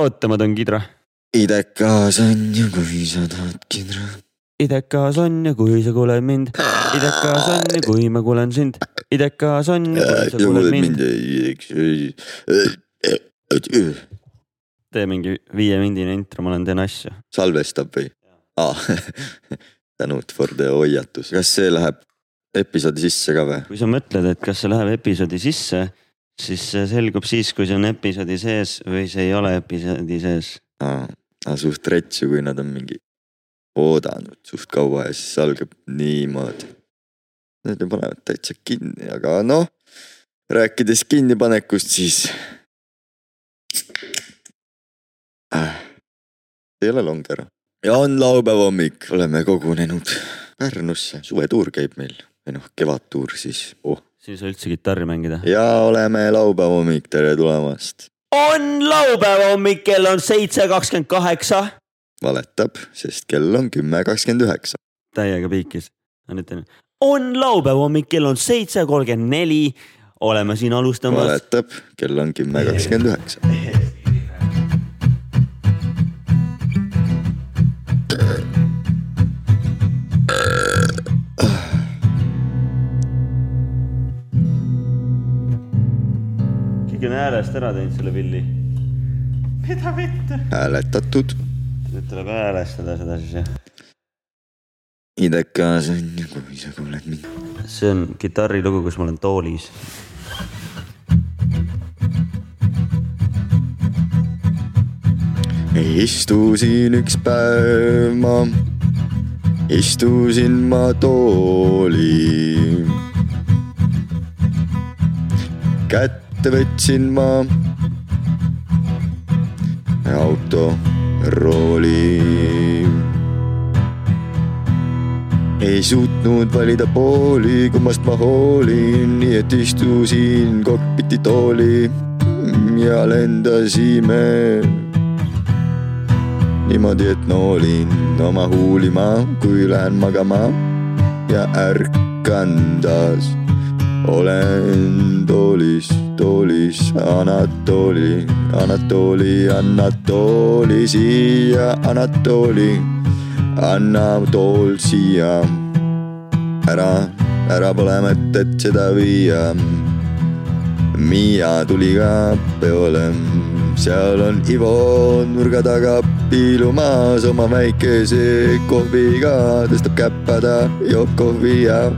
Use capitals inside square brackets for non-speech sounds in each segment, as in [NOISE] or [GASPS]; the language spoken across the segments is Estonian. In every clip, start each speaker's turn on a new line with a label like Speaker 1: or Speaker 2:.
Speaker 1: oota , ma tõmban kidra .
Speaker 2: idekas on ju , kui sa tahad kindra .
Speaker 1: idekas on ja kui sa kuuled mind , idekas on ja kui ma kuulen sind , idekas on ja
Speaker 2: Äh,
Speaker 1: kui sa kuuled mind . tee mingi viiemindine intro , ma olen , teen asju .
Speaker 2: salvestab või ? aa , [LAUGHS] tänud for the hoiatus , kas see läheb episoodi sisse ka või ?
Speaker 1: kui sa mõtled , et kas see läheb episoodi sisse , siis see selgub siis , kui see on episoodi sees või see ei ole episoodi sees .
Speaker 2: aa , suht retsu , kui nad on mingi oodanud suht kaua ja siis algab niimoodi . Nad ju panevad täitsa kinni , aga noh , rääkides kinnipanekust , siis . Ah, ei ole long ära . ja on laupäeva hommik , oleme kogunenud Pärnusse , suvetuur käib meil või noh , kevadtuur siis oh. .
Speaker 1: siin ei saa üldse kitarri mängida .
Speaker 2: ja oleme laupäeva hommik , tere tulemast
Speaker 1: on laupäeva hommik , kell on seitse kakskümmend kaheksa .
Speaker 2: valetab , sest kell on kümme kakskümmend üheksa .
Speaker 1: täiega piikis . ma nüüd teen . on laupäeva hommik , kell on seitse kolmkümmend neli . oleme siin alustamas .
Speaker 2: valetab , kell on kümme kakskümmend üheksa .
Speaker 1: keegi on häälest ära teinud selle pilli . mida vette ?
Speaker 2: hääletatud .
Speaker 1: nüüd tuleb häälestada seda siis jah .
Speaker 2: idekas on ju , kui sa kuuled mind .
Speaker 1: see on kitarrilugu , kus ma olen toolis .
Speaker 2: istusin üks päev ma , istusin ma tooli . kätte võtsin ma autorooli . ei suutnud valida pooli , kummast ma hoolin , nii et istusin kokpiti tooli ja lendasime niimoodi , et noolin oma huulima , kui lähen magama ja ärkan taas . olen toolis , toolis , Anatoli , Anatoli , Anatoli siia , Anatoli , anna tool siia . ära , ära pole mõtet seda viia . Miia tuli ka peole , seal on Ivo nurga taga piilumas oma väikese kohviga , tõstab käppada , joob kohvi ja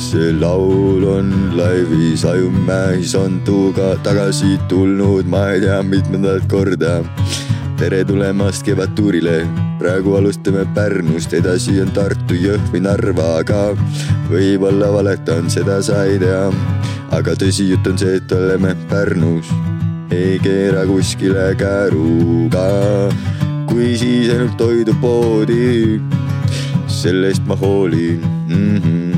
Speaker 2: see laul on laivis , Ajumäis on tuuga tagasi tulnud , ma ei tea , mitmendat korda . tere tulemast Kevadtuurile , praegu alustame Pärnust , edasi on Tartu , Jõhvi , Narva , aga võib-olla valetan , seda sa ei tea aga tõsijutt on see , et oleme Pärnus , ei keera kuskile kääruga . kui siis ainult toidupoodi , sellest ma hoolin Mhm. mm . -hmm.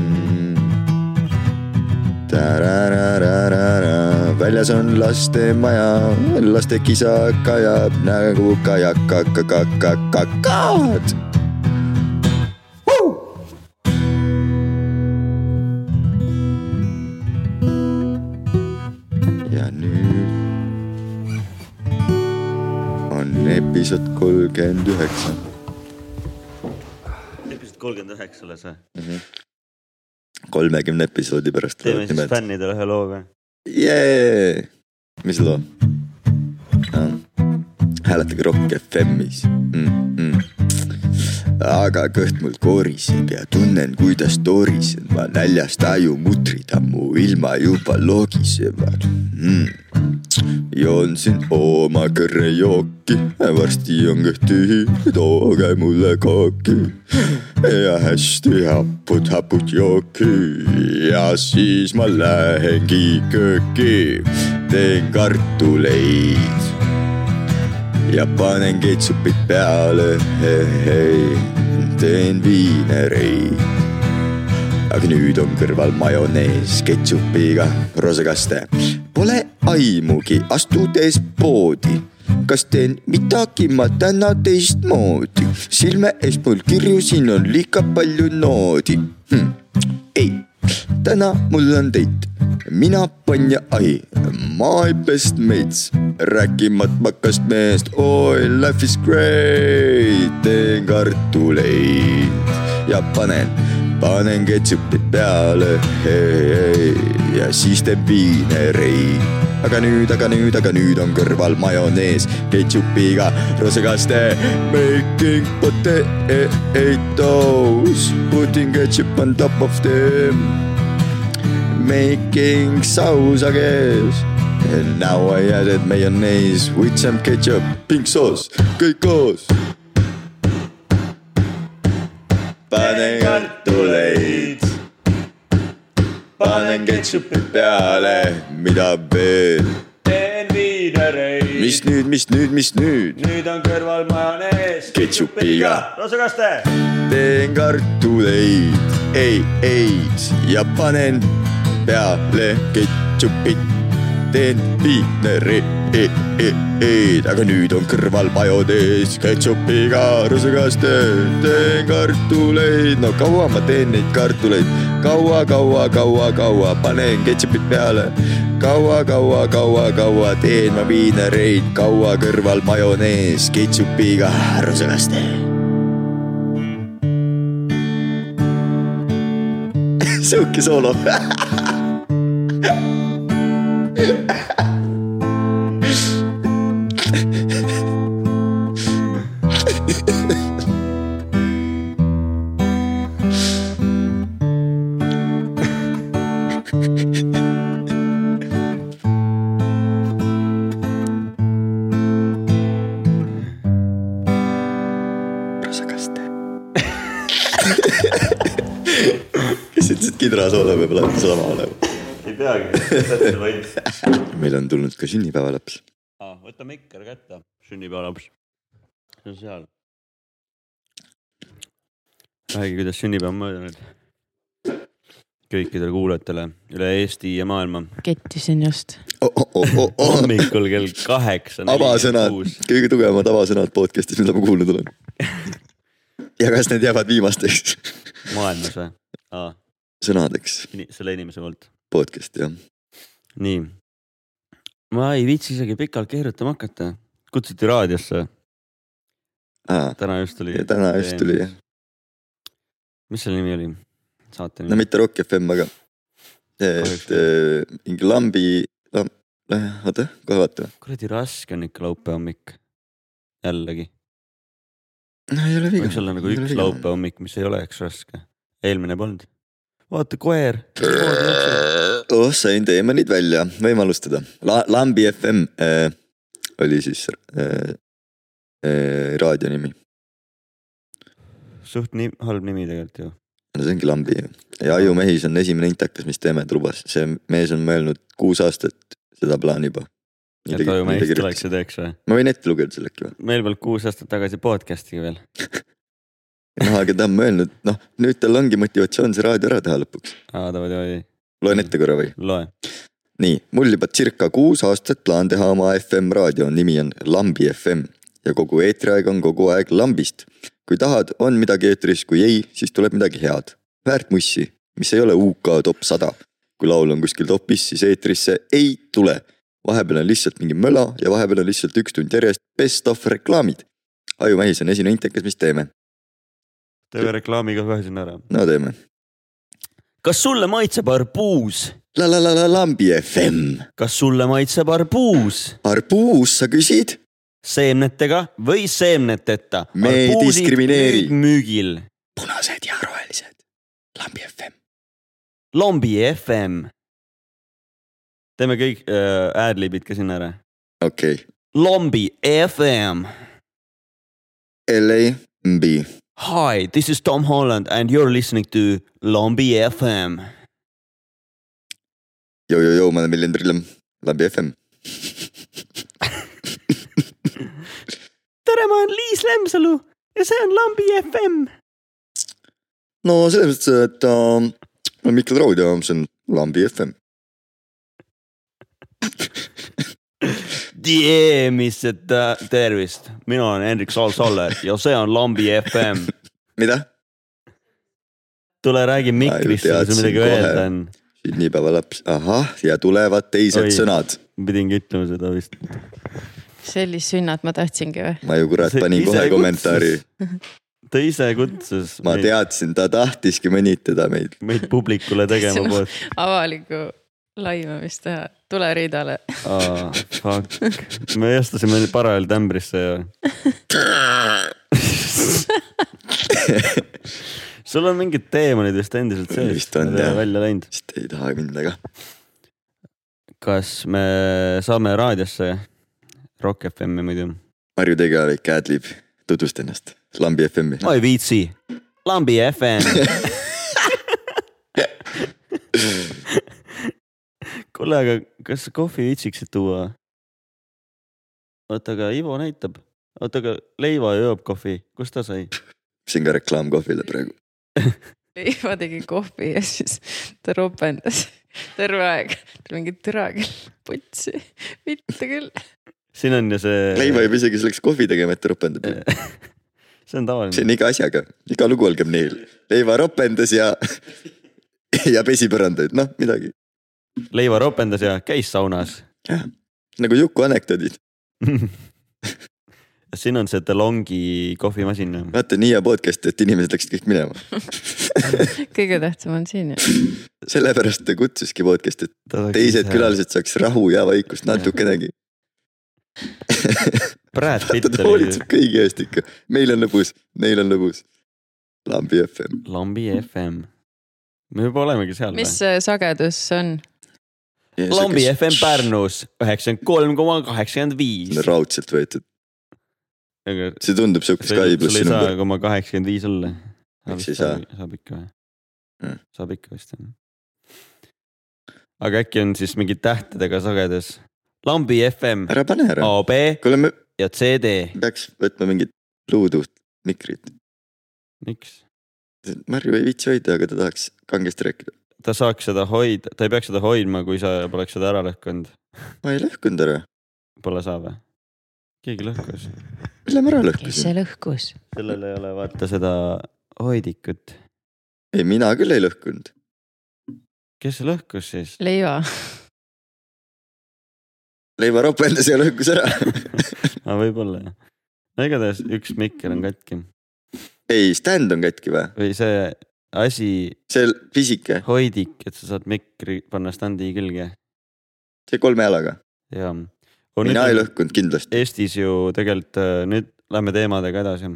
Speaker 2: väljas on lastemaja , laste kisa kajab nagu kajakakakakakad . ja nüüd on episood kolmkümmend üheksa .
Speaker 1: episood kolmkümmend üheksa alles või ?
Speaker 2: kolmekümne episoodi pärast
Speaker 1: teeme
Speaker 2: tulevad
Speaker 1: siis
Speaker 2: nimed .
Speaker 1: fännidele ühe loo ka .
Speaker 2: jee , mis loo no. ? hääletage Rock FM-is mm . -mm. aga kõht mul koriseb ja tunnen , kuidas torisen ma näljast aju mutrid ammu ilma juba logisevad mm. . joon siin oma kõrrejooki , varsti on kõht tühi , tooge mulle kooki ja hästi hapud , hapud jooki ja siis ma lähengi kööki , teen kartuleid ja panen ketsupit peale , hei , teen viinereid . aga nüüd on kõrval majonees ketsupiga roosekaste . Pole aimugi , astudes poodi , kas teen midagi ma täna teistmoodi , silme ees mul kirju , siin on liiga palju noodi hm. . ei , täna mul on teid mina panja ahi , my best mates , rääkimata makast meest , oi life is great , teen kartuleid ja panen , panen ketsupit peale , ja siis teen viinereid . aga nüüd , aga nüüd , aga nüüd on kõrval majonees , ketšupiga , rosekaste , making potatoes , putting ketchup on top of them making sauce I guess And now I added mayonnaise with some ketchup pink sauce kõik koos panen kartuleid panen ketšupi peale mida veel
Speaker 3: teen viinereid .
Speaker 2: mis nüüd mis nüüd mis nüüd
Speaker 3: nüüd on kõrval majonees .
Speaker 2: Ketšupiga.
Speaker 3: rosakaste .
Speaker 2: teen kartuleid ei eid ja panen peale ketšupit teen viinereid , e, aga nüüd on kõrval majonees , ketšupiga rusikaste , teen kartuleid , no kaua ma teen neid kartuleid , kaua , kaua , kaua , kaua panen ketšupit peale , kaua , kaua , kaua , kaua teen ma viinereid , kaua kõrval majonees , ketšupiga rusikaste . sihuke soolo rusakaste . kes ütles , et kidrasoole peab alati sama olema ?
Speaker 3: ei peagi , täpselt võiks .
Speaker 2: meil on tulnud ka sünnipäevalaps .
Speaker 1: Ah,
Speaker 3: võta mikker kätte , sünnipäevalaps . see on seal .
Speaker 1: räägi , kuidas sünnipäev on möödunud . kõikidele kuulajatele üle Eesti ja maailma .
Speaker 4: kettisin just .
Speaker 2: Oh,
Speaker 1: [LAUGHS] hommikul kell kaheksa .
Speaker 2: avasõnad ,. kõige tugevamad avasõnad podcast'is , mida ma kuulnud
Speaker 1: [LAUGHS]
Speaker 2: olen . ja kas need jäävad viimasteks [LAUGHS]
Speaker 1: maailmas või ah, ?
Speaker 2: sõnadeks
Speaker 1: selle inimese poolt .
Speaker 2: podcast'i jah ?
Speaker 1: nii . ma ei viitsi isegi pikalt keerutama hakata . kutsuti raadiosse ,
Speaker 2: aa ,
Speaker 1: täna just tuli .
Speaker 2: täna just tuli jah ,
Speaker 1: mis selle nimi oli ? saate nimi
Speaker 2: no ? mitte Rock FM , aga .
Speaker 1: Kahjuks
Speaker 2: et eh, mingi lambi , oota , kohe vaatame .
Speaker 1: kuradi raske on ikka laupäeva hommik . jällegi ,
Speaker 2: no ei ole viga .
Speaker 1: võiks olla nagu üks . laupäeva hommik , mis ei oleks raske . eelmine polnud . vaata koer .
Speaker 2: oh , sain teemanid välja , võime alustada La . Lambi FM äh, oli siis äh, äh, raadio nimi ,
Speaker 1: suht nii halb nimi tegelikult ju .
Speaker 2: no see ongi Lambi ju . ja Aju Mehis on esimene intakas , mis Teemet lubas , see mees on mõelnud kuus aastat seda plaani juba .
Speaker 1: et aju meist tuleks ja teeks või ?
Speaker 2: ma võin ette lugeda selle äkki või ?
Speaker 1: meil polnud kuus aastat tagasi podcast'i veel .
Speaker 2: noh , aga ta on mõelnud , noh nüüd tal ongi motivatsioon see raadio ära teha lõpuks .
Speaker 1: aa , davai , davai ,
Speaker 2: loen ette korra või ?
Speaker 1: loe .
Speaker 2: nii , mul juba circa kuus aastat plaan teha oma FM raadio , nimi on Lambi FM ja kogu eetriaeg on kogu aeg lambist . kui tahad , on midagi eetris , kui ei , siis tuleb midagi head . väärt mussi , mis ei ole UK top sada . kui laul on kuskil topis , siis eetrisse ei tule . vahepeal on lihtsalt mingi möla ja vahepeal on lihtsalt üks tund järjest best of reklaamid . Aju Mähis on esimene intekas , mis teeme ?
Speaker 1: teeme reklaami ka kohe sinna ära .
Speaker 2: no teeme .
Speaker 1: kas sulle maitseb arbuus ?
Speaker 2: la la la la Lambi FM .
Speaker 1: kas sulle maitseb arbuus
Speaker 2: arbuus , sa küsid ?
Speaker 1: seemnetega või seemneteta ?
Speaker 2: Me ei diskrimineeri.
Speaker 1: müügil ,
Speaker 2: punased ja rohelised . Lambi FM .
Speaker 1: Lombi FM . teeme kõik äh, ad-libid ka sinna ära .
Speaker 2: okei okay. .
Speaker 1: Lombi FM .
Speaker 2: LAMB ,
Speaker 1: Hi , this is Tom Holland and you are listening to Lombi FM .
Speaker 2: jõujõujõu , ma olen Villem Trillem , läbi FM .
Speaker 1: tere , ma olen Liis Lemsalu ja see on Lombi FM .
Speaker 2: [LAUGHS] no selles mõttes , et äh, ma olen Mikkel Raud ja see on Lambi FM .
Speaker 1: jee , mis see ta- äh, tervist , mina olen Hendrik Saal-Saller ja see on Lombi FM .
Speaker 2: mida ?
Speaker 1: tule räägi mikrisse , kui sul
Speaker 2: teadsin
Speaker 1: midagi
Speaker 2: kohe.
Speaker 1: öelda on .
Speaker 2: sünnipäevalaps , ahah , ja tulevad teised
Speaker 1: Oi.
Speaker 2: Oi. sõnad .
Speaker 1: ma pidingi ütlema seda vist .
Speaker 4: sellist sünnat ma tahtsingi või ?
Speaker 2: ma ju kurat
Speaker 1: See
Speaker 2: panin
Speaker 1: ise
Speaker 2: kohe
Speaker 1: kutsus.
Speaker 2: kommentaari ,
Speaker 1: [LAUGHS] ta ise kutsus
Speaker 2: ma
Speaker 1: meid,
Speaker 2: teadsin , ta tahtiski mõnitada meid .
Speaker 1: meid publikule tegema
Speaker 4: Tahtsin-
Speaker 1: poolt .
Speaker 4: avalikku laimamist teha , tule Riidale . [LAUGHS]
Speaker 1: aa ,
Speaker 2: [LAUGHS]
Speaker 1: fuck , me astusime nüüd paralleeltämbrisse ja sul on mingid teemonid vist endiselt sees .
Speaker 2: Vist on, jah.
Speaker 1: välja läinud .
Speaker 2: sest ei taha minna ka .
Speaker 1: kas me saame raadiosse ? Rock FM-i muidu .
Speaker 2: Marju Tegelavik , Adlib , tutvusta ennast , Lambi FM-i .
Speaker 1: ma ei viitsi . lambi FM . kuule , aga kas sa kohvi viitsiksid tuua ? oota , aga Ivo näitab . oota , aga Leiva joob kohvi , kust ta sai ?
Speaker 2: [LAUGHS] siin ka reklaam kohvile praegu .
Speaker 4: ma tegin kohvi ja siis ta ropendas terve aeg , tal mingi türa küll , putsi , mitte küll .
Speaker 1: siin on ju see .
Speaker 2: Leiva juba isegi selleks kohvi tegema , et ta ropendab .
Speaker 1: see on
Speaker 2: see
Speaker 1: tavaline .
Speaker 2: on iga asjaga , iga lugu algab neil . Leiva ropendas ja , ja pesi põrandaid , noh midagi .
Speaker 1: leiva ropendas ja käis saunas .
Speaker 2: nagu Juku anekdoodid ,
Speaker 1: [LAUGHS] siin on see DeLongi kohvimasin .
Speaker 2: vaata nii hea podcast , et inimesed läksid kõik minema . [LAUGHS]
Speaker 4: kõige tähtsam on siin ju .
Speaker 2: sellepärast ta kutsuski podcast'i , et teised . külalised saaks rahu ja vaikust natukenegi .
Speaker 1: Brad Pitt
Speaker 2: vaata [LAUGHS]
Speaker 1: oli
Speaker 2: ta
Speaker 1: ju
Speaker 2: hoolitseb kõigi eest ikka , meil on lõbus , neil on lõbus . lambi FM ,
Speaker 1: Lambi FM . me juba olemegi seal
Speaker 4: mis see sagedus on ?
Speaker 1: Lambi FM Pärnus üheksakümmend kolm koma kaheksakümmend viis .
Speaker 2: raudselt võetud ,
Speaker 1: aga
Speaker 2: see tundub siukene
Speaker 1: sul
Speaker 2: Sky
Speaker 1: ei- sul
Speaker 2: plussi
Speaker 1: ei saa
Speaker 2: number ,
Speaker 1: koma kaheksakümmend viis olla .
Speaker 2: Miks ei saa? ?
Speaker 1: saab ikka või
Speaker 2: Mm. ?
Speaker 1: saab ikka vist jah . aga äkki on siis mingi tähtedega sagedus ? lambi FM ,
Speaker 2: ära pane ära .
Speaker 1: AB
Speaker 2: kuule , me
Speaker 1: ja CD .
Speaker 2: peaks võtma mingit Bluetooth mikrit ,
Speaker 1: miks ?
Speaker 2: Marju ei viitsi hoida , aga ta tahaks kangesti rääkida .
Speaker 1: ta saaks seda hoida , ta ei peaks seda hoidma , kui sa poleks seda ära lõhkunud .
Speaker 2: ma ei lõhkunud ära ,
Speaker 1: Pole saa või ? keegi lõhkus .
Speaker 2: mille ma ära
Speaker 4: kes
Speaker 2: lõhkusin ?
Speaker 4: see lõhkus ?
Speaker 1: sellel ei ole vaata seda hoidikut .
Speaker 2: ei , mina küll ei lõhkunud .
Speaker 1: kes see lõhkus siis ?
Speaker 4: leiva .
Speaker 2: leiva ropendas ja lõhkus ära . [LAUGHS]
Speaker 1: aga Ah, võib-olla jah . no igatahes üks mikker on katki
Speaker 2: ei , stand on katki või ?
Speaker 1: või see asi ,
Speaker 2: see pisike ,
Speaker 1: hoidik , et sa saad mikri panna standi külge
Speaker 2: see kolme jalaga .
Speaker 1: ja .
Speaker 2: mina ei lõhkunud kindlasti .
Speaker 1: Eestis ju tegelikult äh, nüüd lähme teemadega edasi .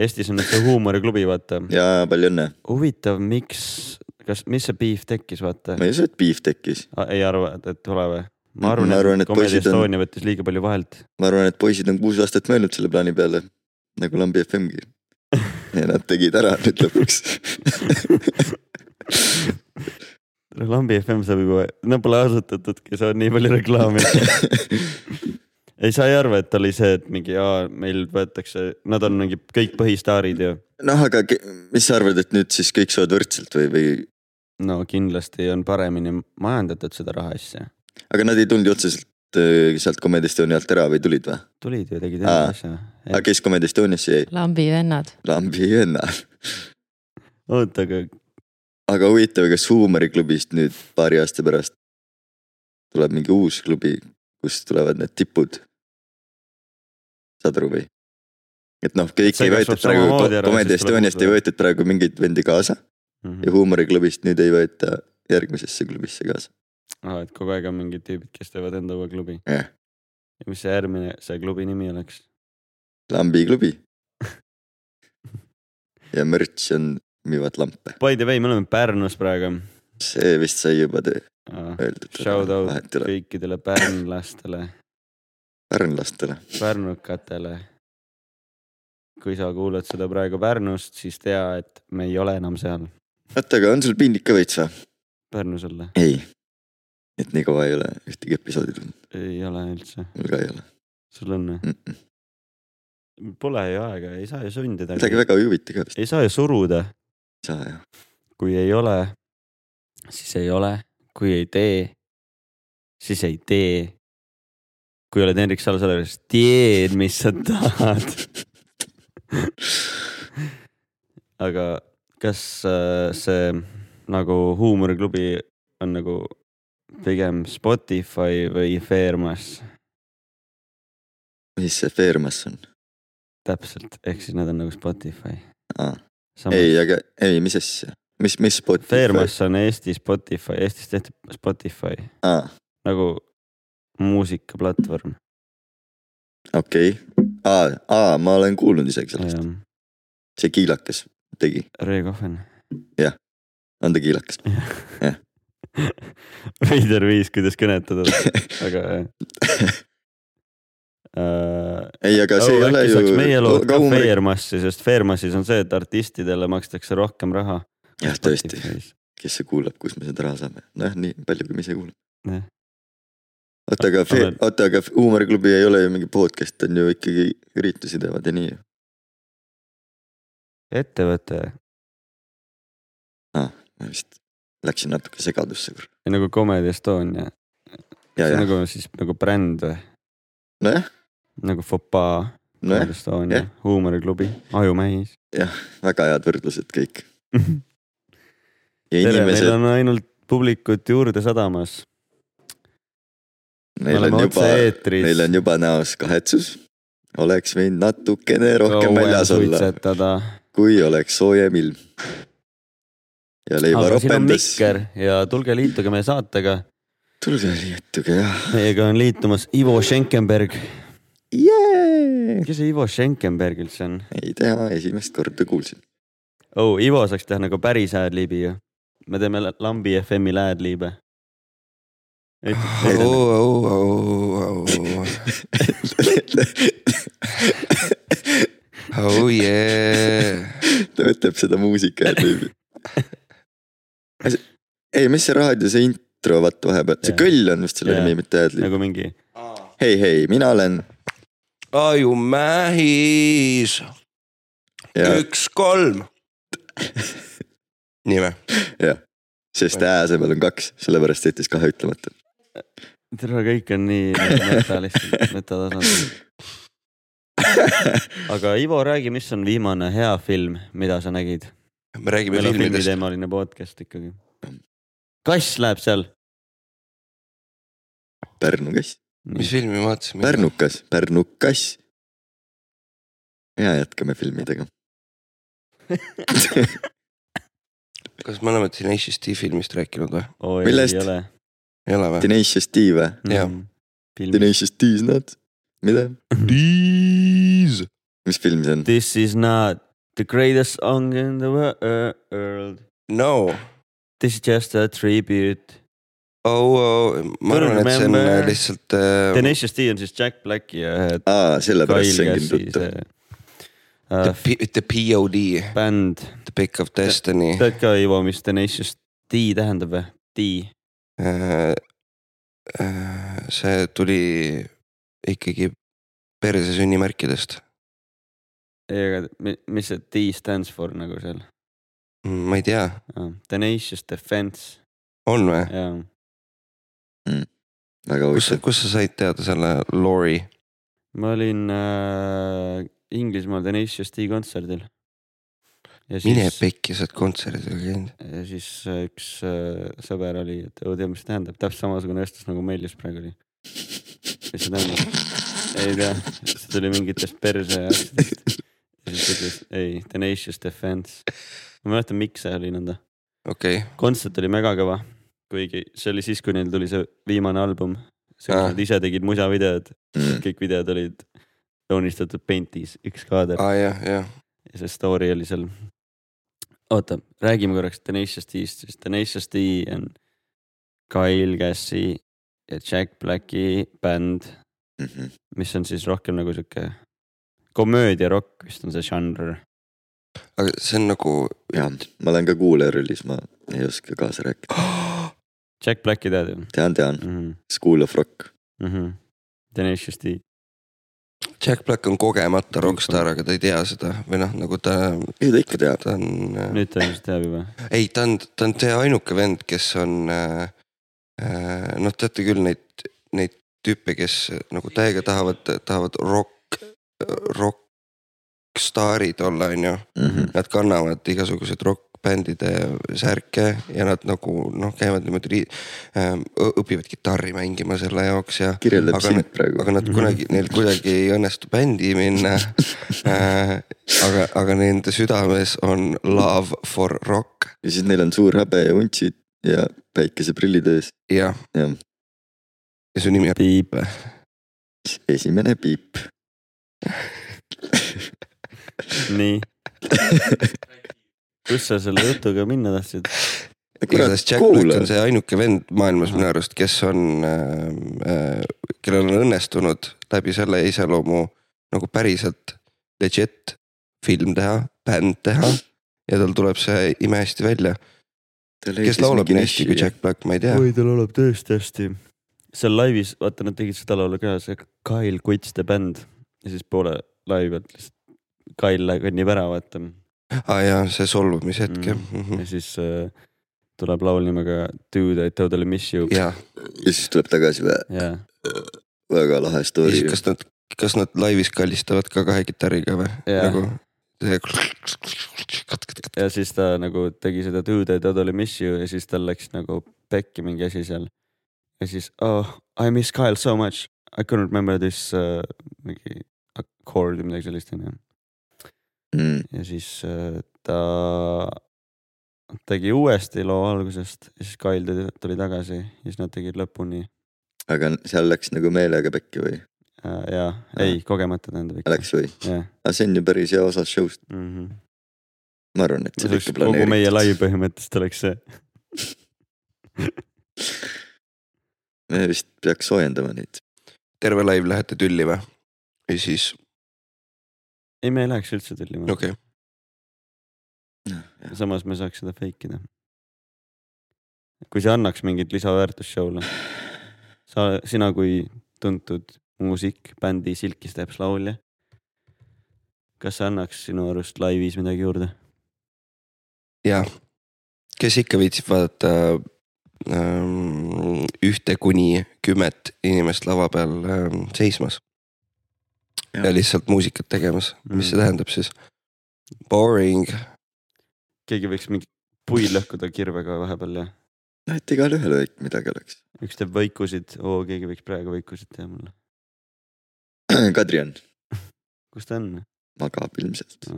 Speaker 1: Eestis on nüüd see huumoriklubi , vaata .
Speaker 2: ja palju õnne ,
Speaker 1: huvitav , miks , kas , mis see beef tekkis , vaata ?
Speaker 2: ma ei usu , et beef tekkis .
Speaker 1: Ah, ei arva , et tule või ?
Speaker 2: Ma
Speaker 1: ma arvan ,
Speaker 2: arvan,
Speaker 1: et
Speaker 2: et
Speaker 1: Comedy
Speaker 2: poisid on-
Speaker 1: Estonia võttis liiga palju vahelt .
Speaker 2: ma arvan , et poisid on kuus aastat mõelnud selle plaani peale nagu Lambi FM-gi . ja nad tegid ära nüüd lõpuks . [LAUGHS]
Speaker 1: lambi FM saab juba , no pole asutatudki , see on nii palju
Speaker 2: [LAUGHS]
Speaker 1: reklaami . ei , sa ei arva , et oli see , et mingi aa , meil võetakse , nad on mingi kõik põhistaarid ju .
Speaker 2: noh , aga ke- mis sa arvad , et nüüd siis kõik söövad võrdselt või , või ,
Speaker 1: no kindlasti on paremini majandatud seda rahaasja .
Speaker 2: aga nad ei tulnud ju otseselt äh, sealt Comedy Estonia alt ära või tulid või ?
Speaker 1: tulid ju , tegid
Speaker 2: Aa.
Speaker 1: enda asja .
Speaker 2: aga kes Comedy Estoniasse jäi ?
Speaker 4: lambi vennad .
Speaker 2: Lambi venna .
Speaker 1: oota , aga
Speaker 2: aga huvitav , kas huumoriklubist nüüd paari aasta pärast tuleb mingi uus klubi , kus tulevad need tipud ? saad aru või ? et noh , kõik
Speaker 1: See
Speaker 2: ei võetud
Speaker 1: kasvab
Speaker 2: praegu
Speaker 1: samamoodi , ära,
Speaker 2: Comedy
Speaker 1: siis tuleb Mhm.
Speaker 2: Estoniast
Speaker 1: uus
Speaker 2: ei
Speaker 1: või?
Speaker 2: võetud praegu mingeid vendi kaasa ja
Speaker 1: mhmh.
Speaker 2: huumoriklubist nüüd ei võeta järgmisesse klubisse kaasa .
Speaker 1: aa , et kogu aeg on mingid tüübid , kes teevad enda uue klubi .
Speaker 2: Jah.
Speaker 1: ja mis see järgmine , see klubi nimi oleks ?
Speaker 2: lambi klubi . ja merch on müüvad lampe ,
Speaker 1: By the way , me oleme Pärnus praegu .
Speaker 2: see vist sai juba töö öeldud .
Speaker 1: Shout out
Speaker 2: vahet ei ole ,
Speaker 1: kõikidele pärnlastele ,
Speaker 2: pärnlastele .
Speaker 1: pärnukatele . kui sa kuulad seda praegu Pärnust , siis tea , et me ei ole enam seal
Speaker 2: oota , aga on sul piinlik ka veits või ?
Speaker 1: Pärnus olla .
Speaker 2: ei , et nii kaua ei ole ühtegi episoodi tulnud ,
Speaker 1: ei ole üldse ,
Speaker 2: mul ka ei ole
Speaker 1: sul on või ?
Speaker 2: mm . -mm.
Speaker 1: Pole ju aega , ei saa ju sundida .
Speaker 2: midagi väga ei huvita ka vist
Speaker 1: ei saa ju suruda ,
Speaker 2: ei saa jah .
Speaker 1: kui ei ole , siis ei ole , kui ei tee , siis ei tee . kui oled Hendrik Salsalu , siis teed , mis sa tahad . aga kas äh, see nagu huumoriklubi on nagu pigem Spotify või Fairmas
Speaker 2: mis see Fairmas on
Speaker 1: täpselt , ehk siis nad on nagu Spotify .
Speaker 2: ah, ? ei , aga ei , mis asja , mis , mis Spotify ?
Speaker 1: Fairmas on Eesti Spotify , Eestis tehti Spotify
Speaker 2: ah, .
Speaker 1: nagu muusikaplatvorm .
Speaker 2: okei okay. ah, , ah, ma olen kuulnud isegi sellest , see Kiilakas tegi ,
Speaker 1: Reekohven .
Speaker 2: on ta Kiilakas ? [LAUGHS] Jah.
Speaker 1: [LAUGHS] veider viis , kuidas
Speaker 2: [LAUGHS]
Speaker 1: kõnetada , aga äh, jah .
Speaker 2: ei , aga see ei ole ju .
Speaker 1: meie lood ka Fairmassi , sest Fairmassis on see , et artistidele makstakse rohkem raha .
Speaker 2: jah , tõesti , kes see kuulab , kus me seda raha saame , nojah , nii palju , kui me ise kuulame
Speaker 1: Jah. .
Speaker 2: oota , aga
Speaker 1: Aga- ,
Speaker 2: oota , aga huumoriklubi ei ole ju mingi podcast , on ju ikkagi üritusi teevad ja nii ju .
Speaker 1: ettevõte
Speaker 2: ma vist läksin natuke segadusse .
Speaker 1: nagu Comedy Estonia , see
Speaker 2: ja ,
Speaker 1: on
Speaker 2: ja ,
Speaker 1: nagu siis nagu bränd või
Speaker 2: nojah ,
Speaker 1: nagu Fopaa ,
Speaker 2: nojah
Speaker 1: Comedy , Estonia
Speaker 2: jah. ,
Speaker 1: huumoriklubi ,
Speaker 2: [LAUGHS]
Speaker 1: Ajumähis .
Speaker 2: väga head võrdlused kõik
Speaker 1: tere ,
Speaker 2: ja
Speaker 1: meil
Speaker 2: inimesed ,
Speaker 1: on ainult publikut juurde sadamas . me
Speaker 2: neil on
Speaker 1: oleme
Speaker 2: juba , neil
Speaker 1: otse-eetris .
Speaker 2: on juba näos kahetsus . oleks võinud natukene rohkem väljas olla ,
Speaker 1: suitsetada .
Speaker 2: kui oleks soojem ilm . ja leiva
Speaker 1: aga siin on
Speaker 2: ropendas .
Speaker 1: mikker ja tulge liituge meie saatega .
Speaker 2: tulge liituge jah
Speaker 1: meiega on liitumas Ivo Schenkenberg .
Speaker 2: yeah! .
Speaker 1: kes see Ivo Schenkenberg üldse on ?
Speaker 2: ei tea , esimest korda kuulsin .
Speaker 1: oh , Ivo saaks teha nagu päris ad-libi ju . me teeme la- lambi FM-ile ad-libe .
Speaker 2: Ei,
Speaker 5: oh, oh, oh yeah .
Speaker 2: [LAUGHS] ta ütleb seda muusika ja tüübi . ei , mis see raadio , see intro , vaata vahepeal , see
Speaker 1: Jaa.
Speaker 2: kõll on vist selle
Speaker 1: Jaa.
Speaker 2: nimi , mitte Adlib .
Speaker 1: nagu mingi
Speaker 2: hei , hei , mina olen
Speaker 5: ajumähis ,
Speaker 2: ja
Speaker 5: üks , kolm . nii või ?
Speaker 2: sest ää asemel on kaks , sellepärast jättis kahe ütlemata .
Speaker 1: terve kõik on [LAUGHS] nii meta lihtsalt , metatasandil . [LAUGHS] aga Ivo , räägi , mis on viimane hea film , mida sa nägid ?
Speaker 5: me räägime
Speaker 1: meil on
Speaker 5: filmidest .
Speaker 1: filmiteemaline podcast ikkagi . kass läheb seal .
Speaker 2: Pärnu kass ,
Speaker 5: mis filmi me vaatasime ?
Speaker 2: Pärnukas , Pärnukas . ja jätkame
Speaker 1: [LAUGHS]
Speaker 2: filmidega .
Speaker 5: kas me oleme Tenacious D filmist rääkinud või ?
Speaker 1: oi ,
Speaker 2: Millest?
Speaker 1: ei ole . Mm-hmm.
Speaker 5: ei ole või ?
Speaker 2: Tenacious D või ?
Speaker 1: Mm.
Speaker 5: Jah. .
Speaker 1: film
Speaker 2: Tenacious D-s nad , mida ,
Speaker 5: Diis .
Speaker 2: mis film see on ?
Speaker 1: [LAUGHS] This is not the greatest song in the uh, world .
Speaker 5: no ,
Speaker 1: This is just a tribute .
Speaker 5: oh , oh , ma
Speaker 1: Don't
Speaker 5: arvan , et see on
Speaker 1: remember.
Speaker 5: lihtsalt äh, .
Speaker 1: Tenacious D on siis Jack Blacki ja ühe
Speaker 2: aa , sellepärast see
Speaker 1: Kyle
Speaker 2: ongi
Speaker 1: Gassi
Speaker 2: tuttav .
Speaker 1: see
Speaker 5: The
Speaker 1: äh,
Speaker 5: P- the POD ,
Speaker 1: bänd .
Speaker 5: The Pick of Destiny .
Speaker 1: tead ka , Ivo , mis Tenacious D tähendab või ? D .
Speaker 5: Äh, äh, see tuli ikkagi perse sünnimärkidest .
Speaker 1: ei , aga mi- mis see D stands for nagu seal ?
Speaker 5: Mm, ma ei tea ,
Speaker 1: Tenacious defense ,
Speaker 5: on või ?
Speaker 1: jaa .
Speaker 2: väga
Speaker 5: kus ,
Speaker 2: huvitav .
Speaker 5: kus sa said teada selle Lori ?
Speaker 1: ma olin äh, Inglismaal Tenacious D kontserdil .
Speaker 5: mine . pekki , sa oled kontserdil käinud .
Speaker 1: ja siis äh, üks äh, sõber oli , et "Oh, tead , mis see tähendab , täpselt samasugune vestlus nagu meil just praegu oli . mis see tähendab ? ei tea , see tuli mingitest perse
Speaker 2: [LAUGHS]
Speaker 1: asjadest . ja siis ütles ei , Tenacious defense . ma ei mäleta , miks see oli nõnda .
Speaker 5: okei okay. ,
Speaker 1: kontsert oli megakõva , kuigi see oli siis , kui neil tuli see viimane album . see ,
Speaker 5: Aa.
Speaker 1: kus nad ise tegid musavideod , kõik videod olid joonistatud Paintis , üks kaader
Speaker 5: aa jah , jah .
Speaker 1: ja see story oli seal . oota , räägime korraks Tenacious D-st , siis Tenacious D on Kyle Gassi ja Jack Blacki bänd ,
Speaker 2: Mhm.
Speaker 1: mis on siis rohkem nagu sihuke komöödiarokk vist on see žanr .
Speaker 5: aga see on nagu [GASPS]
Speaker 2: jah , ma olen ka kuulaja rollis , ma ei oska kaasa rääkida .
Speaker 1: Jack Blacki tead ju
Speaker 2: tean , tean ,
Speaker 1: mm ?
Speaker 2: School of Rock .
Speaker 1: -hmm. Tenacious D ,
Speaker 5: Jack Black on kogemata rokkstaar , aga ta ei tea seda või noh , nagu ta ,
Speaker 2: ei , ta ikka teab .
Speaker 5: ta on ,
Speaker 1: nüüd ta vist teab juba .
Speaker 5: ei , ta on , ta on see ainuke vend , kes on äh, äh, noh , teate küll neid , neid tüüpe , kes nagu täiega tahavad , tahavad rokk ,
Speaker 2: Mhm.
Speaker 5: rokkstaarid olla , onju . Nad kannavad igasuguseid rokk , rokkbändide särke ja nad nagu noh , käivad niimoodi ri- ähm, , õpivad kitarri mängima selle jaoks ja .
Speaker 2: kirjeldab
Speaker 5: Aga
Speaker 2: sind
Speaker 5: nüüd-
Speaker 2: praegu .
Speaker 5: aga nad kunagi , neil kuidagi ei õnnestu bändi minna äh, . aga , aga nende südames on love for rock ,
Speaker 2: ja siis neil on suur habe ja vuntsid ja päikeseprillid ees .
Speaker 5: jah .
Speaker 2: Jah.
Speaker 5: ja su nimi on [LAUGHS]
Speaker 1: piip .
Speaker 2: esimene piip .
Speaker 1: nii . kus sa selle jutuga minna tahtsid ?
Speaker 5: igatahes Jack Black on see ainuke vend maailmas minu arust , kes on äh, , äh, kellel on õnnestunud läbi selle iseloomu nagu päriselt legit film teha , bänd teha ja tal tuleb see imehästi välja . kes laulab nii hästi kui Jack Black , ma ei tea .
Speaker 1: oi , ta laulab tõesti hästi . seal laivis , vaata , nad tegid seda laulu ka , see Kyle Quits the band ja siis poole laivi pealt lihtsalt Kyle kõnnib ära , vaata
Speaker 5: aa Ah, jaa , see solvumise hetk jah
Speaker 1: Mm.
Speaker 5: mm -hmm.
Speaker 1: ja . siis äh, tuleb laul nimega Dude I totally miss you .
Speaker 5: jaa ,
Speaker 2: ja siis tuleb tagasi vä- ,
Speaker 1: jaa ,
Speaker 2: väga lahe
Speaker 5: ja
Speaker 2: story
Speaker 5: siis . kas nad , kas nad laivis kallistavad ka kahe kitarriga või
Speaker 1: Jaa.
Speaker 5: nagu see
Speaker 1: ja siis ta nagu tegi seda Dude I totally miss you ja siis tal läks nagu pekki mingi asi seal . ja siis oh, I miss Kyle so much , I couldn't remember this uh, mingi chord või midagi sellist onju .
Speaker 2: Mm.
Speaker 1: ja siis äh, ta tegi uuesti loo algusest ja siis Kyle tuli- tuli tagasi ja siis nad tegid lõpuni
Speaker 2: aga seal läks nagu meelega pekki või ?
Speaker 1: äh, ja ei , kogemata tähendab ikka .
Speaker 2: Läks või ?
Speaker 1: jah ,
Speaker 2: aga see on ju päris hea osa show'st , ma arvan , et see
Speaker 1: see
Speaker 2: on
Speaker 1: oleks
Speaker 2: ikka
Speaker 1: kogu meie
Speaker 2: planeeritud .
Speaker 1: laiv põhimõtteliselt oleks
Speaker 2: [LAUGHS]
Speaker 1: see .
Speaker 2: me vist peaks soojendama neid .
Speaker 5: terve laiv lähete tülli või ? ja siis ,
Speaker 1: ei , me ei läheks üldse tellima
Speaker 5: okei okay. ,
Speaker 2: Noh,
Speaker 1: okay. , samas me saaks seda fake ida . kui see annaks mingit lisaväärtust show'le , sa , sina kui tuntud muusik , bändi Silky Steps laulja . kas see annaks sinu arust laivis midagi juurde ?
Speaker 5: jaa . kes ikka viitsib vaadata ähm, ühte kuni kümmet inimest lava peal ähm, seismas ja.
Speaker 2: Jah.
Speaker 5: ja lihtsalt muusikat tegemas , mis
Speaker 1: Mm.
Speaker 5: mm. see tähendab siis ? Boring ,
Speaker 1: keegi võiks mingi puid lõhkuda kirvega vahepeal ja
Speaker 2: noh , et igalühel väike midagi oleks . [CLEARS THROAT]
Speaker 1: üks teeb võikusid , oo keegi võiks praegu võikusid teha mulle .
Speaker 2: Kadri on ,
Speaker 1: kus ta on ?
Speaker 2: magab ilmselt .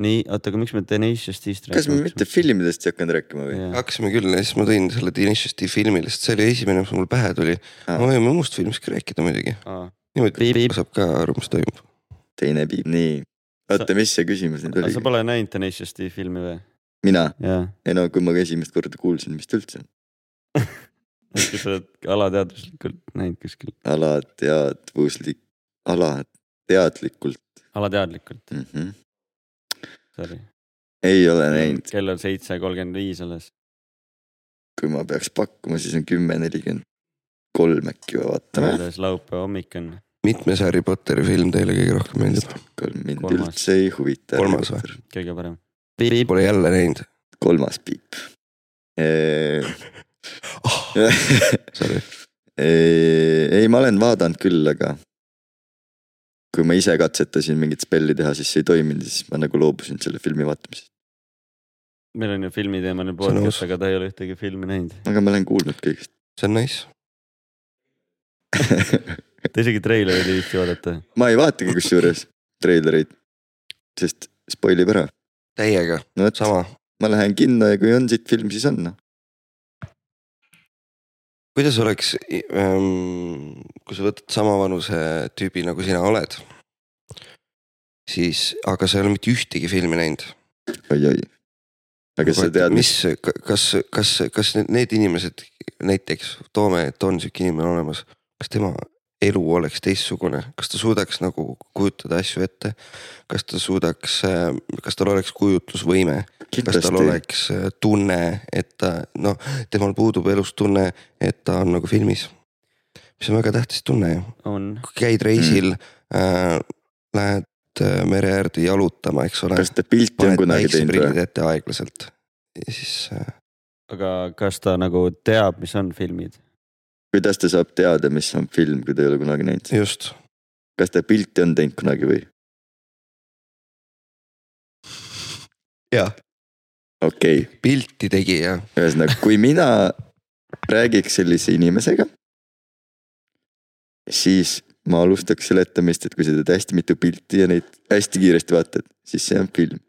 Speaker 1: nii , oota , aga miks me Tenacious D-st
Speaker 2: kas me mitte filmidest ei hakanud rääkima või ?
Speaker 1: filmi ?
Speaker 5: hakkasime küll ja siis ma tõin selle Tenacious D filmi lihtsalt , see oli esimene , mis mul pähe tuli .
Speaker 2: Aa.
Speaker 5: me võime muust filmist ka rääkida muidugi , niimoodi
Speaker 1: Piip, piip.
Speaker 5: saab ka aru , mis toimub .
Speaker 2: teine piip , nii . oota , mis see küsimus nüüd
Speaker 1: aga sa
Speaker 2: oli ?
Speaker 1: pole näinud Tenacious D filmi või ?
Speaker 2: mina ,
Speaker 1: jaa ,
Speaker 2: ei no kui ma ka esimest korda kuulsin , mis ta üldse on ,
Speaker 1: äkki sa oled alateaduslikult näinud kuskil ,
Speaker 2: alateadvuslik , alateadlikult
Speaker 1: alateadlikult ,
Speaker 2: mm . -hmm.
Speaker 1: sorry .
Speaker 2: ei ole näinud ,
Speaker 1: kell on seitse kolmkümmend viis alles .
Speaker 2: kui ma peaks pakkuma , siis on kümme nelikümmend kolm äkki või vaatame .
Speaker 1: kuidas laupäeva hommik on ?
Speaker 5: mitmes Harry Potteri film teile kõige rohkem meeldib ?
Speaker 2: kolm mind
Speaker 1: Kolmas.
Speaker 2: üldse ei huvita .
Speaker 5: Kolmas või? ?
Speaker 1: kõige parem .
Speaker 5: Pole jälle näinud
Speaker 2: kolmas piip . Ah.
Speaker 5: oh, . [LAUGHS] Sorry ,
Speaker 2: ei , ma olen vaadanud küll , aga kui ma ise katsetasin mingit spelli teha , siis see ei toiminud ja siis ma nagu loobusin selle filmi vaatamisest .
Speaker 1: meil on ju filmiteemaline
Speaker 5: See on
Speaker 1: podcast ,
Speaker 5: aus.
Speaker 1: aga ta ei ole ühtegi filmi näinud .
Speaker 2: aga ma olen kuulnud kõigest . [LAUGHS]
Speaker 5: see on nice .
Speaker 1: ta isegi treilereid ei viitsi vaadata .
Speaker 2: ma ei vaatagi kusjuures treilereid , sest spoil ib ära .
Speaker 5: Teiega ,
Speaker 2: no vot ,
Speaker 5: sama .
Speaker 2: ma lähen kinno ja kui on siit film , siis on noh .
Speaker 5: kuidas oleks ähm, , kui sa võtad sama vanuse tüübi nagu sina oled , siis , aga sa ei ole mitte ühtegi filmi näinud .
Speaker 2: oi-oi . aga kas sa tead , mis
Speaker 5: mis , kas , kas , kas need- need inimesed näiteks , toome , et on sihuke inimene olemas , kas tema elu oleks teistsugune , kas ta suudaks nagu kujutada asju ette , kas ta suudaks , kas tal oleks kujutlusvõime , kas tal
Speaker 2: kindlasti ,
Speaker 5: oleks äh, tunne , et ta noh , temal puudub elus tunne , et ta on nagu filmis . mis on väga tähtis tunne ju ,
Speaker 1: on
Speaker 5: kui käid reisil
Speaker 2: Mm.
Speaker 5: äh, , lähed äh, mere äärde jalutama , eks ole .
Speaker 2: kas ta pilti on
Speaker 5: paned
Speaker 2: kunagi teinud või ?
Speaker 5: päikseprillid ette aeglaselt ja siis äh,
Speaker 1: aga kas ta nagu teab , mis on filmid ?
Speaker 2: kuidas ta saab teada , mis on film , kui ta ei ole kunagi näinud ?
Speaker 5: just .
Speaker 2: kas ta pilti on teinud kunagi või ?
Speaker 5: jaa ,
Speaker 2: okei okay. ,
Speaker 5: pilti tegi ja
Speaker 2: ühesõnaga , kui mina räägiks sellise inimesega , siis ma alustaks seletamist , et kui sa teed hästi mitu pilti ja neid hästi kiiresti vaatad , siis see on film .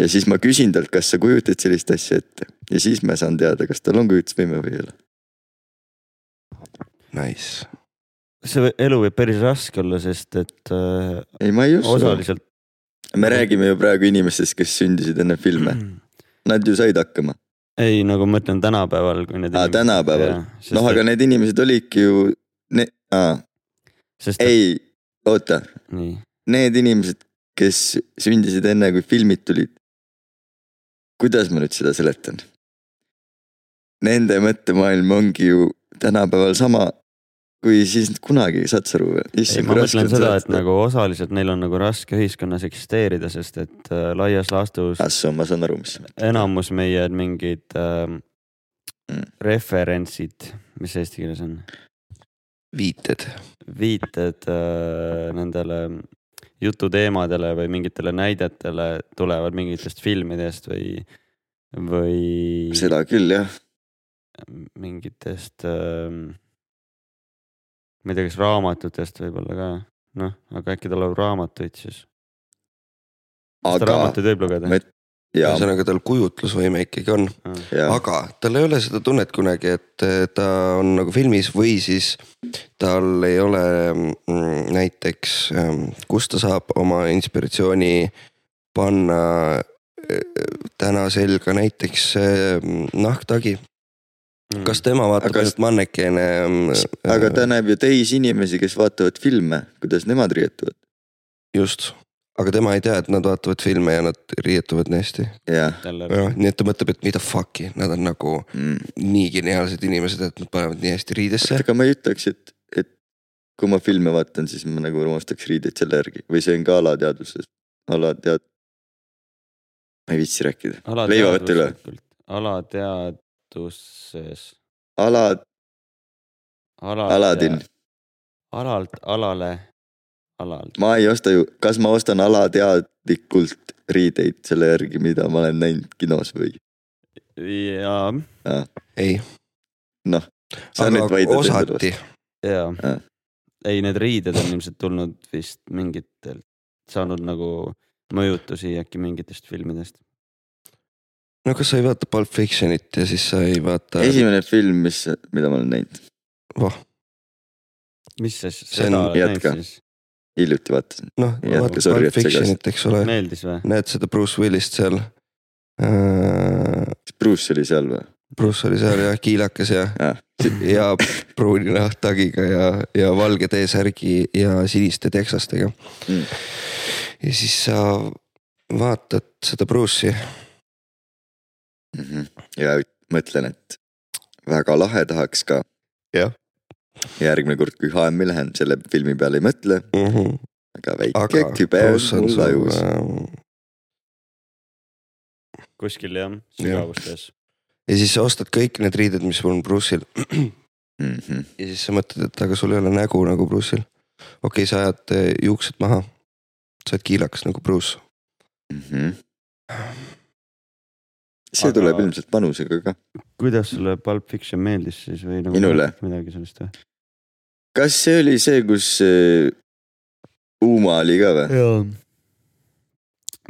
Speaker 2: ja siis ma küsin talt , kas sa kujutad sellist asja ette ja siis ma saan teada , kas tal on kujutlusvõime või ei ole .
Speaker 5: nice .
Speaker 1: see võ- elu võib päris raske olla , sest et äh,
Speaker 2: ei , ma ei usu .
Speaker 1: osaliselt .
Speaker 2: me räägime ju praegu inimestest , kes sündisid enne filme , nad ju said hakkama .
Speaker 1: [CLEARS THROAT] ei , nagu ma ütlen tänapäeval , kui need
Speaker 2: Aa, tänapäeval. . noh , aga
Speaker 1: et,
Speaker 2: need inimesed olidki ju , ne- , aa ,
Speaker 1: sest et,
Speaker 2: ei , oota ,
Speaker 1: nii ,
Speaker 2: need inimesed , kes sündisid enne , kui filmid tulid . kuidas ma nüüd seda seletan ? Nende mõttemaailm ongi ju tänapäeval sama kui siis kunagi , saad sa aru või ?
Speaker 1: ei ma mõtlen seda , et . nagu osaliselt neil on nagu raske ühiskonnas eksisteerida , sest et äh, laias laastus
Speaker 2: Assu , ma saan aru , mis sa mõtled .
Speaker 1: enamus meie mingid äh,
Speaker 2: Mm.
Speaker 1: referentsid , mis see eesti keeles on ,
Speaker 5: viited .
Speaker 1: viited äh, nendele jututeemadele või mingitele näidetele tulevad mingitest filmidest või , või
Speaker 2: seda küll jah ,
Speaker 1: mingitest äh, . ma ei tea , kas raamatutest võib-olla ka , noh , aga äkki ta loeb raamatuid siis . kas ta
Speaker 2: aga
Speaker 1: raamatuid võib lugeda
Speaker 2: ma ? ja ,
Speaker 5: ühesõnaga tal kujutlusvõime ikkagi on ,
Speaker 2: ja
Speaker 5: aga tal ei ole seda tunnet kunagi , et eh, ta on nagu filmis või siis tal ei ole mm, näiteks , kust ta saab oma inspiratsiooni panna eh, täna selga näiteks eh, nahktagi . kas
Speaker 1: mm.
Speaker 5: tema vaatab
Speaker 2: Aga
Speaker 5: ainult ehm, mannekeene ?
Speaker 2: aga ta näeb ju teisi inimesi , kes vaatavad filme , kuidas nemad riietuvad .
Speaker 5: just , aga tema ei tea , et nad vaatavad filme ja nad riietuvad nii hästi .
Speaker 2: jah
Speaker 1: jälle
Speaker 5: nii et ta mõtleb , et mida fuck'i , nad on nagu
Speaker 2: mm. ,
Speaker 5: nii geniaalsed inimesed , et nad panevad nii hästi riidesse .
Speaker 2: aga ma ei ütleks , et , et kui ma filme vaatan , siis ma nagu armastaks riideid selle järgi või see on ka alateadvuses , alatead- . ma ei viitsi rääkida , leiva võtta üle.
Speaker 1: Alateadvuslikult- alateadvuses .
Speaker 2: ala , Aladin. .
Speaker 1: alalt alale , alalt .
Speaker 2: ma ei osta ju , kas ma ostan alateadlikult riideid selle järgi , mida ma olen näinud kinos või ?
Speaker 1: ja ,
Speaker 5: ei ,
Speaker 2: sa nüüd vaidled endale vastu .
Speaker 5: osati ,
Speaker 1: ja
Speaker 2: Äh. .
Speaker 1: ei , need riided on ilmselt tulnud vist mingitelt , saanud nagu mõjutusi äkki mingitest filmidest .
Speaker 5: no kas sa ei vaata Pulp Fictionit ja siis sa ei vaata .
Speaker 2: esimene film , mis , mida ma olen näinud ,
Speaker 1: mis see
Speaker 5: See on-
Speaker 1: seda näib
Speaker 2: jätka.
Speaker 1: siis ,
Speaker 2: hiljuti vaatasin ,
Speaker 5: noh ,
Speaker 2: Jätka,
Speaker 5: vaata
Speaker 2: sorry,
Speaker 5: Pulp
Speaker 2: et segasin.
Speaker 5: Fictionit , eks ole ,
Speaker 1: meeldis või ?
Speaker 5: näed seda Bruce Willist seal äh, .
Speaker 2: kas Bruce oli seal või ?
Speaker 5: Bruce oli seal jah , kiilakas ja ,
Speaker 2: Jah.
Speaker 5: ja pruuni nahktagiga ja , ja valge T-särgi ja siniste teksastega
Speaker 2: Mm.
Speaker 5: mm. . ja siis sa vaatad seda Bruce'i ,
Speaker 2: Mhm. ja mõtlen , et väga lahe tahaks ka .
Speaker 5: Jah. .
Speaker 2: järgmine kord , kui HM-i lähen , selle filmi peale ei mõtle ,
Speaker 5: mm . -hmm.
Speaker 2: aga väike
Speaker 5: aga
Speaker 2: kübe
Speaker 5: Bruce
Speaker 2: on
Speaker 5: on
Speaker 2: Mhm. mul
Speaker 5: sul
Speaker 2: ajus .
Speaker 5: äh,
Speaker 1: kuskil jah , sügavustes .
Speaker 5: ja siis sa ostad kõik need riided , mis mul on Bruce'il
Speaker 2: Mhm,
Speaker 5: ja siis sa mõtled , et aga sul ei ole nägu nagu Bruce'il . okei okay, , sa ajad eh, juuksed maha , sa oled kiilakas nagu Bruce .
Speaker 2: mhm. see
Speaker 1: Aga-
Speaker 2: aga... tuleb ilmselt panusega ka .
Speaker 1: kuidas sulle Pulp Fiction meeldis siis või nagu
Speaker 2: Minule?
Speaker 1: midagi sellest või ?
Speaker 2: kas see oli see , kus äh, Uma oli ka või ?
Speaker 1: jaa .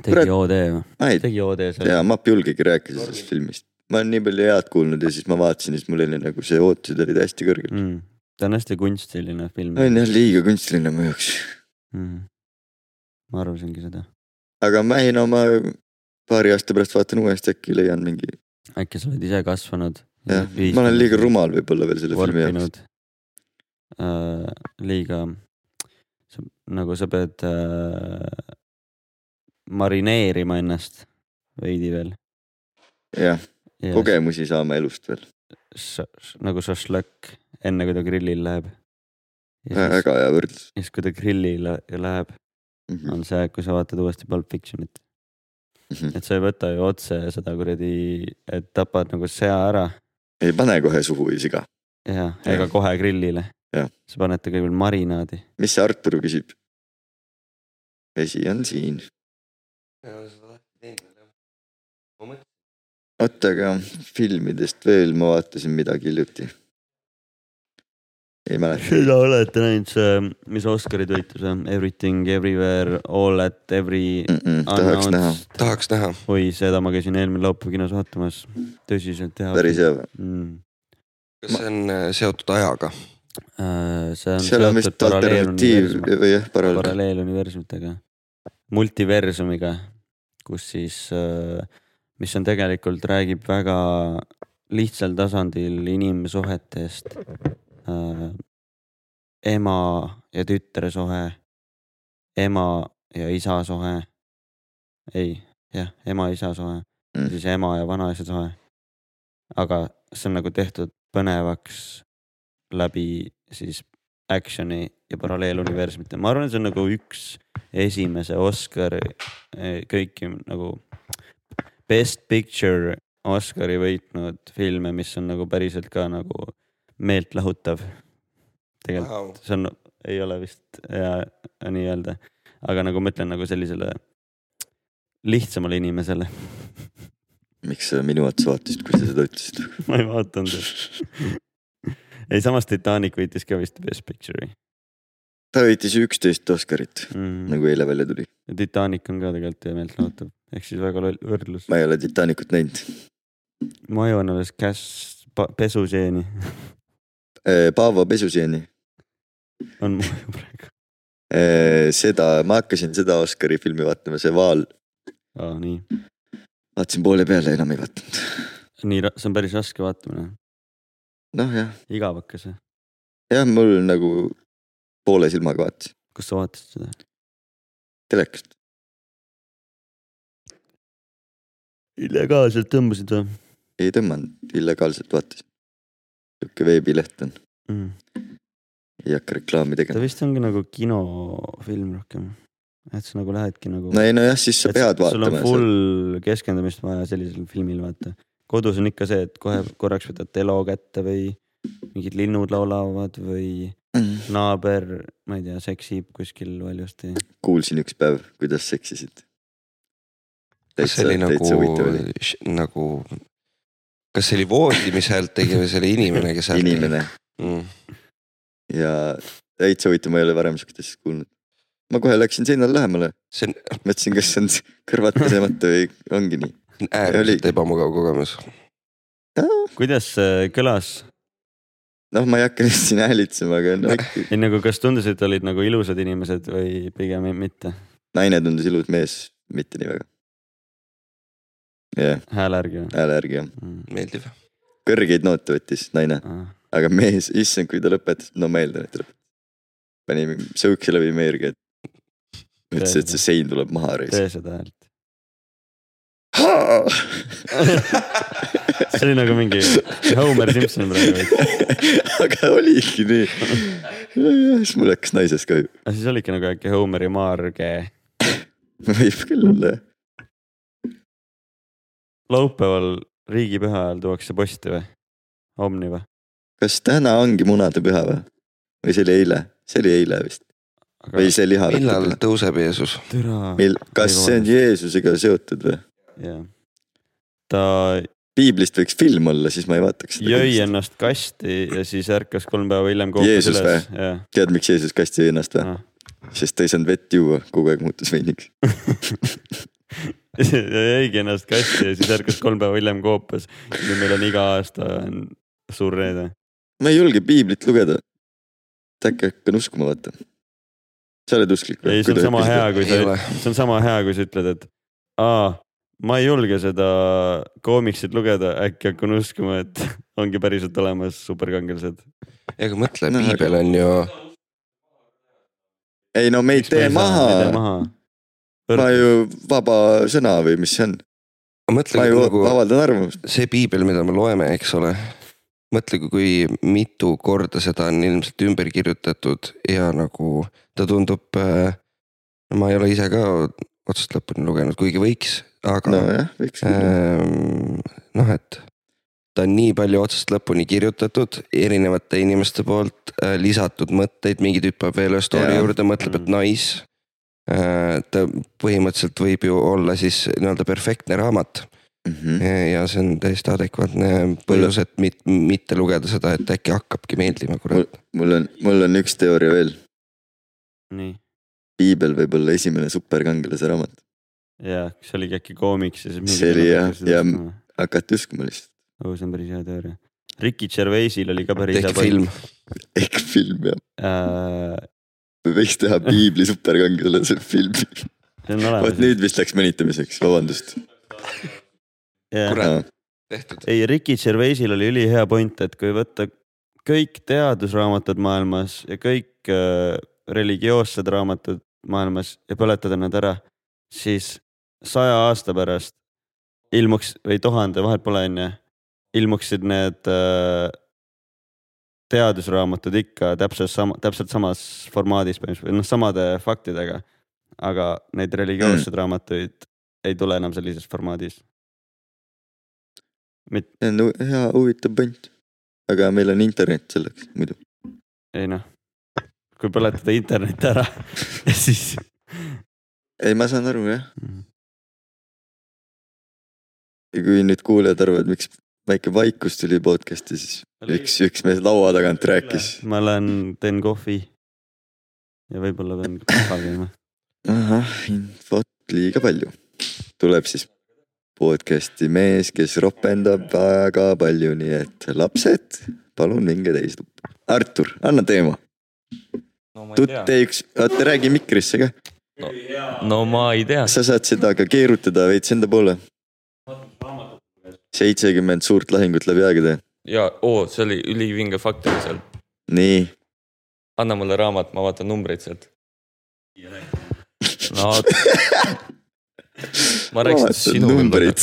Speaker 2: Kurat.
Speaker 1: tegi OD või ?
Speaker 2: ma ei
Speaker 1: tegi OD seal
Speaker 2: tea , ma ei julgegi rääkida sellest filmist . ma olen nii palju head kuulnud ja siis ma vaatasin , siis mul oli nagu see ootused olid hästi kõrged .
Speaker 1: mm. . ta on hästi kunstiline film
Speaker 2: on jah liiga kunstiline mu jaoks .
Speaker 1: mm. . ma arvasingi seda ,
Speaker 2: aga ma ei no ma paari aasta pärast vaatan uuesti , äkki leian mingi .
Speaker 1: äkki sa oled ise kasvanud .
Speaker 2: jah , ma olen liiga rumal võib-olla veel selle filmi jaoks .
Speaker 1: vorpinud . Äh, liiga , nagu sa pead äh, marineerima ennast veidi veel .
Speaker 2: jah , kogemusi saama elust veel .
Speaker 1: nagu šašlõkk , enne kui ta grillil läheb . ja
Speaker 2: väga hea võrdlus
Speaker 1: siis , kui ta grillile läheb ,
Speaker 2: mm .
Speaker 1: on see aeg , kui sa vaatad uuesti Pulp Fictionit .
Speaker 2: -hmm.
Speaker 1: et sa ei võta ju otse seda kuradi , et tapad nagu sea ära
Speaker 2: ei pane kohe suhu siga .
Speaker 1: ja
Speaker 2: Jah.
Speaker 1: ega kohe grillile
Speaker 2: Jah. .
Speaker 1: sa paned ta kõigepealt marinaadi .
Speaker 2: mis see Artur küsib ? vesi on siin . oota , aga filmidest veel ma vaatasin midagi hiljuti . ei mäleta ,
Speaker 1: seda olete näinud , see , mis Oscarid võitis , Everything Everywhere All at Every .
Speaker 2: Mm, tahaks näha ,
Speaker 5: tahaks näha .
Speaker 1: oi , seda ma käisin eelmine laupäev kinos vaatamas , tõsiselt hea .
Speaker 2: päris hea või ?
Speaker 1: mm. .
Speaker 5: kas see on äh, seotud ajaga ?
Speaker 1: Äh, see on
Speaker 2: seal on vist
Speaker 1: seotud
Speaker 2: alternatiiv
Speaker 1: paralleeluniversum-
Speaker 2: või jah , paralleel .
Speaker 1: paralleeluniversumitega , multiversumiga , kus siis , mis on tegelikult , räägib väga lihtsal tasandil inimsuhetest . ema ja tütre suhe , ema ja isa suhe . ei , jah , ema-isa suhe ja siis ema ja vanaisa suhe . aga see on nagu tehtud põnevaks läbi siis action'i ja paralleeluniversumite , ma arvan , see on nagu üks esimese Oscari eh, kõiki nagu best picture Oscari võitnud filme , mis on nagu päriselt ka nagu meeltlahutav . tegelikult
Speaker 5: Wow.
Speaker 1: see on , ei ole vist hea nii-öelda , aga nagu ma ütlen nagu sellisele lihtsamale inimesele .
Speaker 2: miks sa minu otsa vaatasid , kui sa seda ütlesid ?
Speaker 1: [LAUGHS] ma ei vaadanud . ei , samas Titanic võitis ka vist Best Picture'i
Speaker 2: ta võitis üksteist Oscarit ,
Speaker 1: mm. .
Speaker 2: nagu eile välja tuli .
Speaker 1: ja Titanic on ka tegelikult ju meeltlahutav , ehk siis väga loll võrdlus .
Speaker 2: ma ei ole Titanicut näinud .
Speaker 1: ma joon alles käss pa- pesuseeni , [LAUGHS]
Speaker 2: Äh, Paavo pesuseeni ,
Speaker 1: on mu ju praegu .
Speaker 2: Äh, seda , ma hakkasin seda Oscari filmi vaatama , see Vaal ,
Speaker 1: aa , nii ,
Speaker 2: vaatasin poole peale , enam ei vaadanud .
Speaker 1: nii , see on päris raske vaatamine ,
Speaker 2: noh jah ,
Speaker 1: igav hakkas või ?
Speaker 2: jah , mul nagu poole silmaga vaatasin ,
Speaker 1: kus sa vaatasid seda ?
Speaker 2: telekast .
Speaker 1: illegaalselt tõmbasid või
Speaker 2: ei tõmmanud , illegaalselt vaatasin . sihuke veebileht on ,
Speaker 1: mm. ?
Speaker 2: ei hakka reklaami
Speaker 1: ta
Speaker 2: tegema .
Speaker 1: vist ongi nagu kinofilm rohkem , et sa nagu lähedki nagu .
Speaker 2: no ei nojah , siis sa
Speaker 1: Et
Speaker 2: pead
Speaker 1: sul on
Speaker 2: vaatama .
Speaker 1: full keskendumist vaja sellisel filmil vaata . kodus on ikka see , et kohe korraks võtad telo kätte või mingid linnud laulavad või
Speaker 2: Mm.
Speaker 1: naaber , ma ei tea , seksib kuskil valjusti .
Speaker 2: kuulsin üks päev , kuidas seksisid .
Speaker 5: kas see
Speaker 2: täitsa ,
Speaker 5: oli
Speaker 2: täitsa huvitav
Speaker 5: nagu
Speaker 2: oli .,
Speaker 5: nagu , kas see oli voodi , mis häält tegi või see oli inimene , kes häält tegi ?
Speaker 2: inimene
Speaker 5: Mm.
Speaker 2: ja täitsa huvitav , ma ei ole varem sihukest asja kuulnud . ma kohe läksin seinale lähemale ,
Speaker 5: see on
Speaker 2: mõtlesin , kas see on s- kõrvad pesemata või ongi nii . Oli-
Speaker 5: äärmiselt ebamugav kogemus .
Speaker 1: kuidas see kõlas ?
Speaker 2: noh , ma ei hakka nüüd siin häälitsema , aga no, ikka-
Speaker 1: ei nagu , kas tundus , et olid nagu ilusad inimesed või pigem ei- mitte ?
Speaker 2: naine tundus ilus mees , mitte nii väga . jah ,
Speaker 1: hääle järgi või
Speaker 2: hääle järgi jah ,
Speaker 1: mm. ? Ah,
Speaker 5: meeldiv .
Speaker 2: kõrgeid noote võttis naine . aga mees , issand , kui ta lõpetas , no ma eeldan , et ta lõpetas . pani sõukse läbi meergi , et ütles , et see sein tuleb maha reis .
Speaker 1: [LAUGHS] tee seda häält . see
Speaker 2: see
Speaker 1: oli nagu mingi Homer Simpson praegu .
Speaker 2: [LAUGHS] aga oligi nii . siis mul hakkas naisest kahju ,
Speaker 1: [LAUGHS] aga siis olidki nagu äkki Homeri Marge .
Speaker 2: võib küll olla jah .
Speaker 1: laupäeval riigipüha ajal tuuakse posti või ? Omni või ?
Speaker 2: kas täna ongi munadepüha või ? või see oli eile , see oli eile vist
Speaker 1: aga
Speaker 2: või see liha .
Speaker 5: millal tõuseb Jeesus ?
Speaker 1: türa .
Speaker 2: meil , kas see on Jeesusega seotud või ?
Speaker 1: jah . ta
Speaker 2: piiblist võiks film olla , siis ma ei vaataks
Speaker 1: jõi
Speaker 2: seda .
Speaker 1: ennast kasti ja siis ärkas kolm päeva hiljem kookas
Speaker 2: Jeesus
Speaker 1: üles . jah ,
Speaker 2: tead , miks Jeesus kasti jõi ennast või ?
Speaker 1: noh . [LAUGHS]
Speaker 2: sest ta ei saanud vett juua , kogu aeg muutus veiniks .
Speaker 1: ja jäigi ennast kasti ja siis ärkas kolm päeva hiljem koopas . ja meil on iga aasta on suur reede .
Speaker 2: ma ei julge piiblit lugeda . äkki hakkan uskuma , vaata . sa oled usklik
Speaker 1: ei , see on sama hea , kui
Speaker 5: ei
Speaker 1: sa ,
Speaker 5: ole .
Speaker 1: see on sama hea , kui sa ütled , et aa , ma ei julge seda koomiksit lugeda , äkki hakkan uskuma , et [LAUGHS] ongi päriselt olemas superkangelased .
Speaker 5: ega mõtle ,
Speaker 2: No, aga-
Speaker 5: piibel on ju ,
Speaker 2: ei no meid tee maha . ma ju vaba sõna või mis see on ,
Speaker 5: mõtle
Speaker 2: ma
Speaker 5: kui
Speaker 2: ju
Speaker 5: nagu
Speaker 2: avaldan arvamust .
Speaker 5: see piibel , mida me loeme , eks ole . mõtle , kui mitu korda seda on ilmselt ümber kirjutatud ja nagu ta tundub . ma ei ole ise ka otsast lõpuni lugenud , kuigi võiks , aga no,
Speaker 2: nojah , võiks küll .
Speaker 5: ähm, noh , et ta on nii palju otsast lõpuni kirjutatud erinevate inimeste poolt äh, lisatud mõtteid , mingi tüüp paneb veel ühe story
Speaker 2: Jaa.
Speaker 5: yeah. juurde , mõtleb , et nice . äh, ta põhimõtteliselt võib ju olla siis nii-öelda perfektne raamat
Speaker 2: mm .
Speaker 5: Äh, ja see on täiesti adekvaatne põhjus , et mit, mitte lugeda seda , et äkki hakkabki meeldima , kurat .
Speaker 2: -hmm. mul on , mul on üks teooria veel .
Speaker 1: nii ,
Speaker 2: piibel võib olla esimene superkangelase raamat .
Speaker 1: ja see oligi äkki koomiks ja siis .
Speaker 2: See oli jah, ja- . hakati uskuma lihtsalt .
Speaker 1: oo , see on päris hea teooria . Ricky Gervaisil oli ka päris
Speaker 5: tehke film .
Speaker 2: ehk film jah ,
Speaker 1: Äh,
Speaker 2: me võiks teha piibli superkangelase filmi .
Speaker 1: see on
Speaker 2: vot
Speaker 1: olemas .
Speaker 2: nüüd vist läks mõnitamiseks , vabandust .
Speaker 1: Yeah.
Speaker 5: kurat , tehtud .
Speaker 1: ei , Ricky Gervaisil oli ülihea point , et kui võtta kõik teadusraamatud maailmas ja kõik äh, religioossed raamatud maailmas ja põletada nad ära , siis saja aasta pärast ilmuks või tuhande , vahet pole onju , ilmuksid need äh, teadusraamatud ikka täpselt sama , täpselt samas formaadis põhimõtteliselt või noh , samade faktidega . aga neid religioosseid raamatuid ei tule enam sellises formaadis .
Speaker 2: see on hu- hea huvitav point . aga meil on internet selleks muidu .
Speaker 1: ei noh , kui põletada internet ära , [LAUGHS] siis .
Speaker 2: ei , ma saan aru jah , ja kui nüüd kuulajad arvavad , miks väike vaikus tuli podcast'i , siis üks , üks mees laua tagant rääkis .
Speaker 1: ma lähen teen kohvi . ja võib-olla pean kohva käima .
Speaker 2: ahah , infot liiga palju . tuleb siis podcast'i mees , kes ropendab väga palju , nii et lapsed , palun minge teise tuppa . Artur , anna teema .
Speaker 6: no ma ei tea ,
Speaker 2: tuttee üks , oota räägi mikrisse ka ,
Speaker 6: no ma ei tea ,
Speaker 2: sa saad seda ka keerutada veits enda poole . seitsekümmend suurt lahingut läbi aegade .
Speaker 6: ja oo , see oli ülivinge fakt oli seal ,
Speaker 2: nii ,
Speaker 6: anna mulle raamat , ma vaatan numbreid sealt . no ma rääkisin sinuga ,
Speaker 2: numbrid .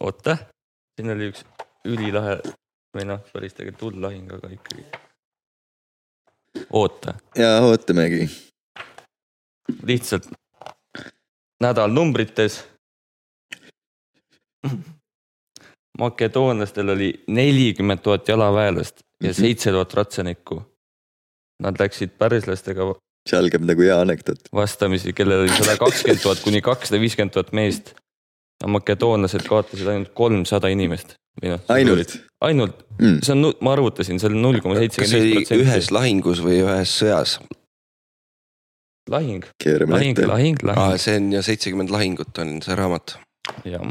Speaker 6: oota , siin oli üks ülilahe või noh , päris tegelikult hull lahing , aga ikkagi . oota ,
Speaker 2: ja ootamegi ,
Speaker 6: lihtsalt nädal numbrites . makedoonlastel oli nelikümmend tuhat jalaväelast ja
Speaker 2: Mhm.
Speaker 6: seitse tuhat ratsanikku . Nad läksid pärislastega
Speaker 2: see algab nagu hea anekdoot .
Speaker 6: vastamisi , kellel oli sada kakskümmend tuhat kuni kakssada viiskümmend tuhat meest . aga makedoonlased kaotasid ainult kolmsada inimest .
Speaker 2: ainult
Speaker 6: ainult ,
Speaker 2: mm. .
Speaker 6: see on , ma arvutasin , see oli null koma
Speaker 5: kas see oli
Speaker 6: seitsekümmend viis protsenti
Speaker 5: ühes . lahingus või ühes sõjas ?
Speaker 6: lahing ,
Speaker 2: keerame
Speaker 6: lahing ,
Speaker 2: ette .
Speaker 6: lahing ,
Speaker 5: aa ,
Speaker 6: lahing ,
Speaker 5: Ah, see on ja seitsekümmend lahingut on see raamat .
Speaker 6: jah .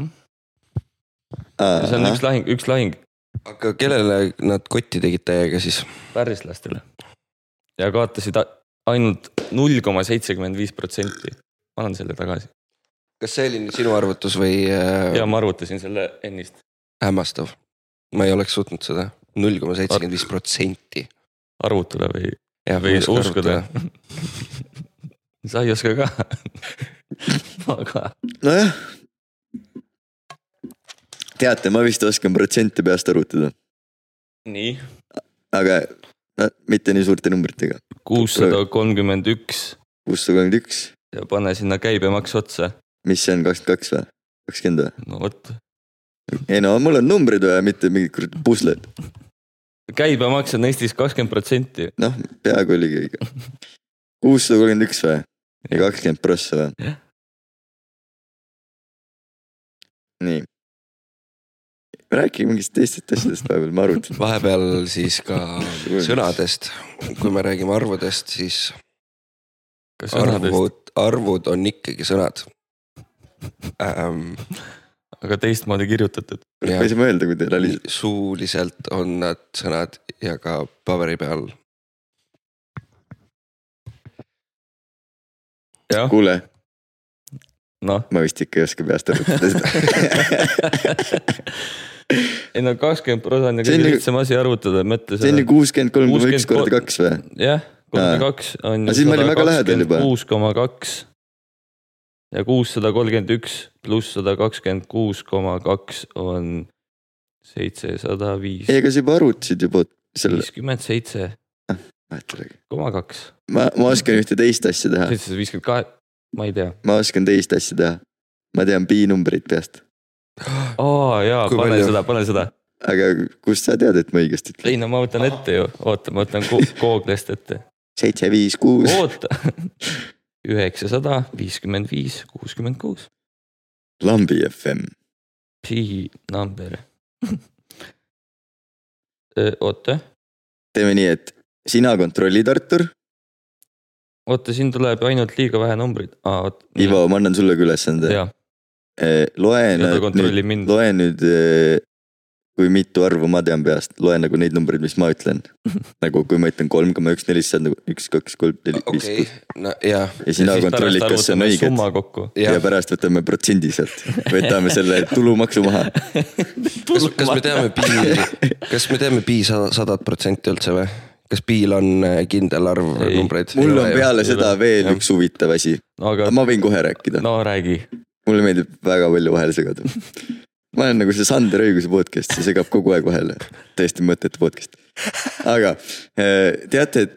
Speaker 6: see on üks lahing , üks lahing
Speaker 5: aga kellele nad kotti tegid täiega siis ?
Speaker 6: pärislastele ja kaotasid a- ainult null koma seitsekümmend viis protsenti . ma annan selle tagasi
Speaker 5: kas see oli nüüd sinu arvutus või äh,
Speaker 6: ja ma arvutasin selle ennist .
Speaker 5: hämmastav ? ma ei oleks suutnud seda . null koma seitsekümmend viis protsenti .
Speaker 6: arvutada või , või uskuda . [LAUGHS] sa ei oska ka . [LAUGHS] ma ka .
Speaker 2: nojah . teate , ma vist oskan protsente peast arvutada ,
Speaker 6: nii ,
Speaker 2: aga no, mitte nii suurte numbritega .
Speaker 6: kuussada kolmkümmend üks
Speaker 2: kuussada kolmkümmend üks ,
Speaker 6: ja pane sinna käibemaks otsa .
Speaker 2: mis see on , kakskümmend kaks või ? kakskümmend või ?
Speaker 6: no vot ,
Speaker 2: ei no mul on numbrid vaja , mitte mingid kuradi pusled ,
Speaker 6: käibemaks on Eestis kakskümmend protsenti .
Speaker 2: noh , peaaegu oligi õige . kuussada kolmkümmend üks või ? ja kakskümmend prossa või
Speaker 6: Jah. ?
Speaker 2: nii . rääkige mingist teistest asjadest vahepeal , ma arvutan .
Speaker 5: vahepeal siis ka sõnadest , kui me räägime arvudest , siis
Speaker 6: kas sõnadest ,
Speaker 5: arvud , arvud on ikkagi sõnad ähm, .
Speaker 6: aga teistmoodi kirjutatud .
Speaker 5: ja
Speaker 2: ma ei saa mõelda , kui teil oli .
Speaker 5: suuliselt on nad sõnad ja ka paberi peal .
Speaker 6: jah ,
Speaker 2: kuule ,
Speaker 6: noh .
Speaker 2: ma vist ikka ei oska peast arvutada seda .
Speaker 6: ei no kakskümmend prosa on ju
Speaker 2: See on
Speaker 6: kõige
Speaker 2: ju-
Speaker 6: lihtsam asi arvutada , mõtle
Speaker 2: see on ju
Speaker 6: seda .
Speaker 2: kuuskümmend kolm koma üks
Speaker 6: 63
Speaker 2: korda kaks või ?
Speaker 6: jah ,
Speaker 2: Aa.
Speaker 6: kolmkümmend kaks on
Speaker 2: Aga siis me olime väga lähedal juba.
Speaker 6: kuus koma kaks . ja kuussada kolmkümmend üks pluss sada kakskümmend kuus koma kaks on seitsesada viis ,
Speaker 2: ei , aga sa juba arvutasid juba selle ,
Speaker 6: viiskümmend seitse koma kaks ,
Speaker 2: ma , ma oskan ühte teist asja teha ,
Speaker 6: seitsesada viiskümmend kahe , ma ei tea .
Speaker 2: ma oskan teist asja teha . ma tean pi numbreid peast ,
Speaker 6: aa jaa ,
Speaker 5: Kui
Speaker 6: pane
Speaker 5: palju?
Speaker 6: seda , pane seda .
Speaker 2: aga kust sa tead , et ma õigesti
Speaker 6: ei
Speaker 2: ütlen ?
Speaker 6: no ma võtan ette ju , oota , ma võtan Go- Google'ist ette ,
Speaker 2: seitse , viis , kuus ,
Speaker 6: [LAUGHS] oota . üheksasada viiskümmend viis , kuuskümmend kuus .
Speaker 2: lambi FM ,
Speaker 6: P number [LAUGHS] oota ,
Speaker 2: teeme nii , et sina kontrollid , Artur .
Speaker 6: oota , siin tuleb ainult liiga vähe numbreid ah, .
Speaker 2: Ivo , ma annan sulle ka ülesande .
Speaker 6: ja ,
Speaker 2: loe
Speaker 6: ja ta
Speaker 2: nad Äh, nüüd ,
Speaker 6: kontrollib mind .
Speaker 2: loe nüüd , kui mitu arvu ma tean peast , loe nagu neid numbreid , mis ma
Speaker 6: [LAUGHS]
Speaker 2: ütlen . nagu kui ma ütlen kolm koma üks neli , siis sa oled nagu üks , kaks , kolm , neli , viis ,
Speaker 5: okei
Speaker 2: kuus .
Speaker 5: no jah ,
Speaker 2: ja sina kontrollid , kas see on õige .
Speaker 6: nagu summa kokku .
Speaker 2: ja
Speaker 5: jah .
Speaker 2: pärast võtame protsendi sealt , võtame
Speaker 6: [LAUGHS]
Speaker 2: selle tulumaksu maha .
Speaker 5: kas , kas me teame pi , kas me teame pi sada , sadat protsenti üldse või ? kas piil on äh, kindel arv
Speaker 6: Ei.
Speaker 5: numbreid ?
Speaker 2: mul on peale
Speaker 6: ei
Speaker 2: seda
Speaker 6: ole.
Speaker 2: veel
Speaker 5: Jah.
Speaker 2: üks huvitav asi ,
Speaker 6: no aga ,
Speaker 2: ma võin kohe rääkida ,
Speaker 6: no räägi .
Speaker 2: mulle meeldib väga palju vahele segada . ma olen nagu see Sander Õiguse podcast , see segab kogu aeg vahele , täiesti mõttetu podcast . aga eh, teate , et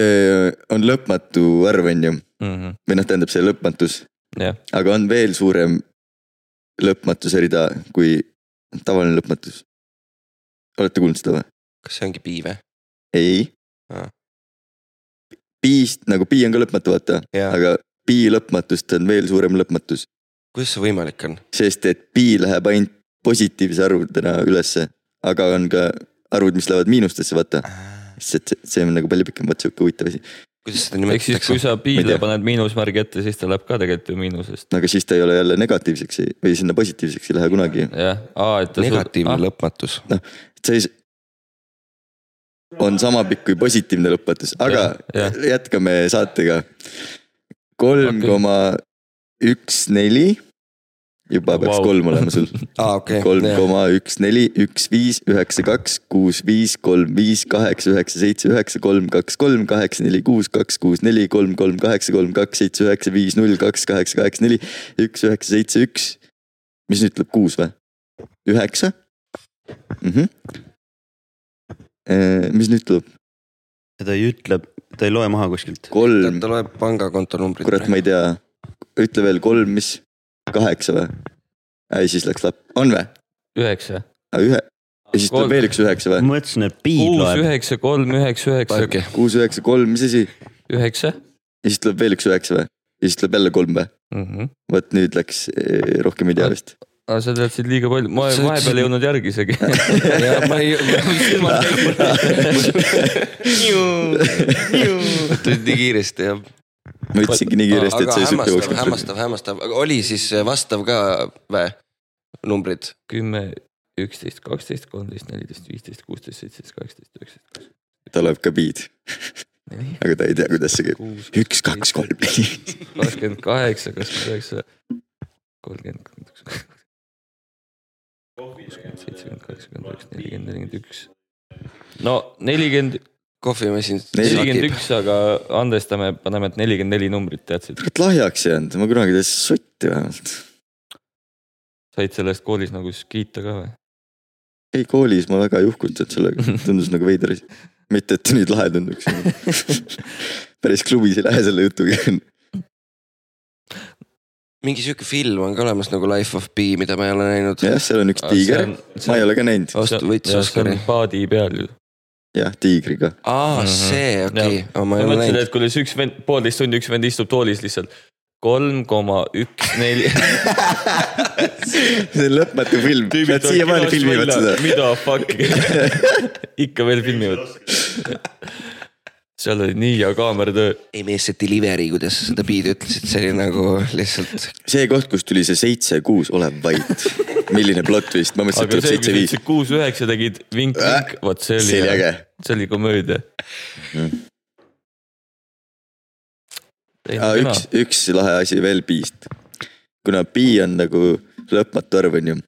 Speaker 2: eh, on lõpmatu arv , on ju ,
Speaker 6: Mhm.
Speaker 2: või noh , tähendab see lõpmatus ,
Speaker 6: jah ,
Speaker 2: aga on veel suurem lõpmatuse rida kui tavaline lõpmatus . olete kuulnud seda või ?
Speaker 5: kas see ongi pi või ?
Speaker 2: ei
Speaker 5: Aa. .
Speaker 2: piist nagu pi on ka lõpmatu , vaata ,
Speaker 5: jaa ,
Speaker 2: aga pi lõpmatust on veel suurem lõpmatus ,
Speaker 5: kuidas see võimalik on ?
Speaker 2: sest et pi läheb ainult positiivse arvudena ülesse , aga on ka arvud , mis lähevad miinustesse , vaata , sest see, see on nagu palju pikem , vaat sihuke huvitav asi ,
Speaker 5: kuidas seda
Speaker 6: ehk siis , kui
Speaker 5: nimetatakse ?
Speaker 6: sa
Speaker 2: Ma ei
Speaker 6: piile
Speaker 2: tea.
Speaker 6: paned miinusmärgi ette , siis ta läheb ka tegelikult ju miinusest .
Speaker 2: aga siis ta ei ole jälle negatiivseks ei- või sinna positiivseks ei lähe kunagi ,
Speaker 6: jah , aa , et ta . Ah,
Speaker 5: negatiivne . lõpmatus .
Speaker 2: et see siis on sama pikk kui positiivne lõpmatus , aga
Speaker 6: Jah,
Speaker 2: jätkame saatega . kolm
Speaker 6: Okei.
Speaker 2: koma üks neli , juba peaks
Speaker 6: Vau.
Speaker 2: kolm olema
Speaker 6: [LAUGHS]
Speaker 2: sul ,
Speaker 5: aa , okei .
Speaker 2: kolm koma üks neli , üks viis , üheksa kaks , kuus viis , kolm viis , kaheksa üheksa seitse üheksa , kolm kaks kolm , kaheksa neli kuus , kaks kuus neli , kolm kolm kaheksa , kolm kaks seitse üheksa viis null kaks kaheksa kaheksa neli , üks üheksa seitse üks . mis nüüd tuleb kuus või ? üheksa mhmh . Äh, mis nüüd tuleb ?
Speaker 1: ta ei ütle , ta ei loe maha kuskilt .
Speaker 2: kolm ,
Speaker 5: ta loeb pangakonto numbrit .
Speaker 2: kurat , ma ei tea , ütle veel kolm , mis , kaheksa või ? ei , siis läks lapp , on või ?
Speaker 6: üheksa .
Speaker 2: ühe , ja siis tuleb
Speaker 6: Kolm.
Speaker 2: veel üks üheksa või ?
Speaker 1: ma mõtlesin , et pi
Speaker 6: kuus ,
Speaker 1: loeb .
Speaker 6: üheksa , kolm , üheksa , üheksa ,
Speaker 5: okei ,
Speaker 2: kuus , üheksa , kolm , mis asi ?
Speaker 6: üheksa .
Speaker 2: ja siis tuleb veel üks üheksa või ? ja siis tuleb jälle kolm või ? vot nüüd läks , rohkem ei tea [LAUGHS] vist .
Speaker 6: aga sa teadsid liiga palju ,
Speaker 5: Sa
Speaker 6: ma
Speaker 5: ütlesid-
Speaker 6: vahepeal ei jõudnud järgi isegi . [LAUGHS]
Speaker 5: ja ma ei , tulid nii kiiresti jah .
Speaker 2: ma ütlesingi nii kiiresti , et sa ei suuda
Speaker 5: hämmastav ,
Speaker 2: jooksma .
Speaker 5: hämmastav , hämmastav , aga oli siis eh, vastav ka vä , numbrid ?
Speaker 6: kümme , üksteist , kaksteist , kolmteist , neliteist , viisteist , kuusteist , seitseteist , kaheksateist , üheksateist ,
Speaker 2: tal läheb ka beat ,
Speaker 6: neli ,
Speaker 2: aga ta ei tea , kuidas see käib .
Speaker 6: kuus ,
Speaker 2: üks , kaks , kolm , neli .
Speaker 6: kakskümmend kaheksa , kakskümmend üheksa , kolmkümmend , kolmkümmend üks , kuuskümmend , seitsekümmend , kaheksakümmend üks , nelikümmend , nelikümmend üks . no nelikümmend ,
Speaker 5: kohvimasin .
Speaker 6: nelikümmend üks , aga andestame , paneme , et nelikümmend neli numbrit teadsid ,
Speaker 2: kurat lahjaks jäänud , ma kunagi ei tea , sotti vähemalt .
Speaker 6: said selle eest koolis nagu siis kiita ka või ?
Speaker 2: ei , koolis ma väga ei juhkunud sellega , tundus nagu veider asi . mitte , et nüüd lahe tunduks . [LAUGHS] päris klubis ei lähe selle jutuga .
Speaker 5: mingi sihuke film on ka olemas nagu Life of Pi , mida ma ei ole näinud .
Speaker 2: jah , seal on üks tiiger ,. ma ei ole ka näinud .
Speaker 5: vastu võttis Oscari .
Speaker 6: paadi peal ju .
Speaker 2: jah , tiigriga .
Speaker 5: aa ,
Speaker 6: Mhm.
Speaker 5: see , okei , ma
Speaker 6: ma
Speaker 5: ei ole
Speaker 6: mõtlesin ,
Speaker 5: näinud .
Speaker 6: et kuidas üks vend , poolteist tundi üks vend istub toolis lihtsalt kolm koma üks
Speaker 2: [LAUGHS]
Speaker 6: neli .
Speaker 2: [LAUGHS] see on lõpmatu film , nad siiamaani filmivad seda .
Speaker 6: mida
Speaker 2: [LAUGHS]
Speaker 6: fuck , ikka veel filmivad . seal oli nii hea kaameratöö ,
Speaker 5: ei mees , see delivery , kuidas sa seda Pi-d ütlesid , see oli nagu lihtsalt
Speaker 2: see koht , kus tuli see seitse , kuus , ole
Speaker 6: [LAUGHS]
Speaker 2: vait . milline plot twist , ma mõtlesin , et
Speaker 6: aga
Speaker 2: tuleb
Speaker 6: see ,
Speaker 2: seitse ,
Speaker 6: kui
Speaker 2: viis
Speaker 6: sa . kuus , üheksa tegid vink , vink , vot see
Speaker 2: see oli
Speaker 6: oli
Speaker 2: äge ., Mm.
Speaker 6: see oli komöödia .
Speaker 2: üks , üks lahe asi veel piist . kuna pi on nagu lõpmatu arv , on ju .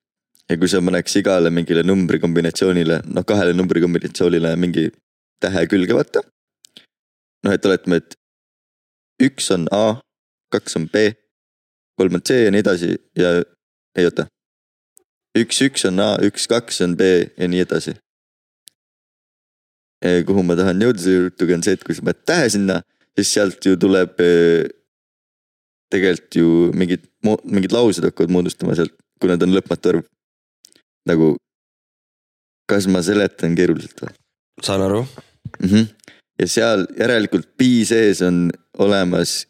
Speaker 2: ja kui sa paneks igale mingile numbrikombinatsioonile , noh kahele numbrikombinatsioonile mingi tähe külge , vaata . noh , et oletame , et üks on A , kaks on B , kolm on C ja nii edasi ja ei oota . üks , üks on A , üks , kaks on B ja nii edasi . kuhu ma tahan jõuda selle jutuga on see , et kui sa paned tähe sinna , siis sealt ju tuleb öö, tegelikult ju mingid , mingid laused hakkavad moodustama sealt , kui nad on lõpmatu arv . nagu , kas ma seletan keeruliselt või Mhm.
Speaker 5: saan aru ,
Speaker 2: mm ? -hmm. ja seal järelikult pi sees on olemas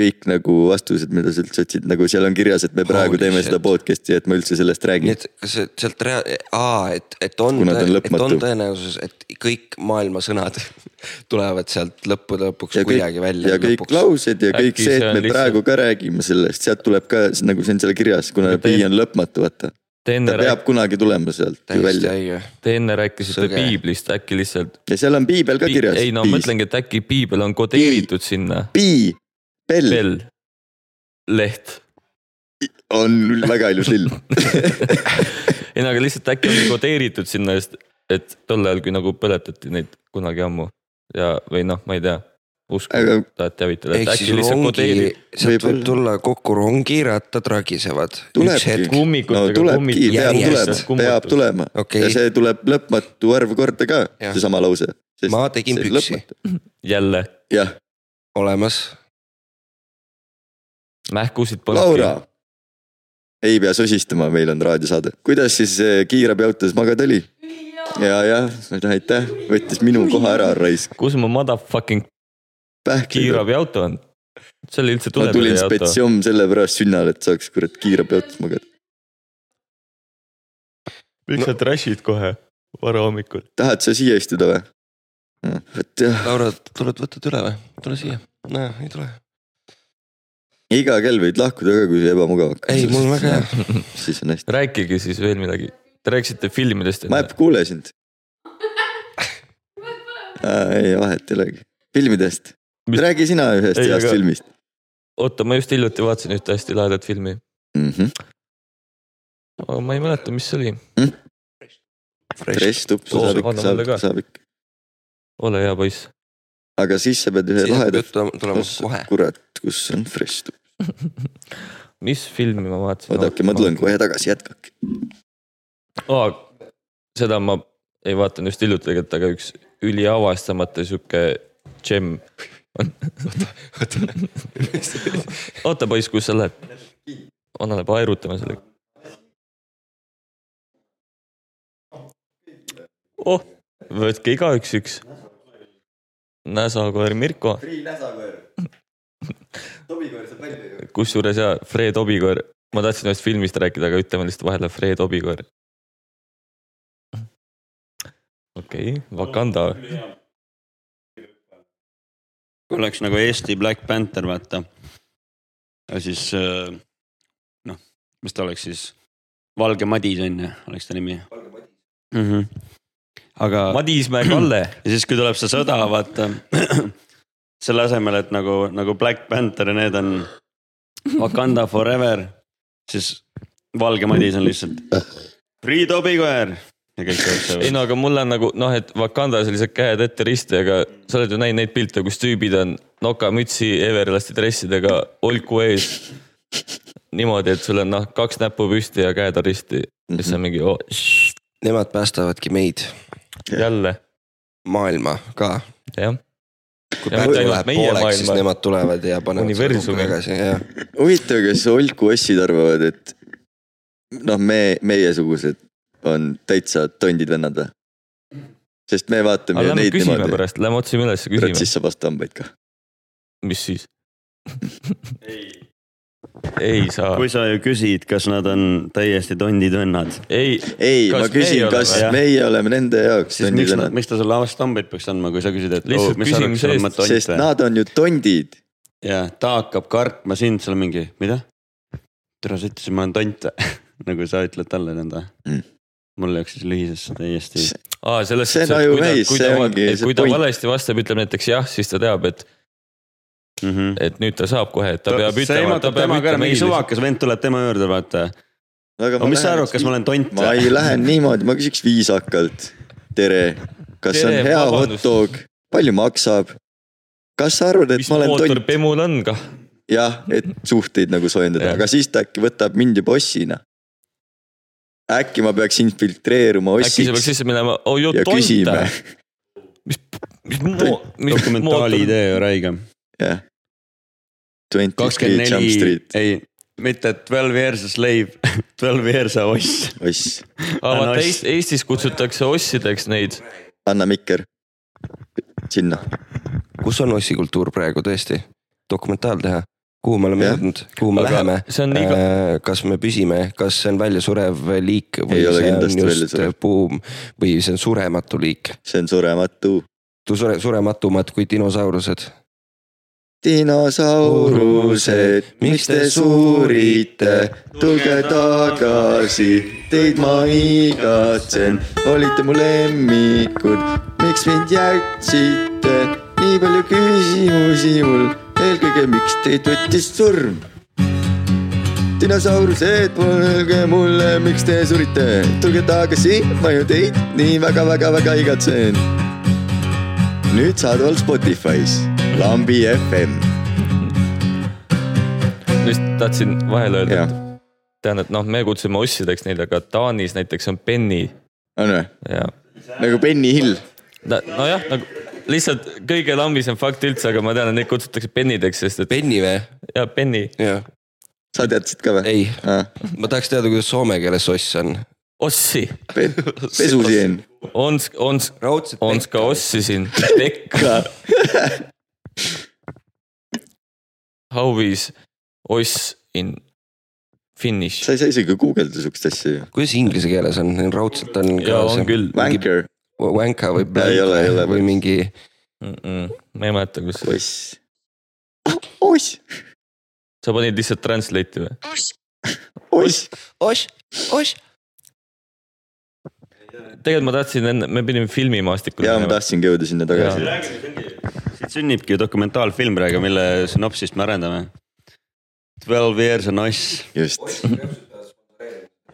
Speaker 2: kõik nagu vastused , mida sa üldse otsid , nagu seal on kirjas , et me praegu
Speaker 5: Holy
Speaker 2: Holy teeme shit. seda
Speaker 5: shit.
Speaker 2: podcast'i , et ma üldse sellest
Speaker 5: nii
Speaker 2: räägin .
Speaker 5: et kas see- sealt rea- , aa , et , et on ,
Speaker 2: Kuna ta on
Speaker 5: et on
Speaker 2: lõpmatu.
Speaker 5: tõenäosus , et kõik maailma sõnad [LAUGHS] tulevad sealt lõppude lõpuks
Speaker 2: ja kõik
Speaker 5: kuidagi , välja
Speaker 2: ja kõik
Speaker 5: lõpuks .
Speaker 2: laused ja kõik
Speaker 6: Äkki
Speaker 2: see , et
Speaker 6: see on
Speaker 2: me lihtsalt...
Speaker 6: lihtsalt-
Speaker 2: praegu ka räägime sellest , sealt tuleb ka see- nagu see on seal kirjas , kuna
Speaker 6: Ja
Speaker 2: pi
Speaker 6: teine-
Speaker 2: on lõpmatu , vaata .
Speaker 6: Te enne
Speaker 2: ta peab
Speaker 6: rääk-
Speaker 2: kunagi tulema sealt ju
Speaker 5: täiesti
Speaker 2: välja
Speaker 5: õige .
Speaker 6: te enne rääkisite
Speaker 5: Sõge.
Speaker 6: piiblist , äkki lihtsalt .
Speaker 2: ja seal on piibel ka kirjas .
Speaker 6: ei no ma mõtlengi , et äkki piibel on kodeeritud sinna .
Speaker 2: pii , pell
Speaker 6: Bell , leht .
Speaker 2: on väga ilus
Speaker 6: [LAUGHS]
Speaker 2: lill .
Speaker 6: ei no aga lihtsalt äkki on kodeeritud sinna , sest et tol ajal , kui nagu põletati neid kunagi ammu ja , või noh , ma ei tea , usku
Speaker 2: aga
Speaker 6: tahad teavitada , et
Speaker 5: ehk
Speaker 6: äkki
Speaker 5: siis
Speaker 6: lihtsalt
Speaker 5: rongi
Speaker 6: kodeerib ,.
Speaker 5: sealt võib
Speaker 2: Võib-olla.
Speaker 5: tulla kokku rongiratad ragisevad . üks
Speaker 2: Tulebki.
Speaker 5: hetk ,
Speaker 2: no
Speaker 6: kummikutega
Speaker 2: tulebki , peab tulema
Speaker 5: järjest. ,
Speaker 2: peab tulema ja
Speaker 5: okei ,
Speaker 2: see tuleb lõpmatu arv korda ka ,
Speaker 5: Jah.
Speaker 2: seesama lause .
Speaker 5: ma tegin püksi ,
Speaker 6: jälle ,
Speaker 2: jah ,
Speaker 5: olemas .
Speaker 6: mähkusid
Speaker 2: Laura . ei pea sosistama , meil on raadiosaade . kuidas siis eh, kiirabiautos magada oli ? ja , jah , aitäh , võttis minu koha ära raisk .
Speaker 6: kus mu motherfucking
Speaker 2: pähkliga .
Speaker 6: kiirabiauto on ? see oli üldse
Speaker 2: ma tulin
Speaker 6: tulepõhiauto .
Speaker 2: spetsiom sellepärast sünnale , et saaks kurat kiirabiautos magada .
Speaker 6: miks sa trash'id kohe varahommikul ?
Speaker 2: tahad sa siia istuda või ? vot jah ,
Speaker 5: Laura , tuled võtad üle või ? tule siia . nojah , ei tule .
Speaker 2: iga kell võid lahkuda ka , kui see ebamugav hakkab .
Speaker 5: ei , mul on väga hea ..
Speaker 2: siis on hästi .
Speaker 6: rääkige siis veel midagi . Te rääkisite filmidest .
Speaker 2: ma juba kuulasin . ei , vahet ei olegi . filmidest .
Speaker 6: Mis-
Speaker 2: räägi sina ühest
Speaker 6: Ei,
Speaker 2: heast
Speaker 6: aga-
Speaker 2: filmist
Speaker 6: oota , ma just hiljuti vaatasin ühte hästi lahedat filmi ,
Speaker 2: mm . -hmm.
Speaker 6: aga ma ei mäleta , mis see oli .
Speaker 2: Fresh tups ,
Speaker 5: Oh,
Speaker 6: Oo,
Speaker 2: saab ikka ,
Speaker 6: anname
Speaker 2: saab
Speaker 6: talle
Speaker 2: ikka ,
Speaker 6: ka.
Speaker 2: saab ikka .
Speaker 6: ole hea poiss .
Speaker 2: aga siis sa pead ühe
Speaker 5: siis hakkab
Speaker 2: laheda .
Speaker 5: jutt tulema- tulema kohe .
Speaker 2: kurat , kus on fresh tups ?
Speaker 6: mis filmi ma vaatasin ?
Speaker 2: oodake , ma tulen . kohe tagasi , jätkake .
Speaker 6: seda ma ei vaadanud just hiljuti tegelikult , aga üks üliavastamata sihuke džem on . oota poiss , kus sa lähed ? annale paerutame selle . oh , võtke igaüks üks . näsakoer Mirko ,
Speaker 2: Prii näsakoer . Tobikoer saab välja ju .
Speaker 6: kusjuures ja Fred Obikoer , ma tahtsin ühest filmist rääkida , aga ütleme lihtsalt vahele Fred Obikoer . okei okay, , Wakanda ,
Speaker 1: kui oleks nagu Eesti Black Panther , vaata . ja siis äh, noh , mis ta oleks siis , Valge Madis on ju , oleks ta nimi . Mm -hmm. aga
Speaker 6: Madismäe Kalle ,
Speaker 1: ja siis , kui tuleb see sõda , vaata [CLEARS THROAT] selle asemel , et nagu , nagu Black Panther ja need on Wakanda forever , siis Valge Madis on lihtsalt Priit Obikoer ja kõik
Speaker 6: ei
Speaker 1: jookseb .
Speaker 6: no aga mul on nagu noh , et Wakandas oli see käed ette risti , aga sa oled ju näinud neid pilte , kus tüübid on nokamütsi Everlasti dressidega olku ees . niimoodi , et sul on noh , kaks näppu püsti ja käed on risti ,
Speaker 2: Mhm.
Speaker 6: siis on mingi oh, šš,
Speaker 5: Nemad päästavadki meid ,
Speaker 6: jälle ,
Speaker 5: maailma ka .
Speaker 6: jah .
Speaker 5: kui
Speaker 6: Ja
Speaker 5: päev
Speaker 6: mitte ainult
Speaker 5: läheb
Speaker 6: meie
Speaker 5: pooleks , siis
Speaker 6: maailma.
Speaker 5: nemad tulevad ja panevad selle kokku
Speaker 6: Universumi.
Speaker 5: tagasi ja
Speaker 2: huvitav , kas Olku ossid arvavad , et noh , me , meiesugused on täitsa tondid vennad või ? sest me vaatame
Speaker 6: aga
Speaker 2: ju
Speaker 6: lähme
Speaker 2: neid
Speaker 6: küsime
Speaker 2: niimoodi ,
Speaker 6: pärast , lähme otsime üles ja
Speaker 2: kurat
Speaker 6: küsime ,
Speaker 2: siis saab vastu hambaid ka .
Speaker 6: mis siis ? ei saa ,
Speaker 1: kui sa ju küsid , kas nad on täiesti tondid vennad ,
Speaker 6: ei ,
Speaker 2: ei ,
Speaker 6: Kas
Speaker 2: ma
Speaker 6: meie
Speaker 2: küsin ,
Speaker 6: oleme?
Speaker 2: kas
Speaker 6: Jah.
Speaker 2: meie oleme nende jaoks
Speaker 1: siis miks
Speaker 2: tondid , vennad ,
Speaker 1: miks ta sulle avastambeid peaks andma , kui sa küsid , et "Oh,
Speaker 6: Lihtsalt
Speaker 1: mis sa arvad,
Speaker 6: küsimise
Speaker 1: kas olen ma
Speaker 6: eest.
Speaker 2: sest
Speaker 1: tont või ?
Speaker 2: nad on ju tondid .
Speaker 1: ja ta hakkab kartma sind seal mingi , mida ? tere , sa ütlesid , ma olen tont või ? [LAUGHS] nagu sa ütled talle nõnda
Speaker 2: Mm.
Speaker 1: mm. . mul läks siis lühisesse täiesti .
Speaker 6: aa , selles
Speaker 2: See on
Speaker 6: suhtes , et kui ta
Speaker 2: ajuveis, ,
Speaker 6: kui
Speaker 2: see
Speaker 6: ta,
Speaker 2: ongi
Speaker 6: va- et
Speaker 2: see
Speaker 6: kui ta
Speaker 2: point.
Speaker 6: valesti vastab , ütleb näiteks jah , siis ta teab , et ,
Speaker 1: Mm -hmm.
Speaker 6: et nüüd ta saab kohe , et ta peab ütlema , ta peab
Speaker 1: temaga ära
Speaker 6: ütlema
Speaker 1: mingi
Speaker 6: ei .
Speaker 1: suvakas vend tuleb tema juurde , vaata . aga mis sa arvad , kas ma olen tont
Speaker 2: ma
Speaker 6: [LAUGHS]
Speaker 2: ei ? lähe niimoodi , ma küsiks viisakalt . tere , kas
Speaker 6: Tere,
Speaker 2: on hea hot
Speaker 6: vabandust.
Speaker 2: dog , palju maksab ? kas sa arvad , et
Speaker 6: mis
Speaker 2: ma olen
Speaker 6: mootor
Speaker 2: tont ?
Speaker 6: Pemul on kah ?
Speaker 2: jah ,
Speaker 6: [LAUGHS]
Speaker 2: et suhteid nagu soojendada ,
Speaker 6: Jah.
Speaker 2: aga siis ta äkki võtab mind juba ossina . äkki ma peaks infiltreeruma
Speaker 6: äkki sa peaks
Speaker 2: ossiks
Speaker 6: sisse minema , oh ju
Speaker 2: ja
Speaker 6: tonta
Speaker 2: küsime ., [LAUGHS]
Speaker 6: mis mo- , mis
Speaker 1: dokumentaali
Speaker 6: mootor ,
Speaker 1: idee ju räige .
Speaker 2: jah . Twenty Three
Speaker 1: kakskümmend
Speaker 2: Jump
Speaker 1: neli
Speaker 2: Street ,
Speaker 1: ei , mitte twelve years a slave , [LAUGHS] twelve years a oss .
Speaker 2: oss ,
Speaker 6: aa vaata
Speaker 1: Oss.
Speaker 6: Eest- Eestis kutsutakse ossideks neid ,
Speaker 2: anna mikker sinna .
Speaker 5: kus on ossikultuur praegu tõesti ? dokumentaal teha , kuhu me oleme
Speaker 2: Jah.
Speaker 5: jõudnud , kuhu me
Speaker 6: Aga
Speaker 5: läheme
Speaker 6: see on iga- ,
Speaker 5: Äh, kas me püsime , kas see on väljasurev liik või
Speaker 2: Ei ole
Speaker 5: see on
Speaker 2: kindlasti
Speaker 5: just
Speaker 2: väljasurev.
Speaker 5: buum või see on surematu liik .
Speaker 2: see on surematu .
Speaker 5: sure , surematumad kui dinosaurused .
Speaker 2: dinosaurused , miks te suurite , tulge tagasi , teid ma igatsen , olite mu lemmikud , miks mind jätsite , nii palju küsimusi mul , eelkõige miks teid võttis surm ? dinosaurused , öelge mulle , miks te surite , tulge tagasi , ma ju teid nii väga-väga-väga igatsen nüüd saadaval Spotify's , Lambi FM . Äh.
Speaker 6: just tahtsin vahele öelda ,
Speaker 2: jah ,
Speaker 6: et tean , et noh , me kutsume ossideks neid , aga Taanis näiteks on penni
Speaker 2: on või ?
Speaker 6: ja
Speaker 2: nagu Benny Hill .
Speaker 6: Ta- nojah , nagu lihtsalt kõige lambisem fakt üldse , aga ma tean , et neid kutsutakse pennideks , sest et
Speaker 5: penni või ?
Speaker 6: ja penni ,
Speaker 5: jah ,
Speaker 2: sa teadsid ka või ?
Speaker 5: ei ,
Speaker 2: Ah,
Speaker 5: ma tahaks teada , kuidas soome keeles oss on .
Speaker 6: ossi ,
Speaker 2: pe pesuseen .
Speaker 6: on , on ,
Speaker 5: raudselt
Speaker 6: on ka . ossi siin , tekka , how is oss in finnish
Speaker 2: sa ? ei saa isegi guugeldada siukest asja ju .
Speaker 5: kuidas inglise keeles on , raudselt on ka
Speaker 6: jaa , on
Speaker 5: see
Speaker 6: küll
Speaker 2: Wanker ,
Speaker 5: vänka või
Speaker 2: Ei ole, ei ole.
Speaker 5: või mingi
Speaker 6: mm . -mm. ma ei mäleta , kus ,
Speaker 2: oss . oss ,
Speaker 6: sa panid lihtsalt translate'i või ?
Speaker 2: oss .
Speaker 5: oss , oss .
Speaker 6: tegelikult ma tahtsin enne , me pidime filmimaastikule
Speaker 2: ja ma . tahtsingi jõuda sinna tagasi .
Speaker 1: siit sünnibki dokumentaalfilm praegu , mille sünopsist me arendame . Twelve years on us .
Speaker 2: just ,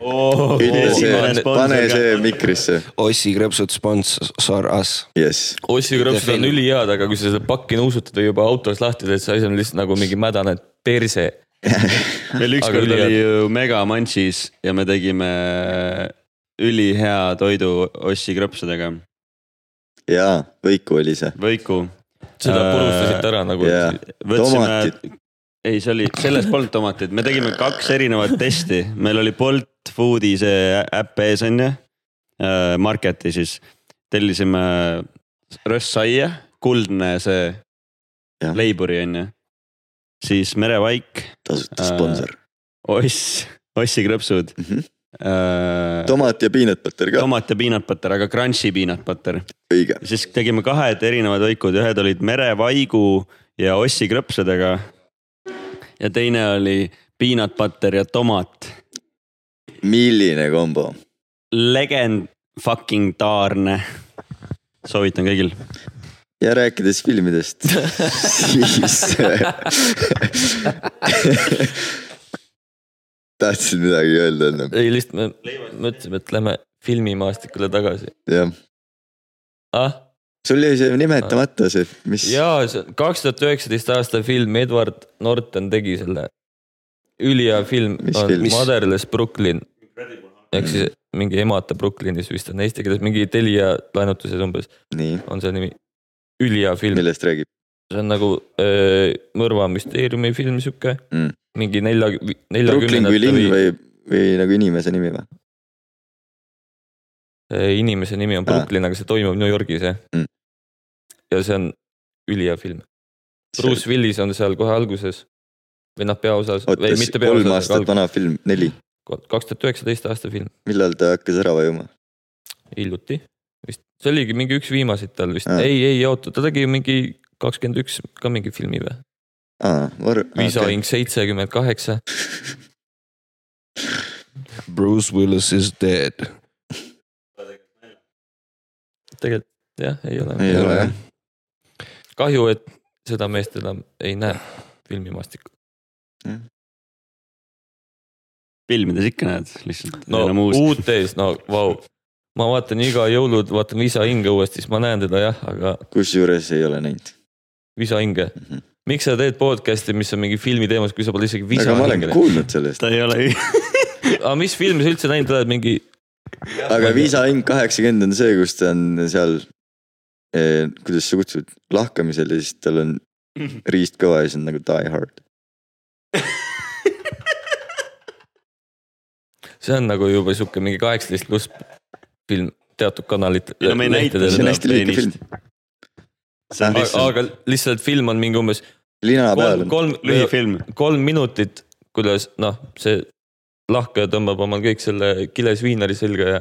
Speaker 6: Oh,
Speaker 2: ütle see , pane
Speaker 1: see
Speaker 2: see mikrisse ,
Speaker 5: Ossi krõpsud sponsor us .
Speaker 2: jess .
Speaker 6: Ossi krõpsud on
Speaker 5: film.
Speaker 6: ülihead , aga kui sa seda pakki nuusutad või juba autos lahti teed , see asi on lihtsalt nagu mingi mädane perse .
Speaker 1: meil
Speaker 6: Aga
Speaker 1: ükskord
Speaker 6: ülihea.
Speaker 1: oli ju Mega Munchies ja me tegime äh, ülihea toidu Ossi krõpsudega ,
Speaker 2: jaa , Võiku oli see .
Speaker 1: võiku .
Speaker 6: seda
Speaker 1: Äh,
Speaker 6: purustasite ära nagu
Speaker 2: jaa.
Speaker 1: võtsime
Speaker 2: Tomatid. ,
Speaker 1: ei , see oli , selles polnud tomateid , me tegime kaks erinevat testi , meil oli Bolt Foodi see äpp ees on ju , Marketi siis , tellisime rössaia , kuldne see
Speaker 2: Jah.
Speaker 1: leiburi on ju , siis merevaik ,
Speaker 2: tasuta
Speaker 1: Äh,
Speaker 2: sponsor .
Speaker 1: oss , ossikrõpsud
Speaker 2: Mhm.
Speaker 1: äh, .
Speaker 2: tomat ja peanut butter ka ,
Speaker 1: tomat ja peanut butter , aga crunchy peanut butter .
Speaker 2: õige .
Speaker 1: siis tegime kahed erinevad õikud , ühed olid merevaigu ja ossikrõpsudega . ja teine oli peanut butter ja tomat .
Speaker 2: milline kombo .
Speaker 1: legend fucking taarne . soovitan kõigil .
Speaker 2: ja rääkides
Speaker 6: [LAUGHS]
Speaker 2: filmidest , siis . tahtsid midagi öelda enne ?
Speaker 6: ei , lihtsalt me mõtlesime , et lähme filmimaastikule tagasi .
Speaker 2: jah ,
Speaker 6: ah ,
Speaker 2: sul jäi see nimetamata see , mis .
Speaker 6: jaa , see kaks tuhat üheksateist aasta film , Edward Norton tegi selle . ülihea film
Speaker 2: Mis
Speaker 6: on
Speaker 2: film?
Speaker 6: Motherless Brooklyn . ehk siis mingi emata Brooklynis vist on eesti keeles mingi Telia laenutuses umbes
Speaker 2: nii ,
Speaker 6: on see nimi . ülihea film .
Speaker 2: millest räägib ?
Speaker 6: see on nagu öö, mõrva müsteeriumi film sihuke
Speaker 2: Mm.
Speaker 6: mm. , mingi nelja ,
Speaker 2: Brooklyn kui
Speaker 6: neljakümnendate
Speaker 2: linn
Speaker 6: või, või...
Speaker 2: või , või nagu inimese nimi või ?
Speaker 6: Äh, inimese nimi on Brooklyn , aga see toimub New Yorgis jah
Speaker 2: Mm.
Speaker 6: mm. . ja see on ülihea film , Bruce Willis on seal kohe alguses või noh , peaosas
Speaker 2: oota
Speaker 6: või , mitte
Speaker 2: kolm
Speaker 6: peaosas ,
Speaker 2: aastat
Speaker 6: aga
Speaker 2: vana film , neli ,
Speaker 6: kaks tuhat üheksateist aasta film ,
Speaker 2: millal ta hakkas ära vajuma ?
Speaker 6: hiljuti vist , see oligi mingi üks viimaseid tal vist
Speaker 2: Ah.
Speaker 6: ah. , ei , ei oota , ta tegi ju mingi kakskümmend üks ka mingi filmi või ,
Speaker 2: aa , Var- .
Speaker 6: Viisaring seitsekümmend kaheksa ,
Speaker 5: Bruce Willis is dead .
Speaker 6: tegelikult jah , ei ole .
Speaker 2: ei ole jah ,
Speaker 6: kahju , et seda meest enam ei näe filmimaastikul .
Speaker 1: filmides ikka näed lihtsalt .
Speaker 6: no uutes , no vau wow. , ma vaatan iga jõulud , vaatan Visa hinge uuesti , siis ma näen teda jah , aga
Speaker 2: kusjuures ei ole näinud .
Speaker 6: Visa hinge . miks sa teed podcast'i , mis on mingi filmi teemas , kui sa pole isegi Visa
Speaker 2: aga ma olen
Speaker 6: hinge näinud ?
Speaker 2: kuulnud sellest ,
Speaker 1: ta ei ole ,
Speaker 6: aga mis filmi sa üldse näinud oled , mingi
Speaker 2: aga Visa Inc kaheksakümmend on see , kus ta on seal eh, kuidas sa kutsud , lahkamisel ja siis
Speaker 1: [LAUGHS]
Speaker 2: tal on riist kõva ja siis on nagu die hard .
Speaker 6: see on nagu juba sihuke mingi kaheksateist pluss film teatud kanalit .
Speaker 1: ei no me ei näita
Speaker 2: see on
Speaker 1: seda
Speaker 2: hästi lühike film.
Speaker 1: peenist . see on
Speaker 2: Ah.
Speaker 1: lihtsalt ,
Speaker 6: aga lihtsalt film on mingi umbes
Speaker 2: lina peal
Speaker 6: kolm ,. kolm ,
Speaker 1: lühifilm .
Speaker 6: kolm minutit , kuidas noh , see lahkaja tõmbab omal kõik selle kiles viinari selga ja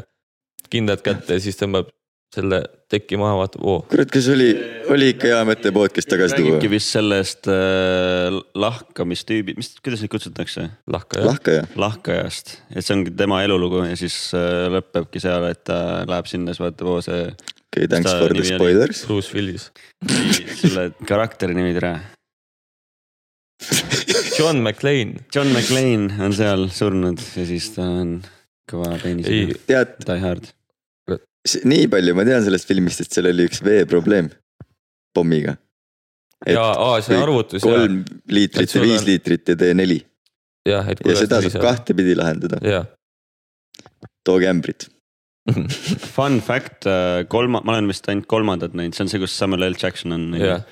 Speaker 6: kindad kätte ja siis tõmbab selle teki maha , vaatab , oo ,
Speaker 2: kurat , kas oli , oli ikka hea mõte podcast tagasi
Speaker 1: räägibki
Speaker 2: tuua ?
Speaker 1: vist sellest äh, lahkamistüübi , mis , kuidas neid kutsutakse ?
Speaker 6: lahkaja .
Speaker 2: lahkaja ,
Speaker 1: lahkajast , et see ongi tema elulugu ja siis äh, lõpebki seal , et ta läheb sinna , siis vaatab , oo see
Speaker 2: okei , thanks
Speaker 1: Ta
Speaker 2: for the
Speaker 1: nimi oli-
Speaker 2: spoilers . [LAUGHS]
Speaker 6: Bruce Willis ,
Speaker 1: ei, selle karakteri nimi tere .
Speaker 6: John McClane ,
Speaker 1: John McClane on seal surnud ja siis ta on kõva
Speaker 6: ei
Speaker 1: peenisega ,
Speaker 2: tead ,
Speaker 1: Die Hard .
Speaker 2: nii palju ma tean sellest filmist , et seal oli üks veeprobleem pommiga . et
Speaker 6: ja aa, see
Speaker 2: kõik
Speaker 6: arvutus ja ,
Speaker 2: kolm liitrit
Speaker 6: Et sul
Speaker 2: ja viis
Speaker 6: on-
Speaker 2: liitrit ja tee neli
Speaker 6: jah ,
Speaker 2: ja
Speaker 6: et kuidas
Speaker 2: seda saab . kahtepidi lahendada ,
Speaker 6: jah ,
Speaker 2: tooge ämbrit .
Speaker 1: Fun fact , kolma , ma olen vist ainult kolmandat näinud , see on see , kus Samuel L Jackson on .
Speaker 6: jah ,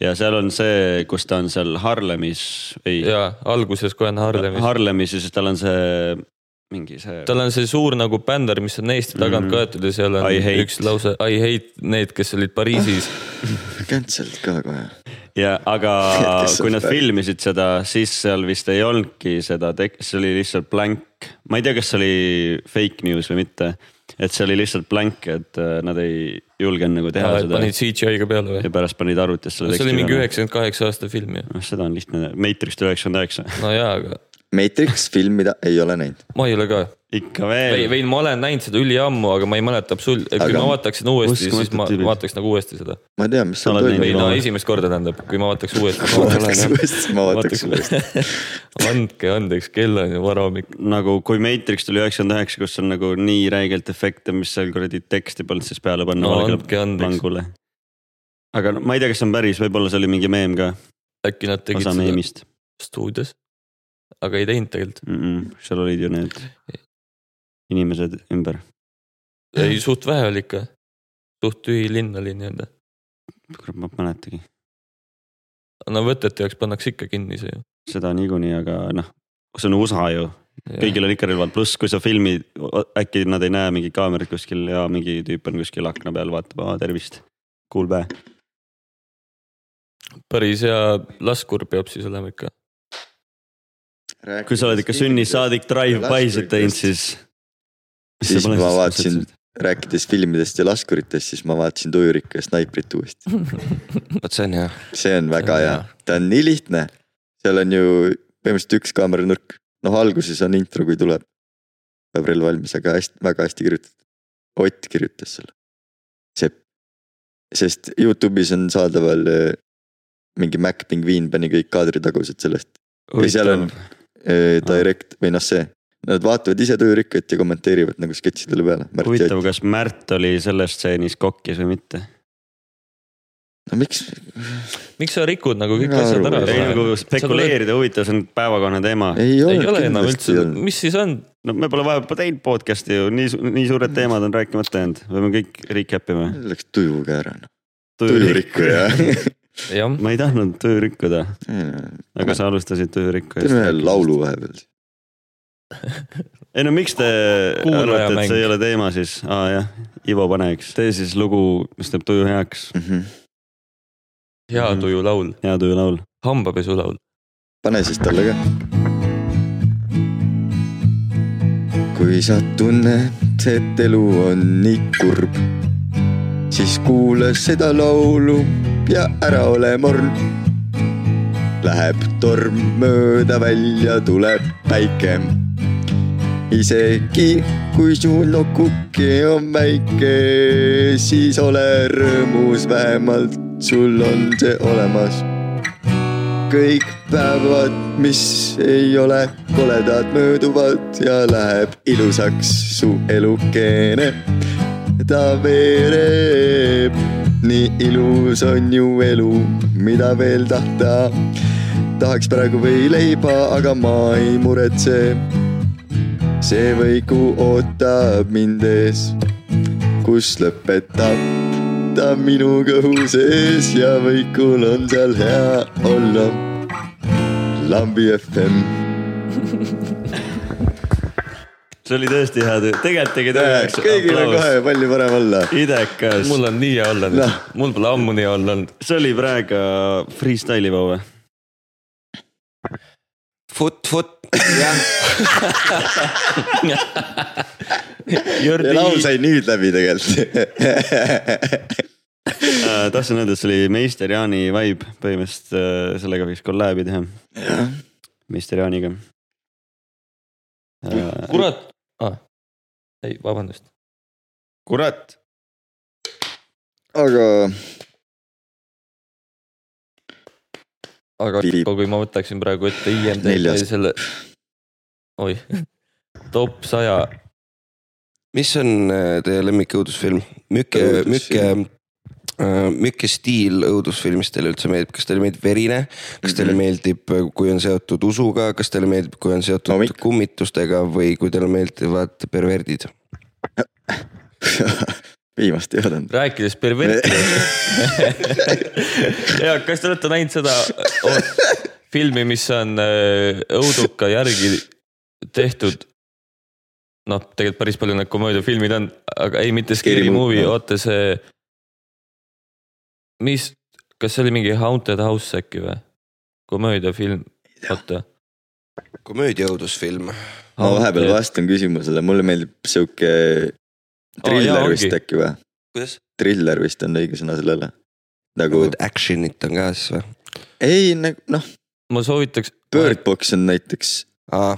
Speaker 1: ja seal on see , kus ta on seal Harlemis , ei
Speaker 6: ja alguses kohe on Harlemis .
Speaker 1: Harlemis ja siis tal on see mingi see .
Speaker 6: tal on see suur nagu bänder , mis on Eesti tagant
Speaker 1: Mhm.
Speaker 6: kaetud ja seal on
Speaker 1: I hate.
Speaker 6: üks lause I hate need , kes olid Pariisis .
Speaker 2: Cancelled ka kohe .
Speaker 1: ja aga
Speaker 2: [LAUGHS] Kes see
Speaker 1: kui nad
Speaker 2: on?
Speaker 1: filmisid seda , siis seal vist ei olnudki seda tek- , see oli lihtsalt blank . ma ei tea , kas see oli fake news või mitte , et see oli lihtsalt blank , et äh, nad ei julgenud nagu teha seda
Speaker 6: panid CGI-ga peale või
Speaker 1: ja ? pärast panid arvutisse selle
Speaker 6: see oli mingi
Speaker 1: peale.
Speaker 6: üheksakümmend kaheksa aasta film ju .
Speaker 1: noh , seda on lihtne , Matrix tuli üheksakümmend üheksa , [LAUGHS]
Speaker 6: no jaa , aga
Speaker 2: Matrix filmida ei ole näinud .
Speaker 6: ma ei ole ka .
Speaker 1: ikka
Speaker 6: või ,
Speaker 1: veel .
Speaker 6: või ma olen näinud seda üliammu , aga ma ei mäleta absoluutselt , et kui
Speaker 2: Aga-
Speaker 6: ma vaataksin uuesti , siis
Speaker 1: Uskumatud
Speaker 6: ma
Speaker 1: tüübid.
Speaker 6: vaataks nagu uuesti seda .
Speaker 2: ma tean , mis
Speaker 1: Sa
Speaker 2: seal
Speaker 1: oled
Speaker 6: või
Speaker 2: toimub .
Speaker 1: näinud?
Speaker 6: no
Speaker 1: ma-
Speaker 6: esimest korda tähendab , kui ma vaataks uuesti .
Speaker 2: [LAUGHS] ma vaataks
Speaker 6: [LAUGHS]
Speaker 2: uuesti , ma vaataks uuesti .
Speaker 6: andke andeks , kell on ju varahommik .
Speaker 1: nagu kui Matrix tuli üheksakümmend üheksa , kus on nagu nii räigelt efekte , mis seal kuradi teksti polnud , siis peale panna
Speaker 6: no
Speaker 1: valgele
Speaker 6: andke andeks ,
Speaker 1: plangule . aga no, ma ei tea , kas see on päris , võib-olla see oli mingi meem ka ,
Speaker 6: äkki nad tegid
Speaker 1: osa
Speaker 6: seda
Speaker 1: meemist
Speaker 6: stuudios . aga ei teinud tegelikult ,
Speaker 1: mm . -mm, seal olid ju need inimesed ümber .
Speaker 6: ei suht vähe oli ikka . suht tühi linn oli nii-öelda .
Speaker 1: kurat , ma ei mäletagi
Speaker 6: no võtete jaoks pannakse ikka kinni see ju .
Speaker 1: seda niikuinii , aga noh , see on USA ju , kõigil on ikka relvad , pluss kui sa filmid , äkki nad ei näe mingit kaamerat kuskil ja mingi tüüp on kuskil akna peal , vaatab , aa tervist , cool päev .
Speaker 6: päris hea laskur peab siis olema ikka .
Speaker 1: kui sa oled ikka sünnist . saadik drive-by'sid teinud , siis .
Speaker 2: Siis ma vaatasin- rääkides filmidest ja laskuritest , siis ma vaatasin Tujurikku ja Snaiprit uuesti .
Speaker 5: vot see on hea .
Speaker 2: see on väga
Speaker 6: See on
Speaker 2: hea , ta on nii lihtne . seal on ju põhimõtteliselt üks kaameranurk , noh alguses on intro , kui tuleb . peab relv valmis , aga hästi , väga hästi kirjutatud . Ott kirjutas selle . see , sest Youtube'is on saadaval äh, mingi Mac pingviin pani kõik kaadritagused sellest . või seal on äh, direct või noh , see . Nad vaatavad ise Tujurikkat ja kommenteerivad nagu sketšidele peale .
Speaker 1: huvitav ,
Speaker 2: no
Speaker 1: kas Märt oli selles stseenis kokkis või mitte ?
Speaker 2: miks ,
Speaker 6: miks sa rikud nagu kõik
Speaker 2: Mina
Speaker 6: asjad
Speaker 2: aru
Speaker 6: ära
Speaker 2: ei
Speaker 1: ei ? nagu spekuleerida huvitav , see on päevakohane teema .
Speaker 2: ei
Speaker 6: ei
Speaker 2: ole
Speaker 6: ole enam
Speaker 2: kindlasti
Speaker 6: üldse
Speaker 2: ei , olnud .
Speaker 6: mis siis on ?
Speaker 1: no me pole vahepeal teinud podcast'i ju , nii , nii suured teemad on rääkimata jäänud , peame kõik recap ima .
Speaker 2: Läks tujuga ära noh , tujurikkuja .
Speaker 6: jah ,
Speaker 1: [LAUGHS] ma ei tahtnud tuju rikkuda , aga
Speaker 2: teeme
Speaker 1: sa alustasid tuju rikkujast .
Speaker 2: ühe laulu vahepeal .
Speaker 1: ei no miks te
Speaker 6: Kuulaja
Speaker 1: arvate , et
Speaker 6: mäng.
Speaker 1: see ei ole teema siis , aa jah , Ivo pane üks , tee siis lugu , mis teeb tuju heaks ,
Speaker 6: hea
Speaker 2: Mm.
Speaker 6: tuju laul ,
Speaker 1: hea tuju laul .
Speaker 6: hambapesu laul .
Speaker 2: pane siis talle ka . kui sa tunned , et elu on nii kurb , siis kuula seda laulu ja ära ole morn . Läheb torm mööda välja , tuleb päike . isegi kui su nokuke on väike , siis ole rõõmus , vähemalt sul on see olemas kõik päevad , mis ei ole koledad , mööduvad ja läheb ilusaks su elukene . ta veereb , nii ilus on ju elu , mida veel tahta . tahaks praegu võileiba , aga ma ei muretse . see võiku ootab mind ees , kus lõpetab ta minu kõhu sees ja võikul on seal hea olla . lambi FM .
Speaker 1: see oli tõesti hea töö , tegelikult tegi töö heaks .
Speaker 2: kõigil on kohe palju parem olla .
Speaker 1: idekas ,
Speaker 6: mul on nii hea olla nüüd
Speaker 2: Noh.
Speaker 6: no. , mul pole ammu nii hea olla olnud .
Speaker 1: see oli praegu freestyle'i Ivo äh, või ?
Speaker 5: fut , fut , jah ,
Speaker 2: ja laul sai nüüd läbi tegelikult .
Speaker 1: Äh, tahtsin öelda , et see oli Meister Jaani vibe , põhimõtteliselt äh, sellega võiks kolläbi teha , Meister Jaaniga . Äh,
Speaker 6: kurat , ei vabandust ,
Speaker 1: kurat .
Speaker 2: aga [LAUGHS]
Speaker 6: aga
Speaker 2: Piip.
Speaker 6: kui ma võtaksin praegu ette IMDB
Speaker 2: Neljas.
Speaker 6: selle , oi , [LAUGHS] top saja ,
Speaker 5: mis on äh, teie lemmik õudusfilm ? Mükke , Mükke ,
Speaker 2: Õudusfilm.
Speaker 5: Mükke stiil õudusfilmis teile üldse meeldib , kas teile meeldib verine , kas
Speaker 2: Mhm.
Speaker 5: teile meeldib , kui on seotud usuga , kas teile meeldib , kui on seotud
Speaker 2: Hommik.
Speaker 5: kummitustega või kui teile meeldivad perverdid ?
Speaker 2: viimast ei vaadanud .
Speaker 6: rääkides [LAUGHS] pervertidest . ja kas te olete näinud seda oh, filmi , mis on äh, õuduka järgi tehtud ? noh , tegelikult päris palju need komöödiafilmid on , aga ei , mitte
Speaker 2: Scary
Speaker 6: Scary
Speaker 2: Movie,
Speaker 6: Movie ,
Speaker 2: jah.
Speaker 6: oota see . mis , kas see oli mingi Haunted House äkki või ? komöödiafilm , oota .
Speaker 5: komöödia õudusfilm .
Speaker 6: Ah,
Speaker 2: ma vahepeal vastan küsimusele , mulle meeldib sihuke
Speaker 6: Ah,
Speaker 2: triller vist . äkki või ?
Speaker 5: kuidas ?
Speaker 2: triller vist on õige sõna sellele . nagu
Speaker 5: nagu , action'it on ka siis või ?
Speaker 2: ei nagu noh ,
Speaker 6: ma soovitaks ,
Speaker 2: Birdbox on näiteks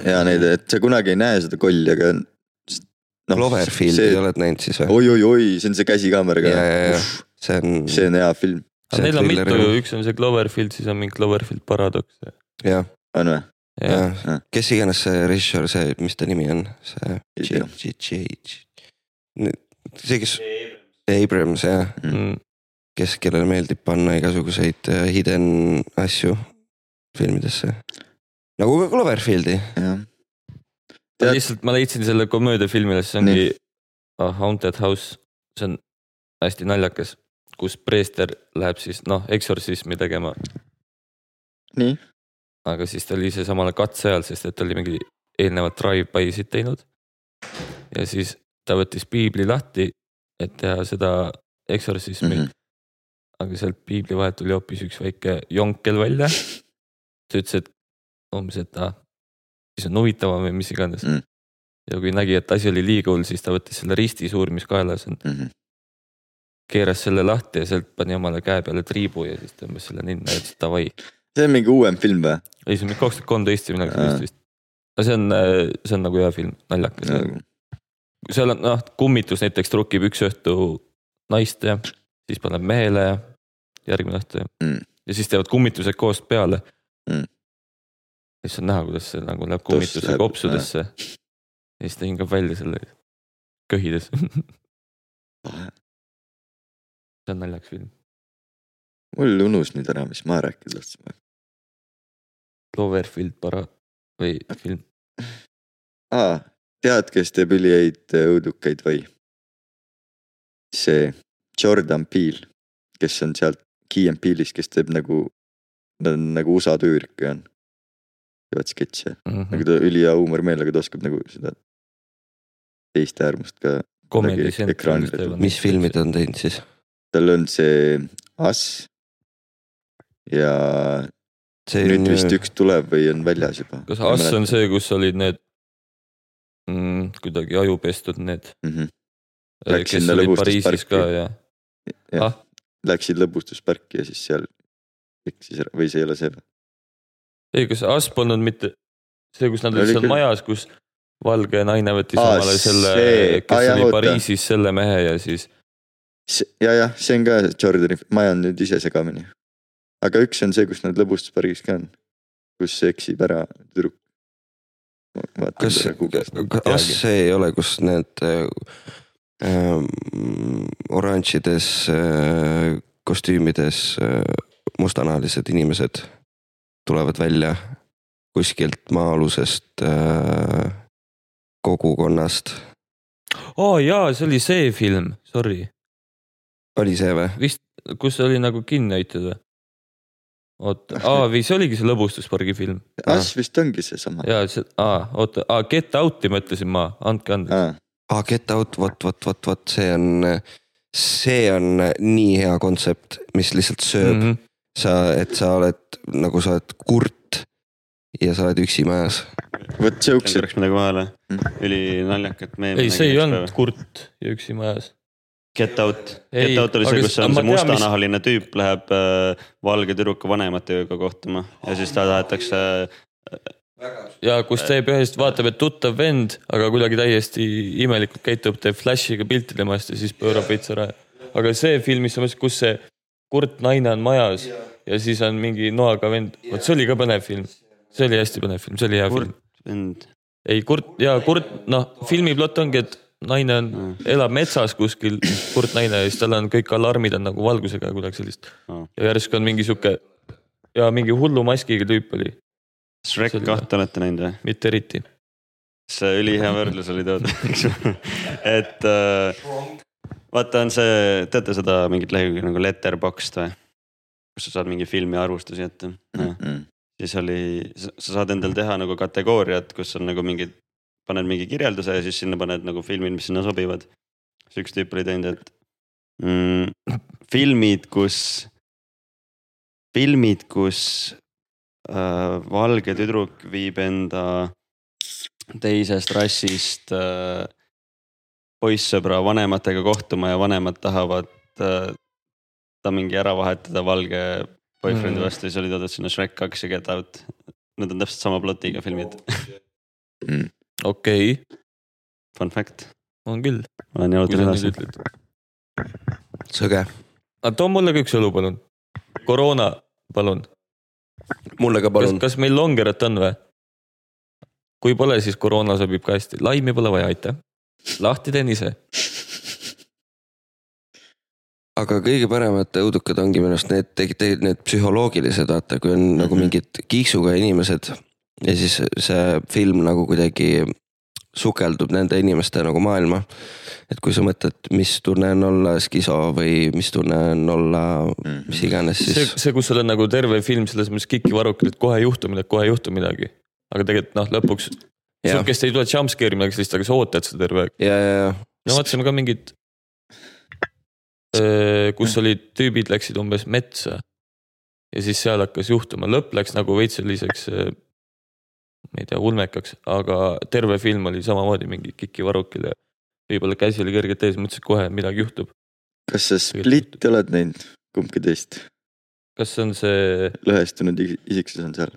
Speaker 2: hea näide , et sa kunagi ei näe seda kolli , aga noh,
Speaker 5: Cloverfieldi
Speaker 2: see-
Speaker 5: see... oled näinud siis või ?
Speaker 2: oi-oi-oi , see on see käsikaameraga
Speaker 5: Jaa, jaa, jaa. . see on ,
Speaker 2: see on hea film ,
Speaker 5: See on
Speaker 6: neil on
Speaker 5: thriller,
Speaker 6: mitu
Speaker 5: jah. ,
Speaker 6: üks on see Cloverfield , siis on mingi Cloverfield paradoks .
Speaker 5: jah ,
Speaker 2: on või ? Ah,
Speaker 6: jah ,
Speaker 5: jah . kes iganes see režissöör , see , mis ta nimi on , see .
Speaker 2: Ei tea.
Speaker 5: see , kes , Abrams jah ,
Speaker 6: mm.
Speaker 5: kes , kellele meeldib panna igasuguseid äh, hidden asju filmidesse . nagu ka Cloverfieldi .
Speaker 2: jah .
Speaker 6: Ma
Speaker 2: Tead-
Speaker 6: lihtsalt ma leidsin selle komöödiafilmi üles , see ongi A Haunted House , see on hästi naljakas , kus preester läheb siis noh , eksorsismi tegema ,
Speaker 2: nii ,
Speaker 6: aga siis ta oli ise samal ajal katse ajal , sest et ta oli mingi eelnevat drive-by'sid teinud . ja siis ta võttis piibli lahti , et teha seda eksorsismi mm ,
Speaker 2: Mhm.
Speaker 6: -hmm. aga sealt piibli vahelt tuli hoopis üks väike jonkel välja . ta ütles , et umbes , et ah, siis on huvitavam või mis iganes
Speaker 2: Mm.
Speaker 6: mm. . ja kui nägi , et asi oli liiga hull , siis ta võttis selle risti suur , mis kaelas on ,
Speaker 2: Mhm,
Speaker 6: keeras selle lahti ja sealt pani omale käe peale triibu ja siis tõmbas selle ninna ja ütles davai .
Speaker 2: see on mingi uuem film või ?
Speaker 6: ei , see on mingi kaks tuhat kolmteist või midagi
Speaker 2: Aa.
Speaker 6: sellist vist . aga see on , see on nagu hea film , naljakas no. . seal on noh , kummitus näiteks trukib üks õhtu naist ja siis paneb mehele ja järgmine õhtu ja
Speaker 2: Mm.
Speaker 6: ja siis teevad kummitused koos peale
Speaker 2: Mm. .
Speaker 6: ja siis on näha , kuidas see nagu läheb kummituse
Speaker 2: läheb,
Speaker 6: kopsudesse . ja siis ta hingab välja selle köhides . [LAUGHS]
Speaker 2: Ah,
Speaker 6: see on naljakas film ,
Speaker 2: mul unus nüüd ära , mis ma rääkida tahtsin .
Speaker 6: Cloverfield para- või film ,
Speaker 2: aa , Ah, tead , kes teeb ülihäid äh, õudukaid või ? see Jordan Peele , kes on sealt Key and Peele'ist , kes teeb nagu , ta on nagu USA tüürik ja on . teevad sketše ,
Speaker 6: mm
Speaker 2: aga
Speaker 6: -hmm.
Speaker 2: Nagu ta ülihea huumorimeelega , ta oskab nagu seda teist äärmust ka .
Speaker 6: Comedy
Speaker 2: kuidagi
Speaker 6: Central ,
Speaker 2: ekraanile
Speaker 6: mis teevad .
Speaker 5: mis filmi ta on teinud siis ?
Speaker 2: tal on see Us ja nüüd
Speaker 5: äh,
Speaker 2: vist üks tuleb või on väljas juba .
Speaker 6: kas Ass on see , kus olid need mm, kuidagi ajupestud need ,
Speaker 2: mm ? -hmm. Läksid
Speaker 6: kes
Speaker 2: sinna
Speaker 6: olid
Speaker 2: lõbustusparki.
Speaker 6: Pariisis ka ja
Speaker 2: Läksid lõbustusparki ja siis seal eksis ära või see ei ole see või ?
Speaker 6: ei , kas Ass polnud mitte see , kus nad olid
Speaker 2: Oli
Speaker 6: seal
Speaker 2: küll.
Speaker 6: majas , kus valge naine võttis
Speaker 2: Aa,
Speaker 6: omale selle
Speaker 2: see. ,
Speaker 6: kes
Speaker 2: Aa, jah,
Speaker 6: oli
Speaker 2: oota.
Speaker 6: Pariisis selle mehe ja siis
Speaker 2: ja jah , see on ka Jordani , ma jään nüüd ise segamini . aga üks on see , kus nad lõbustuspargis ka on , kus eksib ära tüdruk . vaatan
Speaker 5: kas
Speaker 2: seda ,
Speaker 5: kas
Speaker 2: Google'ist .
Speaker 5: see ei ole , kus need äh, ähm, oranžides äh, kostüümides äh, mustanahalised inimesed tulevad välja kuskilt maa-alusest äh, kogukonnast ,
Speaker 6: oo oh, jaa , see oli see film , sorry ,
Speaker 5: oli see või ?
Speaker 6: kus oli nagu kinni hoitud või ? oota , aa või see oligi see lõbustuspargi film
Speaker 2: Us vist ongi seesama .
Speaker 6: ja see , aa oota , aa Get Out'i ma ütlesin ma , andke andeks .
Speaker 5: aa , Ah, Get Out , vot , vot , vot , vot see on , see on nii hea
Speaker 6: Mhm.
Speaker 5: kontsept , mis lihtsalt sööb mm.
Speaker 6: -hmm.
Speaker 5: sa , et sa oled nagu sa oled kurt ja sa oled üksi majas .
Speaker 2: vot siuksed ,
Speaker 1: läks midagi vahele
Speaker 2: Mm. .
Speaker 1: ülinaljakat meemi .
Speaker 6: ei , see ei olnud . kurt ja üksi majas .
Speaker 1: Get out ,
Speaker 6: Ei,
Speaker 1: Get out oli see ,
Speaker 6: aga
Speaker 1: kus
Speaker 6: s-
Speaker 1: on see
Speaker 6: ma tean, mis-
Speaker 1: mustanahaline tüüp läheb äh, valge tüdruku vanematega kohtuma ja siis ta tahetakse
Speaker 6: ja kus teeb ühest , vaatab , et tuttav vend , aga kuidagi täiesti imelikult käitub , teeb flash'iga pilti temast ja siis pöörab veits ära . aga see film , mis on , kus see kurt naine on majas ja, ja siis on mingi noaga vend , vot see oli ka põnev film . see oli hästi põnev film , see oli hea kurt.
Speaker 1: kurt
Speaker 6: film .
Speaker 1: vend .
Speaker 6: ei , kurt ja kurt , noh , filmi plott ongi , et naine on , elab metsas kuskil , kurt naine ja siis tal on kõik alarmid on nagu valgusega ja kuidagi sellist .
Speaker 1: Aa.
Speaker 6: ja järsku on mingi sihuke ja mingi hullu maskiga tüüp oli ,
Speaker 1: Shrek
Speaker 6: Selge.
Speaker 1: kahte olete näinud või ?
Speaker 6: mitte eriti .
Speaker 1: see ülihea võrdlus oli toodud , [LAUGHS] eks ju . et äh, vaata , on see , teate seda mingit lehekülge nagu Letterboxd või ? kus sa saad mingi filmi arvustusi
Speaker 6: Mhm.
Speaker 1: jätta mm. . siis oli , sa saad endal teha nagu kategooriat , kus on nagu mingid , paned mingi kirjelduse ja siis sinna paned nagu filmid , mis sinna sobivad . siis üks tüüp oli teinud , et mm, filmid , kus , filmid , kus äh, valge tüdruk viib enda teisest rassist äh, poissõbra vanematega kohtuma ja vanemad tahavad äh, ta mingi ära vahetada valge boyfriend'i
Speaker 6: Mm.
Speaker 1: vastu , siis oli toodud sinna Shrek kaks ja Get Out . Need on täpselt sama plotiga filmid ,
Speaker 6: okei okay, ,
Speaker 1: fun fact .
Speaker 6: on küll .
Speaker 1: olen
Speaker 6: kui sa nüüd
Speaker 1: jalutasin edasi .
Speaker 6: ütled .
Speaker 5: sõge ,
Speaker 6: aga too mulle ka üks õlu , palun . koroona , palun .
Speaker 5: mulle ka
Speaker 6: kas
Speaker 5: palun ,.
Speaker 6: kas meil longerat on või ? kui pole , siis koroona sobib ka hästi , laimi pole vaja , aitäh . lahti teen ise .
Speaker 5: aga kõige paremad õudukad ongi minu arust need , need psühholoogilised , vaata , kui on
Speaker 6: Mhm.
Speaker 5: nagu mingid kiiksuga inimesed ja siis see film nagu kuidagi sukeldub nende inimeste nagu maailma . et kui sa mõtled , mis tunne on olla skiso või mis tunne on olla mis iganes ,
Speaker 6: see
Speaker 5: siis ,
Speaker 6: see , kus sul on nagu terve film selles mõttes kikivarrukil , et kohe ei juhtu midagi , kohe ei juhtu midagi . aga tegelikult noh , lõpuks
Speaker 5: Jah.
Speaker 6: sihukest ei tule jumpscare'i midagi sellist , aga sa ootad seda terve aeg .
Speaker 5: ja , ja , ja
Speaker 6: me vaatasime ka mingit , kus olid tüübid läksid umbes metsa . ja siis seal hakkas juhtuma , lõpp läks nagu veits selliseks , ma ei tea , ulmekaks , aga terve film oli samamoodi mingi kikivarrukil ja võib-olla käsi oli kergelt ees , mõtlesin et kohe midagi juhtub .
Speaker 2: kas sa Splitti oled näinud , kumbki teist ,
Speaker 6: kas see on see
Speaker 2: lõhestunud is- isiksus on seal ,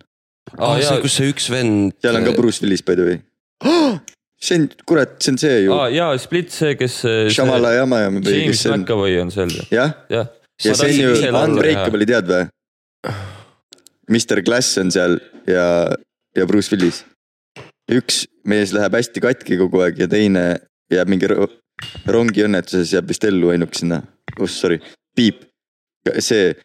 Speaker 5: ah, , see ,
Speaker 6: jaa ,
Speaker 5: kus see üks vend .
Speaker 2: seal on ka Bruce Willis by the way oh! . see on , kurat , see on see ju ,
Speaker 6: aa jaa , Split see , kes .
Speaker 2: Shamala jama ja või
Speaker 6: James
Speaker 2: kes see on ,
Speaker 6: McAvoy on seal ju ,
Speaker 2: jah ,
Speaker 6: jah .
Speaker 2: ja see on ju Unbreakable'i tead või ? Mr Glass on seal ja , ja Bruce Willis . üks mees läheb hästi katki kogu aeg ja teine jääb mingi ro- rongiõnnetuses jääb vist ellu ainukesena . oh sorry , piip , see ,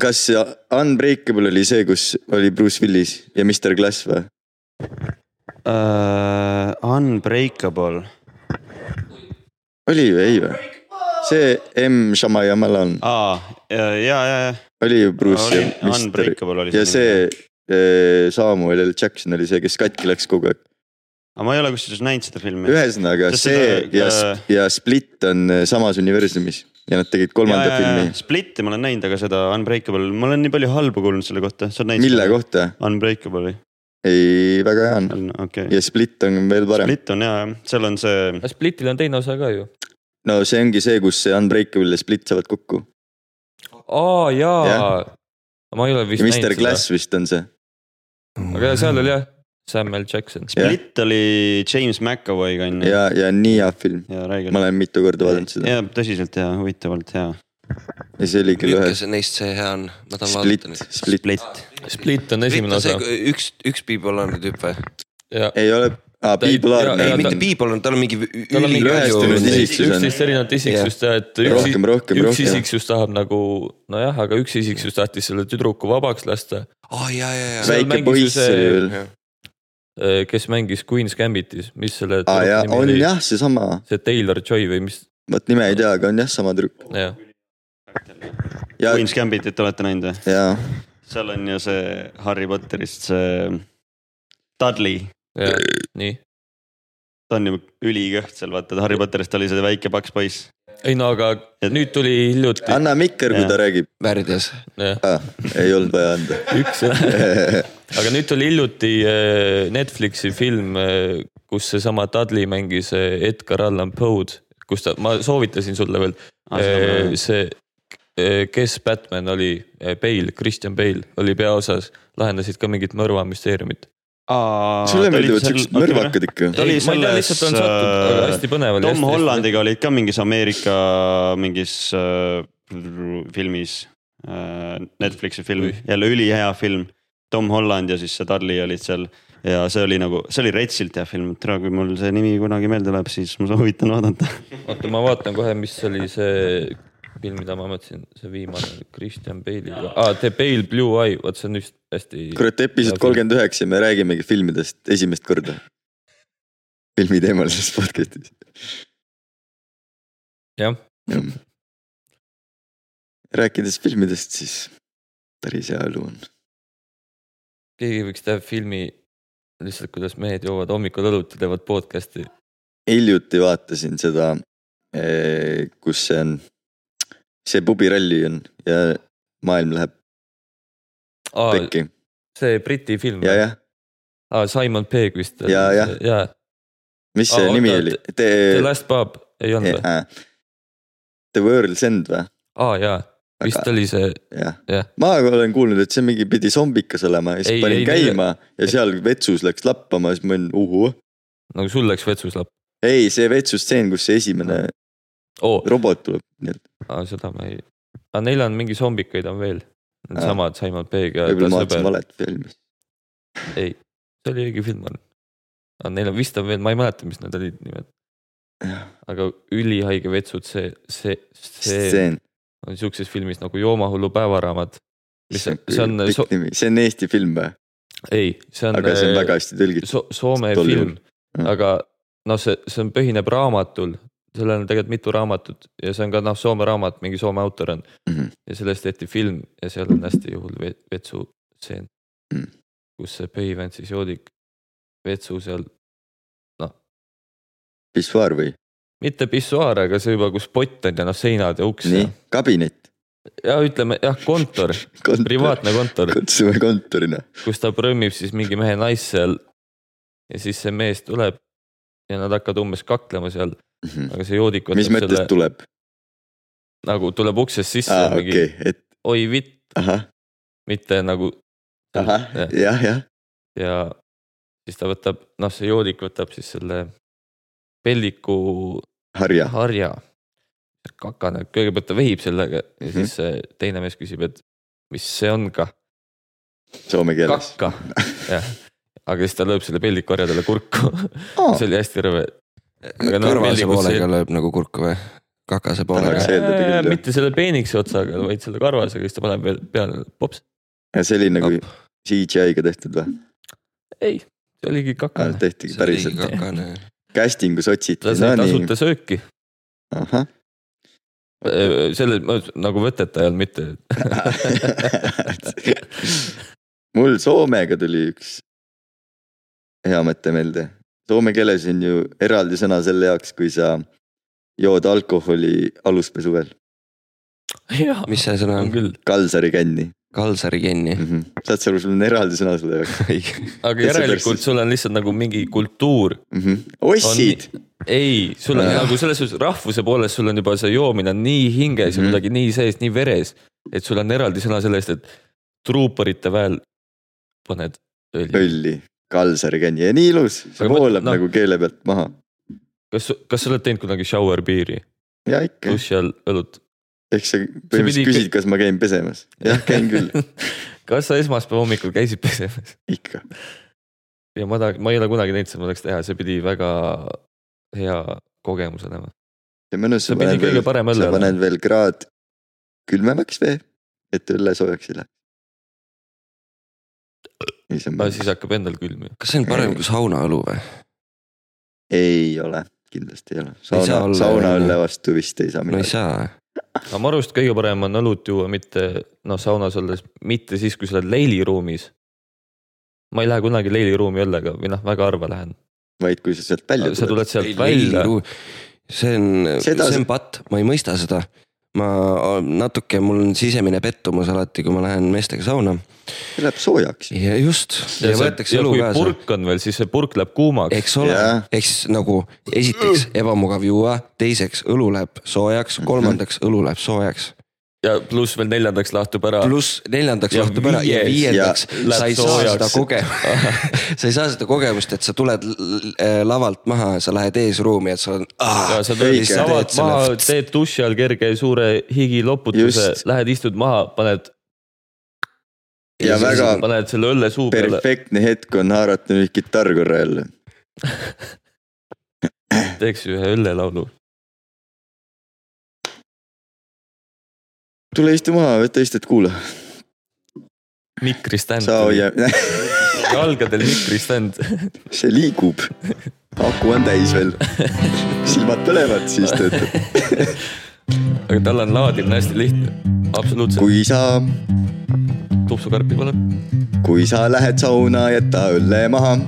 Speaker 2: kas see Unbreakable oli see , kus oli Bruce Willis ja Mr Glass või ?
Speaker 1: Uh, unbreakable .
Speaker 2: oli ju , ei või ? see M Shamayamal on ,
Speaker 1: aa , ja , ja , ja ,
Speaker 2: oli ju Bruce ja
Speaker 1: oli
Speaker 2: Mr
Speaker 1: unbreakable oli
Speaker 2: ja . see eh, Samuel L Jackson oli see , kes katki läks kogu aeg .
Speaker 1: aga ma ei ole kusjuures näinud seda filmi .
Speaker 2: ühesõnaga
Speaker 1: Sest
Speaker 2: see
Speaker 1: seda-
Speaker 2: ja , ja Split on eh, samas universumis ja nad tegid kolmanda ja, filmi .
Speaker 1: Splitti ma olen näinud , aga seda Unbreakable , ma olen nii palju halbu kuulnud selle kohta , sa oled näinud ?
Speaker 2: mille ? kohta ?
Speaker 1: Unbreakable'i ,
Speaker 2: ei , väga hea on .
Speaker 1: okei okay. .
Speaker 2: ja Split on veel parem .
Speaker 1: Split on hea jah , seal on see ,
Speaker 6: aga Ah, Splitil on teine osa ka ju .
Speaker 2: no see ongi see , kus see Unbreakable ja Split saavad kokku .
Speaker 6: aa jaa
Speaker 2: Jah. ,
Speaker 6: ma ei ole vist
Speaker 2: ja Mr
Speaker 6: näinud seda ,
Speaker 2: Glass vist on see .
Speaker 6: aga
Speaker 5: Mm-hmm.
Speaker 6: seal oli jah , Samuel Jackson .
Speaker 1: Split ja. oli James McAvoy'ga on ju .
Speaker 2: ja , ja nii hea film .
Speaker 1: ja räägi .
Speaker 2: ma olen mitu korda vaadanud seda
Speaker 1: ja tõsiselt hea , huvitavalt hea .
Speaker 2: ja see oli küll ühes
Speaker 5: kes neist see hea on , ma tahan
Speaker 2: Split
Speaker 5: vaadata , nüüd .
Speaker 2: Split .
Speaker 1: Split ,
Speaker 6: Split on esimene osa .
Speaker 5: üks , üks piibolane tüüp või ?
Speaker 6: ja
Speaker 2: ei ole , aa ,
Speaker 6: Ta-
Speaker 2: People
Speaker 6: ja-
Speaker 2: Are
Speaker 6: ja
Speaker 5: ei ,
Speaker 2: Made
Speaker 6: ta-
Speaker 5: mitte piibolane , tal on mingi ü-
Speaker 6: Tal on mingi
Speaker 5: ülilõhestunud
Speaker 2: lõhestunud
Speaker 5: neist.
Speaker 2: isiksus on.
Speaker 6: üksteist erinevat isiksust ja et üks,
Speaker 2: rohkem , rohkem ,
Speaker 6: üks
Speaker 2: rohkem .
Speaker 6: isiksus tahab nagu nojah , aga üks isiksus tahtis selle tüdruku vabaks lasta ,
Speaker 5: aa oh, jaa , jaa , jaa .
Speaker 6: Seal
Speaker 2: väike
Speaker 6: mängis ju
Speaker 2: poiss
Speaker 6: see-
Speaker 2: oli veel .
Speaker 6: eh, kes mängis Queen's Gambitis , mis selle
Speaker 2: aa Ah, jaa ,
Speaker 6: tüdruku
Speaker 2: on
Speaker 6: nimi oli ,
Speaker 2: jah , seesama ,
Speaker 6: see Taylor Joy või mis ,
Speaker 2: vot nime ei tea , aga on jah , sama tüdruk .
Speaker 6: jah .
Speaker 2: ja ,
Speaker 1: Queen's Gambitit olete näinud või ?
Speaker 2: ja
Speaker 1: seal on ju see Harry Potterist see Dudley ,
Speaker 6: ja nii ,
Speaker 1: ta on ju ülikõht seal , vaata Harry Potterist oli see väike paks poiss .
Speaker 6: ei no aga nüüd tuli hiljuti
Speaker 2: anna mikker , kui ta räägib .
Speaker 5: värdjas .
Speaker 6: jah,
Speaker 2: ei olnud vaja
Speaker 6: [LAUGHS]
Speaker 2: anda .
Speaker 6: üks ,
Speaker 2: [LAUGHS]
Speaker 6: aga nüüd tuli hiljuti eh, Netflixi film , kus seesama Dudley mängis eh, Edgar Allan Poe'd , kus ta , ma soovitasin sulle veel
Speaker 3: Ah, seda ma
Speaker 6: eh,
Speaker 3: näen.
Speaker 6: see , kes Batman oli , Bale , Christian Bale oli peaosas , lahendasid ka mingit mõrvamüsteeriumit .
Speaker 2: sulle meeldivad siuksed mõrvakad ikka .
Speaker 3: Ta oli
Speaker 6: ma ei tea , lihtsalt on
Speaker 3: selles, äh,
Speaker 6: sattunud , aga hästi põnev oli .
Speaker 3: Tom Hollandiga olid ka mingis Ameerika mingis äh, filmis äh, , Netflixi film , jälle ülihea film . Tom Holland ja siis see Dudley olid seal ja see oli nagu , see oli retsilt hea film , et tere , kui mul see nimi kunagi meelde läheb , siis ma soovitan vaadata .
Speaker 6: oota , ma vaatan kohe , mis oli see film , mida ma mõtlesin , see viimane oli Christian Bale'iga ah, , The Pale Blue Eye , vot see on just hästi .
Speaker 2: kurat , episood kolmkümmend üheksa , me räägimegi filmidest esimest korda . filmi teemal selles podcast'is .
Speaker 6: Jah. .
Speaker 2: rääkides filmidest , siis päris hea lugu on .
Speaker 6: keegi võiks teha filmi lihtsalt , kuidas mehed joovad hommikul õlut ja teevad podcast'i .
Speaker 2: hiljuti vaatasin seda , kus see on , see pubiralli on ja maailm läheb
Speaker 6: Ah,
Speaker 2: pekki
Speaker 6: see Briti film
Speaker 2: ja , jah ,
Speaker 6: ah, , Simon Pegg vist .
Speaker 2: Jaa, jah.
Speaker 6: jaa ,
Speaker 2: mis
Speaker 6: Aa,
Speaker 2: see
Speaker 6: oota,
Speaker 2: nimi
Speaker 6: et-
Speaker 2: oli ?
Speaker 6: The
Speaker 2: The,
Speaker 6: Last Pub ei olnud või ?
Speaker 2: äh, the World's End või ?
Speaker 6: aa jaa , vist
Speaker 2: Aga-
Speaker 6: oli see ,
Speaker 2: jah
Speaker 6: Jah. ,
Speaker 2: ma aga olen kuulnud , et see mingi pidi zombikas olema ja siis
Speaker 6: Ei,
Speaker 2: panin
Speaker 6: ei,
Speaker 2: käima ja seal vetsus läks lappama , siis ma olin uhuh .
Speaker 6: nagu sul läks vetsus lapp .
Speaker 2: ei , see vetsustseen , kus see esimene
Speaker 6: Ah. oo ,
Speaker 2: robot tuleb , nii et
Speaker 6: seda ma ei , aga neil on mingi zombikaid on veel .
Speaker 2: Aa.
Speaker 6: Needsamad Simon Pegg ja ta
Speaker 2: võib-olla ma vaatasin
Speaker 6: sõber .
Speaker 2: valet filmi .
Speaker 6: ei , see oli õige film on . aga neil on vist on veel , ma ei mäleta , mis need olid nimed . aga ülihaige vetsud , see , see , see
Speaker 2: stseen ,
Speaker 6: on siukses filmis nagu Joomahullu päevaraamat . mis
Speaker 2: see
Speaker 6: see , see on
Speaker 2: on ,
Speaker 6: so,
Speaker 2: pikk nimi , see on Eesti film või ?
Speaker 6: ei , see on,
Speaker 2: aga see on
Speaker 6: eh,
Speaker 2: väga hästi tõlgitud .
Speaker 6: so, Soome
Speaker 2: tol
Speaker 6: film ,
Speaker 2: Mm.
Speaker 6: aga noh , see , see on , põhineb raamatul , sellel on tegelikult mitu raamatut ja see on ka noh , Soome raamat , mingi Soome autor on
Speaker 2: Mhm.
Speaker 6: ja sellest tehti film ja seal on hästi hull ve- vetsu stseen
Speaker 2: Mm.
Speaker 6: kus see põhivend siis joodik vetsu seal ,
Speaker 2: pissuaar või ?
Speaker 6: mitte pissuaar , aga see juba , kus pott on ja noh , seinad ja uks
Speaker 2: nii
Speaker 6: ja ,
Speaker 2: kabinet .
Speaker 6: ja ütleme jah ,
Speaker 2: [LAUGHS]
Speaker 6: kontor , privaatne kontor ,
Speaker 2: kutsume kontorina .
Speaker 6: kus ta prõmmib siis mingi mehe naist seal ja siis see mees tuleb ja nad hakkavad umbes kaklema seal , aga see
Speaker 2: [LAUGHS]
Speaker 6: joodik
Speaker 2: mis mõttes
Speaker 6: võtab Mhm. selle
Speaker 2: selle... tuleb ?
Speaker 6: nagu tuleb uksest sisse
Speaker 2: aa
Speaker 6: ah, , mingi
Speaker 2: okei
Speaker 6: okay. ,
Speaker 2: et
Speaker 6: oi vitt ,
Speaker 2: ahah ,
Speaker 6: mitte nagu
Speaker 2: ahah ,
Speaker 6: jah.
Speaker 2: jah , jah ,
Speaker 6: ja siis ta võtab , noh , see joodik võtab siis selle pelliku
Speaker 2: harja .
Speaker 6: harja , kakane , kõigepealt ta vehib sellega
Speaker 2: Mhm.
Speaker 6: ja siis see teine mees küsib , et mis see on ka ,
Speaker 2: Soome keeles .
Speaker 6: kakka , [LAUGHS] jah . aga siis ta lööb selle pelliku harja talle kurku ,
Speaker 2: Ah.
Speaker 6: [LAUGHS] see oli hästi rõve . Aga no
Speaker 5: kõrvase
Speaker 6: pildikus
Speaker 5: poolega
Speaker 6: see-
Speaker 5: lööb nagu kurku või ? kakase poolega
Speaker 2: Tahaks see- . eeldada küll, jah.
Speaker 6: Äh, mitte selle peenikese otsaga , vaid selle karvasega , siis ta paneb veel peale , pops ,
Speaker 2: see oli nagu CGI-ga tehtud või ?
Speaker 6: ei , see oligi kakane .
Speaker 2: tehtigi päriselt .
Speaker 5: kakane .
Speaker 2: casting us otsiti
Speaker 6: ta ,
Speaker 2: no
Speaker 6: sai
Speaker 2: nii ,
Speaker 6: tasuta sööki , [LAUGHS]
Speaker 2: ahah .
Speaker 6: selle ma ütlesin, nagu võteta ei olnud mitte .
Speaker 2: mul Soomega tuli üks hea mõte meelde . Soome keeles on ju eraldi sõna selle jaoks , kui sa jood alkoholi aluspesuvel ,
Speaker 6: jah ,
Speaker 5: mis see sõna
Speaker 6: on
Speaker 5: on ?
Speaker 6: küll ,
Speaker 2: kalsari känni
Speaker 5: kalsari kinni .
Speaker 2: mm . -hmm. saad sa aru , sul on eraldi sõna selle jaoks
Speaker 6: aga
Speaker 2: Kes see
Speaker 6: järelikult
Speaker 2: peaks-
Speaker 6: sul on lihtsalt nagu mingi kultuur .
Speaker 2: mm . -hmm. ossid ,
Speaker 6: ei , sul on
Speaker 2: Nojah.
Speaker 6: nagu selles suhtes rahvuse poolest , sul on juba see joomine on nii hinges ja
Speaker 2: Mhm.
Speaker 6: kuidagi nii sees , nii veres , et sul on eraldi sõna selle eest , et truuparite väel paned õli .
Speaker 2: õlli , kalsari känni ja nii ilus , see
Speaker 6: Aga mõtle-
Speaker 2: voolab
Speaker 6: noh.
Speaker 2: nagu keele pealt maha .
Speaker 6: kas , kas sa oled teinud kunagi shower beer'i ,
Speaker 2: ja ikka ,
Speaker 6: duši all õlut ?
Speaker 2: eks sa põhimõtteliselt
Speaker 6: pidi-
Speaker 2: küsid , kas ma käin pesemas , jah käin küll ,
Speaker 6: [LAUGHS] kas sa esmaspäeva hommikul käisid pesemas ?
Speaker 2: ikka .
Speaker 6: ja ma tahan , ma ei ole kunagi näinud seda , ma tahaks teha , see pidi väga hea kogemus olema .
Speaker 2: ja mõnus ,
Speaker 6: see
Speaker 2: sa
Speaker 6: pidi
Speaker 2: paned
Speaker 6: kõige
Speaker 2: veel ,
Speaker 6: parem õlle
Speaker 2: sa
Speaker 6: olema .
Speaker 2: paned veel kraad külmemaks vee , et õlle soojaks ei
Speaker 6: aga
Speaker 2: lähe .
Speaker 6: siis hakkab endal külm ju .
Speaker 5: kas see on parem kui saunaõlu või ?
Speaker 2: ei ole , kindlasti ei ole ,
Speaker 5: saa
Speaker 2: sauna ,
Speaker 5: olla,
Speaker 2: sauna
Speaker 5: on ju.
Speaker 2: õlle vastu vist ei saa
Speaker 5: no ei
Speaker 2: midagi .
Speaker 5: saa .
Speaker 6: aga ma arvan , et kõige parem on õlut juua mitte noh , saunas olles , mitte siis , kui sa oled leiliruumis . ma ei lähe kunagi leiliruumi õllega või noh , väga harva lähen .
Speaker 2: vaid kui sa sealt välja
Speaker 6: sa
Speaker 2: tuled ,
Speaker 6: tuled sealt välja ,.
Speaker 5: see on ,
Speaker 2: Seda-
Speaker 5: see on patt , ma ei mõista seda . ma natuke , mul on sisemine pettumus alati , kui ma lähen meestega sauna
Speaker 2: see läheb soojaks .
Speaker 5: ja just , ja võetakse õlu
Speaker 6: kui
Speaker 5: kaasa .
Speaker 6: purk on veel , siis see purk läheb kuumaks .
Speaker 5: eks ole
Speaker 2: Jaa. ,
Speaker 5: ehk siis nagu esiteks ebamugav juua , teiseks õlu läheb soojaks , kolmandaks õlu läheb soojaks .
Speaker 6: ja pluss veel neljandaks lahtub ära .
Speaker 5: pluss neljandaks
Speaker 6: Ja
Speaker 5: lahtub ära ja
Speaker 6: viies.
Speaker 5: viiendaks
Speaker 2: Ja
Speaker 5: sa ei
Speaker 6: läheb
Speaker 5: saa seda
Speaker 6: soojaks.
Speaker 5: kogemust , [LAUGHS] sa ei saa seda kogemust , et sa tuled l- l- lavalt maha , sa lähed eesruumi , et sa oled . "Ah!"
Speaker 6: ja sa tuled ,
Speaker 2: õige.
Speaker 6: avad maha , teed duši all kerge suure higiloputuse
Speaker 2: Just. ,
Speaker 6: lähed istud maha , paned ,
Speaker 2: ja väga
Speaker 6: paned selle õlle suu peale ,
Speaker 2: perfektne hetk on haarata nüüd kitarr korra jälle .
Speaker 6: teeks ühe õllelaulu .
Speaker 2: tule istu maha , võta istet kuula .
Speaker 6: mikri stand ,
Speaker 2: sa hoia ,
Speaker 6: jalgadel mikri stand .
Speaker 2: see liigub . aku on täis veel . silmad põlevad , siis töötab .
Speaker 6: aga tal on laadimine hästi lihtne , absoluutselt Kui... ,
Speaker 2: kui sa ,
Speaker 6: tupsukarpi pole .
Speaker 2: kui sa lähed sauna , jäta õlle maha .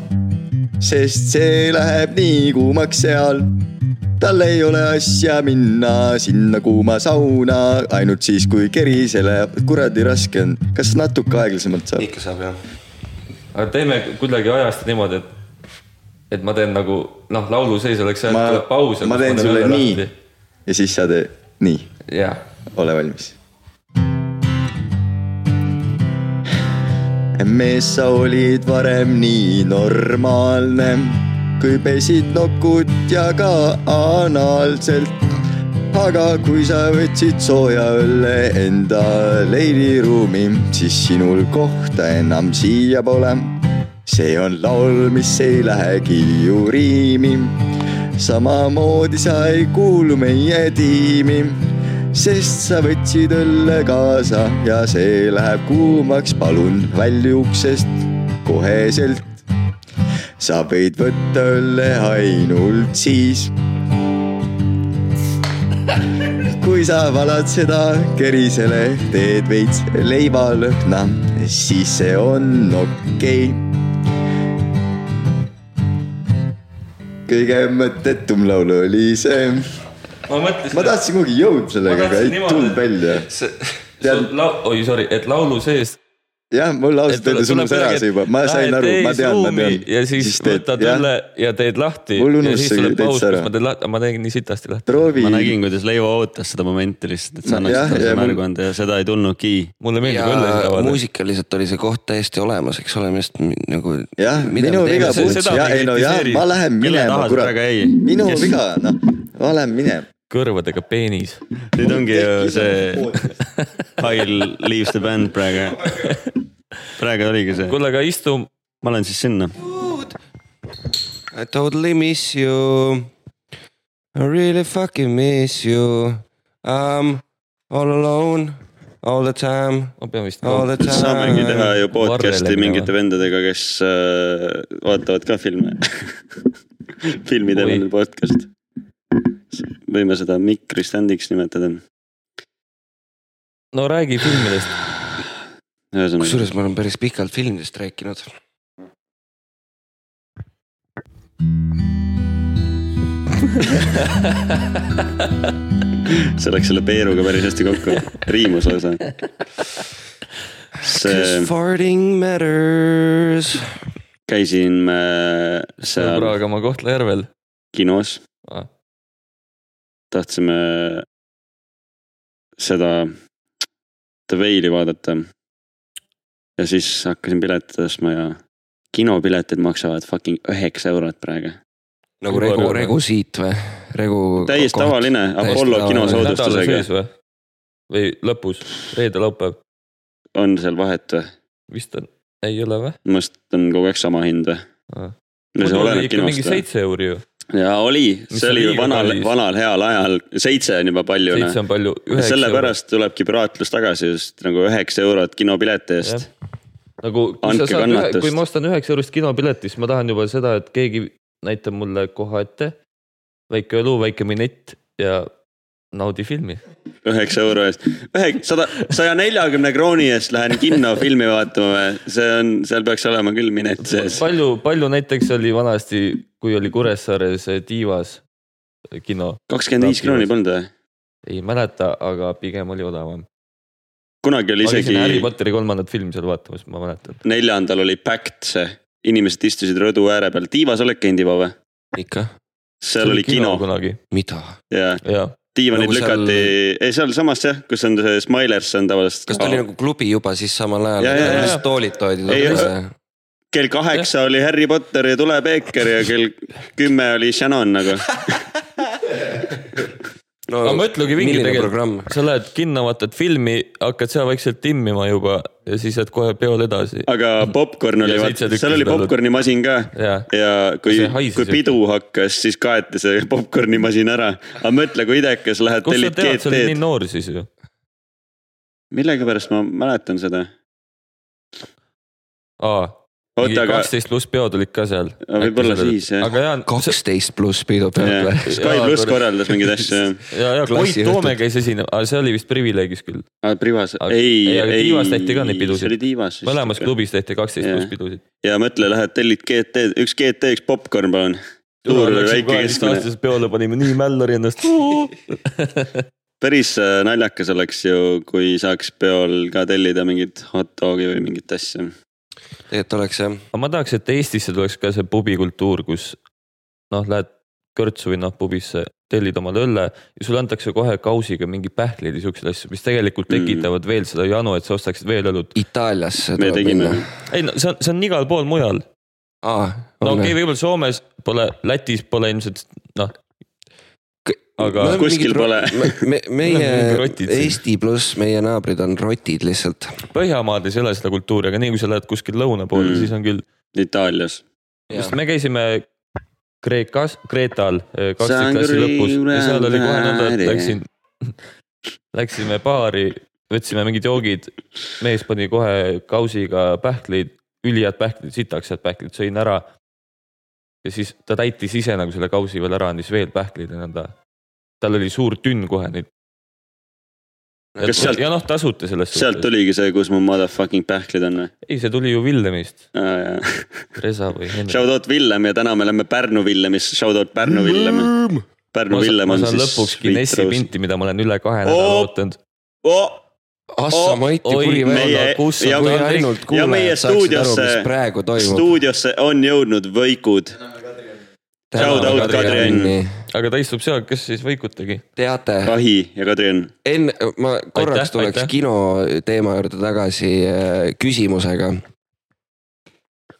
Speaker 2: sest see läheb nii kuumaks seal . tal ei ole asja minna sinna kuuma sauna , ainult siis , kui kerisele , kuradi raske on . kas natuke aeglasemalt saab ?
Speaker 5: ikka saab jah .
Speaker 6: aga teeme kuidagi ajast niimoodi , et , et ma teen nagu noh , lauluseis oleks jah , tuleb paus .
Speaker 2: ma teen sulle nii . ja siis sa tee nii ,
Speaker 6: jah ,
Speaker 2: ole valmis . mees , sa olid varem nii normaalne , kui pesid nokut ja ka anaalselt . aga kui sa võtsid sooja õlle enda leiliruumi , siis sinul kohta enam siia pole . see on laul , mis ei lähegi ju riimi samamoodi sa ei kuulu meie tiimi , sest sa võtsid õlle kaasa ja see läheb kuumaks , palun välju uksest koheselt . sa võid võtta õlle ainult siis , kui sa valad seda kerisele , teed veits leivalõhna , siis see on okei okay. kõige mõttetum laul oli see .
Speaker 6: ma mõtlesin .
Speaker 2: ma tahtsin kuhugi jõuda sellega , aga ei tulnud välja . Tead-
Speaker 6: lau- , oi sorry , et laulu sees .
Speaker 2: jah , mul ausalt öeldes unus ära see juba , ma sain aru , ma tean , ma tean .
Speaker 6: ja siis, siis võtad õlle . ja teed lahti .
Speaker 2: Mul
Speaker 6: ja
Speaker 2: unus
Speaker 6: siis
Speaker 2: see
Speaker 6: tuleb
Speaker 2: täitsa
Speaker 6: paus ,
Speaker 2: ära.
Speaker 6: kus ma teen lahti , ma tegin nii sitasti lahti .
Speaker 2: proovi
Speaker 3: ma , nägin , kuidas Leivo ootas seda momenti lihtsalt , et sa
Speaker 2: No jah,
Speaker 3: annaksid talle
Speaker 2: ja
Speaker 3: selle
Speaker 2: mul-
Speaker 3: märgu anda ja seda ei tulnudki .
Speaker 6: mulle meeldib õllesid
Speaker 5: ja
Speaker 6: avada .
Speaker 5: muusikaliselt oli see koht täiesti olemas , eks ole , millest mi- nagu .
Speaker 2: jah , minu viga
Speaker 6: see-
Speaker 2: puuts ,
Speaker 6: seda
Speaker 2: ja
Speaker 6: me ei
Speaker 2: ei no ja
Speaker 6: kritiseeri.
Speaker 2: ma lähen
Speaker 3: Kelle taha
Speaker 2: minema ,
Speaker 3: see
Speaker 2: kurat
Speaker 3: praegu jäi? ,
Speaker 2: minu
Speaker 3: Kes-
Speaker 2: viga , noh , ma lähen minema .
Speaker 6: kõrvadega peenis .
Speaker 3: nüüd ongi ju see Kyle Leaves the Band praegu . praegu oligi see ,
Speaker 6: kuule , aga istu ,
Speaker 3: ma lähen siis sinna .
Speaker 5: I totally miss you . I really fucking miss you . I m all alone all the time ,
Speaker 6: ma pean vist .
Speaker 5: all the time .
Speaker 1: saamegi teha ju
Speaker 6: Varrele
Speaker 1: podcast'i
Speaker 6: minema.
Speaker 1: mingite vendadega , kes äh, vaatavad ka filme . [LAUGHS] filmi teemal podcast . võime seda mikri stand'iks nimetada .
Speaker 6: no räägi filmidest .
Speaker 1: ühesõnaga ,
Speaker 5: kusjuures ma olen päris pikalt filmidest rääkinud .
Speaker 1: see läks selle Peeruga päris hästi kokku , riimus lausa . see
Speaker 5: Cause , farting matters .
Speaker 1: käisime äh, seal
Speaker 6: sõbraga ma Kohtla-Järvel .
Speaker 1: kinos
Speaker 6: Ah. .
Speaker 1: tahtsime seda The Whale'i vaadata . ja siis hakkasin piletit tõstma ja kinopiletid maksavad fucking üheksa eurot praegu .
Speaker 5: nagu Regu , Regu siit või ? Regu .
Speaker 1: täiesti tavaline Apollo
Speaker 5: tavaline.
Speaker 6: nädala
Speaker 1: kinosoodustusega
Speaker 6: sees või ? või lõpus , reede , laupäev ,
Speaker 1: on seal vahet või ?
Speaker 6: vist on , ei ole või ?
Speaker 1: minu meelest on kogu aeg sama hind või
Speaker 6: Ah. ?
Speaker 1: no see
Speaker 6: muidu oli
Speaker 1: oleneb
Speaker 6: ikka mingi
Speaker 1: kinost või ?
Speaker 6: seitse euri ju ,
Speaker 1: jaa , oli ,
Speaker 6: Mis
Speaker 1: see oli ju
Speaker 6: liiga
Speaker 1: vanal ,
Speaker 6: kallis.
Speaker 1: vanal heal ajal , seitse on juba palju noh
Speaker 6: seitse on palju ,
Speaker 1: Ja
Speaker 6: üheksa euri .
Speaker 1: sellepärast tulebki piraatlus tagasi just nagu üheksa eurot kinopileti eest .
Speaker 6: nagu kui
Speaker 1: Andke
Speaker 6: sa saad ühe ,
Speaker 1: kannatust.
Speaker 6: kui ma ostan üheksa eurost kinopileti , siis ma tahan juba seda , et keegi näitab mulle koha ette , väike õlu , väike minett ja naudi filmi .
Speaker 1: üheksa euro eest , ühe , sada , saja neljakümne krooni eest lähen kinno filmi vaatama või ? see on , seal peaks olema küll minet sees .
Speaker 6: palju , palju näiteks oli vanasti , kui oli Kuressaares eh, Tiivas kino ,
Speaker 1: kakskümmend viis krooni polnud või ?
Speaker 6: ei mäleta , aga pigem oli odavam .
Speaker 1: kunagi oli
Speaker 6: ma
Speaker 1: isegi
Speaker 6: käisin , Harry Potteri kolmandat filmi seal vaatamas , ma mäletan .
Speaker 1: neljandal oli packed see , inimesed istusid rõdu ääre peal , tiivas oled käinud juba või ?
Speaker 5: ikka ,
Speaker 1: seal oli kino
Speaker 6: kunagi ,
Speaker 5: mida ?
Speaker 1: ja
Speaker 6: jaa .
Speaker 1: diivanid
Speaker 5: Nagu
Speaker 1: nagu
Speaker 5: seal-
Speaker 1: lükati seal... , ei sealsamas jah , kus on see Smilers on tavaliselt .
Speaker 5: kas ta oli nagu klubi juba siis samal ajal
Speaker 1: Ja, ja, ja, ,
Speaker 6: ja.
Speaker 5: toolid toodi
Speaker 1: Ei,
Speaker 5: talle ?
Speaker 1: kell kaheksa oli Harry Potter ja Tule Peeker ja
Speaker 5: [LAUGHS]
Speaker 1: kell kümme oli Shannon nagu .
Speaker 5: no
Speaker 6: aga ma ütlengi mingi
Speaker 5: milline
Speaker 6: tegelikult
Speaker 5: programm ?,
Speaker 6: sa lähed kinno , vaatad filmi , hakkad seal vaikselt timmima juba ja siis jääd kohe peol edasi .
Speaker 1: aga popkorn oli
Speaker 6: Ja , seitse tükki
Speaker 1: seal oli
Speaker 6: seda-
Speaker 1: popkornimasin ka
Speaker 6: jaa ,
Speaker 1: ja kui
Speaker 6: See haises ,
Speaker 1: kui pidu hakkas , siis kaeti see [LAUGHS] popkornimasin ära . aga mõtle , kui idekas lähed ,
Speaker 6: kust sa
Speaker 1: tellid
Speaker 6: tead , sa olid nii
Speaker 1: GT-d .
Speaker 6: noor siis ju .
Speaker 1: millegipärast ma mäletan seda .
Speaker 6: aa , mingi
Speaker 1: oota , aga
Speaker 6: kaksteist pluss peod olid ka seal .
Speaker 1: võib-olla siis jah .
Speaker 6: aga jaa ,
Speaker 5: kaksteist pluss pidu pealt või ?
Speaker 1: [LAUGHS] Sky
Speaker 6: Jaa,
Speaker 1: pluss
Speaker 6: tore.
Speaker 1: korraldas mingeid asju
Speaker 6: [LAUGHS]
Speaker 1: jah .
Speaker 6: ja , ja Koit
Speaker 5: Klassiõhtud.
Speaker 6: Toome käis esinema , see oli vist privileegis küll .
Speaker 1: aa , Ah, Privas ,
Speaker 6: Aga-
Speaker 1: ei ,
Speaker 6: ei,
Speaker 1: ei .
Speaker 6: aga Tiivas tehti ka neid pidusid.
Speaker 1: see oli Tiivas .
Speaker 6: mõlemas klubis tehti kaksteist
Speaker 1: Jaa.
Speaker 6: pluss pidusid .
Speaker 1: ja mõtle , lähed tellid GT , üks GT , üks popkorn , palun . suur , väike , keskmine .
Speaker 6: peole panime nii mällari
Speaker 1: [LAUGHS]
Speaker 6: ennast .
Speaker 1: päris äh, naljakas oleks ju , kui saaks peol ka tellida mingit hot dog'i või mingit asja .
Speaker 5: tegelikult oleks jah .
Speaker 6: aga ma tahaks , et Eestisse tuleks ka see pubikultuur , kus noh , lähed kõrtsu või noh pubisse , tellid omale õlle ja sulle antakse kohe kausiga mingi pähklid ja siukseid asju , mis tegelikult
Speaker 1: Mm.
Speaker 6: tekitavad veel seda janu , et sa ostaksid veel õlut .
Speaker 5: Itaaliasse
Speaker 1: me
Speaker 5: tuleb
Speaker 1: tegime
Speaker 5: minna .,
Speaker 6: ei no see on , see on igal pool mujal .
Speaker 5: aa ,
Speaker 6: no okei okay, , võib-olla Soomes pole , Lätis pole ilmselt noh , aga-
Speaker 1: Kuskil pole. .
Speaker 5: me , meie
Speaker 6: mingid rotid siin.
Speaker 5: Eesti pluss meie naabrid on rotid lihtsalt .
Speaker 6: Põhjamaades ei ole seda kultuuri , aga nii kui sa lähed kuskil lõuna poole
Speaker 1: Mm.
Speaker 6: mm. , siis on küll .
Speaker 1: Itaalias .
Speaker 6: sest me käisime Kreekas , Kreetal eh, kaksikklassi lõpus ja seal oli kohe nõnda , et läksin , [LAUGHS] läksime baari , võtsime mingid joogid , mees pani kohe kausiga pähkleid , ülihead pähklid , sitaks head pähklid , sõin ära . ja siis ta täitis ise nagu selle kausi veel ära , andis veel pähkleid ja nõnda . tal oli suur tünn kohe neid .
Speaker 1: Kas sealt-
Speaker 6: ja noh , tasuta selles
Speaker 1: sealt . tuligi see , kus mu motherfucking pähklid on või ?
Speaker 6: ei , see tuli ju Villemist , Reza või Henri .
Speaker 1: Shout out Villem ja täna me läheme Pärnu Villemisse , shout out Pärnu Villem . Pärnu Villem
Speaker 6: ma
Speaker 1: on
Speaker 6: saan
Speaker 1: siis .
Speaker 6: lõpuks Guinessi . pinti , mida ma olen üle kahe nädala
Speaker 1: Oo.
Speaker 6: ootanud .
Speaker 1: Oh,
Speaker 5: Assa
Speaker 1: Oh,
Speaker 5: Mati
Speaker 6: oi,
Speaker 5: kuri välja
Speaker 1: meie- .
Speaker 6: kus
Speaker 1: ja
Speaker 6: on
Speaker 5: kui
Speaker 1: meie-
Speaker 6: Taavi ?
Speaker 5: ainult
Speaker 1: ja meie
Speaker 5: kuulajad saaksid aru , mis
Speaker 1: stuudiosse-
Speaker 5: praegu toimub .
Speaker 1: stuudiosse on jõudnud võikud . shout out Kadri Ann. .
Speaker 6: aga ta istub seal , kes siis võikutegi .
Speaker 5: teate ,
Speaker 1: Kahi ja Kadri-Ann .
Speaker 5: enne ma korraks
Speaker 6: Aitäh,
Speaker 5: tuleks
Speaker 6: aitäh.
Speaker 5: kino teema juurde tagasi äh, küsimusega .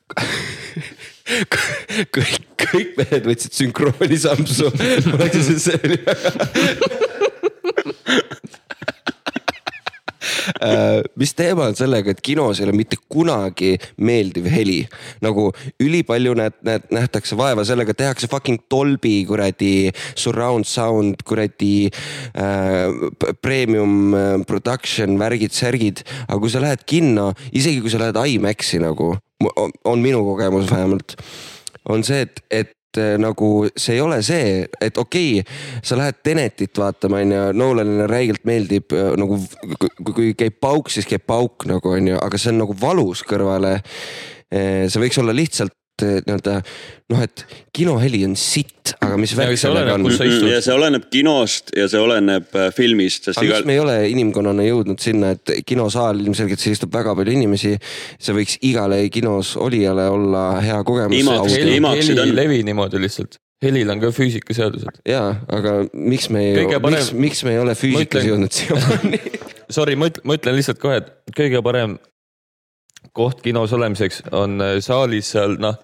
Speaker 5: [LAUGHS] kõik , kõik mehed võtsid sünkrooni sampsu . [LAUGHS] ma läksin siis selle Äh, mis teema on sellega , et kinos ei ole mitte kunagi meeldiv heli . nagu ülipalju näed , näed , nähtakse vaeva sellega , tehakse fucking Dolby kuradi surround sound kuradi äh, p- premium äh, production värgid , särgid . aga kui sa lähed kinno , isegi kui sa lähed IMAX-i nagu , on minu kogemus vähemalt , on see , et , et et nagu see ei ole see , et okei okay, , sa lähed Tenetit vaatama , onju , Nolanile räigelt meeldib äh, nagu , kui kui käib pauk , siis käib pauk nagu onju , aga see on nagu valus kõrvale . see võiks olla lihtsalt eh, nii-öelda noh , et kinoheli on sitt , aga mis
Speaker 6: aga
Speaker 5: värk
Speaker 6: see
Speaker 5: sellega
Speaker 6: oleneb,
Speaker 5: on
Speaker 6: kus . sa istud.
Speaker 1: ja see oleneb kinost ja see oleneb äh, filmist , sest
Speaker 5: aga
Speaker 1: igal
Speaker 5: miks me ei ole inimkonnana jõudnud sinna , et kinosaal ilmselgelt , seal istub väga palju inimesi . see võiks igale kinos olijale olla hea
Speaker 1: Imaks-
Speaker 5: kogemus .
Speaker 6: heli ,
Speaker 1: imaksid
Speaker 6: heli
Speaker 1: on-
Speaker 6: ei levi niimoodi lihtsalt . helil on ka füüsikaseadused .
Speaker 5: jaa , aga miks me ei
Speaker 6: Kõige , parem-
Speaker 5: miks , miks me ei ole füüsikas
Speaker 6: ütlen-
Speaker 5: jõudnud siiamaani ?
Speaker 6: Sorry , ma ütlen , ma ütlen lihtsalt kohe , et kõige parem koht kinos olemiseks on äh, saalis seal noh ,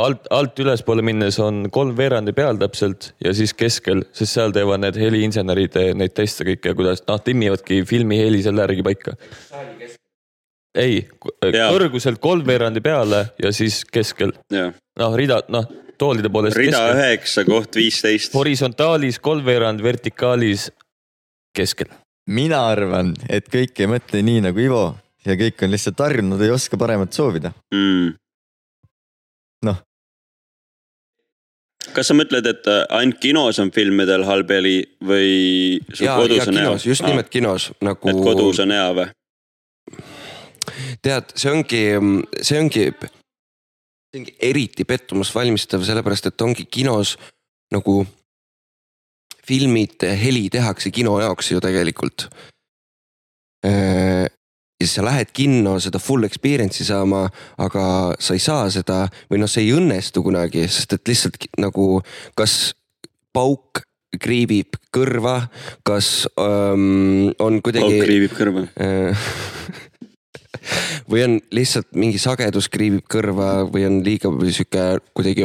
Speaker 6: alt , alt ülespoole minnes on kolmveerandi peal täpselt ja siis keskel , sest seal teevad need heliinsenerid eh, neid teste kõike , kuidas noh , timmivadki filmi heli selle järgi paika . ei ,
Speaker 1: Jaa.
Speaker 6: kõrguselt kolmveerandi peale ja siis keskel ,
Speaker 1: jah.
Speaker 6: noh , rida , noh , toolide poolest .
Speaker 1: rida üheksa , koht viisteist .
Speaker 6: horisontaalis kolmveerand , vertikaalis keskel .
Speaker 2: mina arvan , et kõik ei mõtle nii nagu Ivo ja kõik on lihtsalt harjunud , ei oska paremat soovida .
Speaker 1: mm. .
Speaker 2: Noh. .
Speaker 1: kas sa mõtled , et äh, ainult kinos on filmidel halb heli või sul
Speaker 5: ja , ja
Speaker 1: [LAUGHS] kodus on hea
Speaker 5: kinos ,? just nimelt kinos nagu
Speaker 1: et . kodus on hea või ?
Speaker 5: tead , see ongi , see ongi , see ongi eriti pettumust valmistav , sellepärast et ongi kinos nagu filmid , heli tehakse kino jaoks ju tegelikult . ja siis sa lähed kinno seda full experience'i saama , aga sa ei saa seda või noh , see ei õnnestu kunagi , sest et lihtsalt ki- nagu kas pauk kriibib kõrva , kas ähm, on
Speaker 1: pauk
Speaker 5: kuidagi .
Speaker 1: kriibib kõrva .
Speaker 5: Äh. [LAUGHS] või on lihtsalt mingi sagedus kriibib kõrva või on liiga või sihuke kuidagi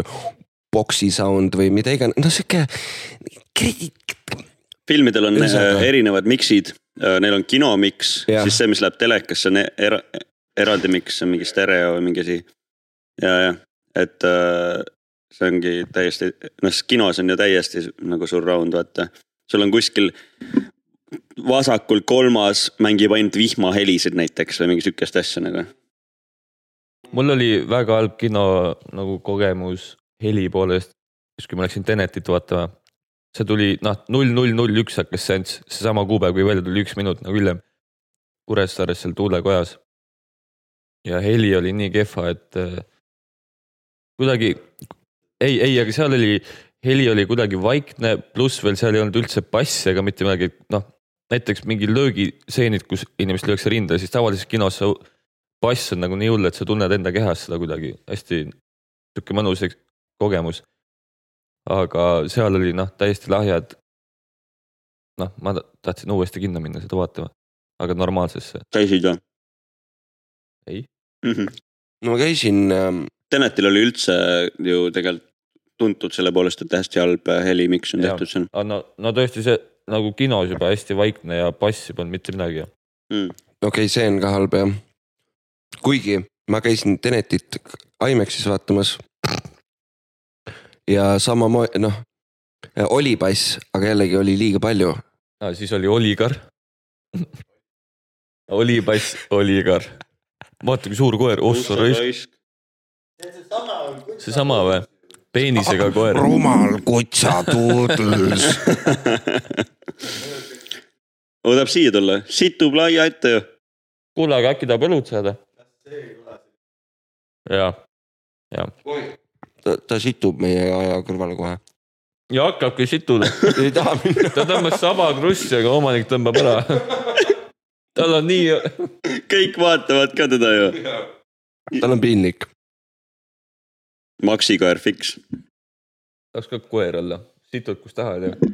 Speaker 5: boksi sound või mida iganes , no sihuke .
Speaker 1: filmidel on
Speaker 5: Ühesõnaga-
Speaker 1: äh, erinevad miksid , neil on kinomiks ,
Speaker 5: Jah.
Speaker 1: siis see , mis läheb telekasse , on e- era- , eraldi miks , see on mingi stereo või mingi asi . ja , ja , et äh, see ongi täiesti , noh , sest kinos on ju täiesti s- nagu surround , vaata . sul on kuskil vasakul kolmas mängib ainult vihmahelisid näiteks või mingi sihukest asja nagu .
Speaker 6: mul oli väga halb kino nagu kogemus heli poolest , siis kui ma läksin Tenetit vaatama . see tuli noh , null null null üks hakkas seanss , seesama kuupäev , kui välja tuli üks minut nagu hiljem . Kuressaares seal tuulekojas . ja heli oli nii kehva , et eh, kuidagi ei , ei , aga seal oli , heli oli kuidagi vaikne , pluss veel seal ei olnud üldse bassi ega mitte midagi , noh näiteks mingi löögiseenid , kus inimest lüüakse rinda , siis tavalises kinos sa bass on nagu nii hull , et sa tunned enda kehas seda kuidagi hästi sihuke mõnus eks- kogemus . aga seal oli noh , täiesti lahjad . noh , ma ta- tahtsin uuesti kinno minna seda vaatama , aga normaalsesse .
Speaker 1: käisid või ?
Speaker 6: Ei.
Speaker 1: mm . -hmm.
Speaker 5: no ma käisin ähm,
Speaker 1: Tenetil oli üldse ju tegelikult tuntud selle poolest , et hästi halb helimiks on
Speaker 6: Jah.
Speaker 1: tehtud seal .
Speaker 6: no , no tõesti see nagu kinos juba hästi vaikne ja bassi polnud mitte midagi .
Speaker 5: okei okay, , see on ka halb jah . kuigi ma käisin Tenetit IMAX-is vaatamas . ja samamoodi noh , oli bass , aga jällegi oli liiga palju .
Speaker 6: Ah, siis oli Oligar . [LAUGHS] oli bass , Oligar . vaata , kui suur koer , ossa raisk , seesama või ? peenisega koer .
Speaker 5: rumal kutsatuudlus .
Speaker 1: oodab siia tulla , situb laia ette ju .
Speaker 6: kuule , aga äkki tahab õlut saada ? ja ,
Speaker 5: ta, ta situb meie aja kõrvale kohe .
Speaker 6: ja hakkabki situda ,
Speaker 5: [LAUGHS] ei taha minna .
Speaker 6: ta tõmbas saba krussi , aga omanik tõmbab ära . tal on nii ,
Speaker 1: kõik vaatavad ka teda ju .
Speaker 5: tal on piinlik .
Speaker 1: maksikoer fix ,
Speaker 6: tahaks ka koer olla , situd kus tahad ju .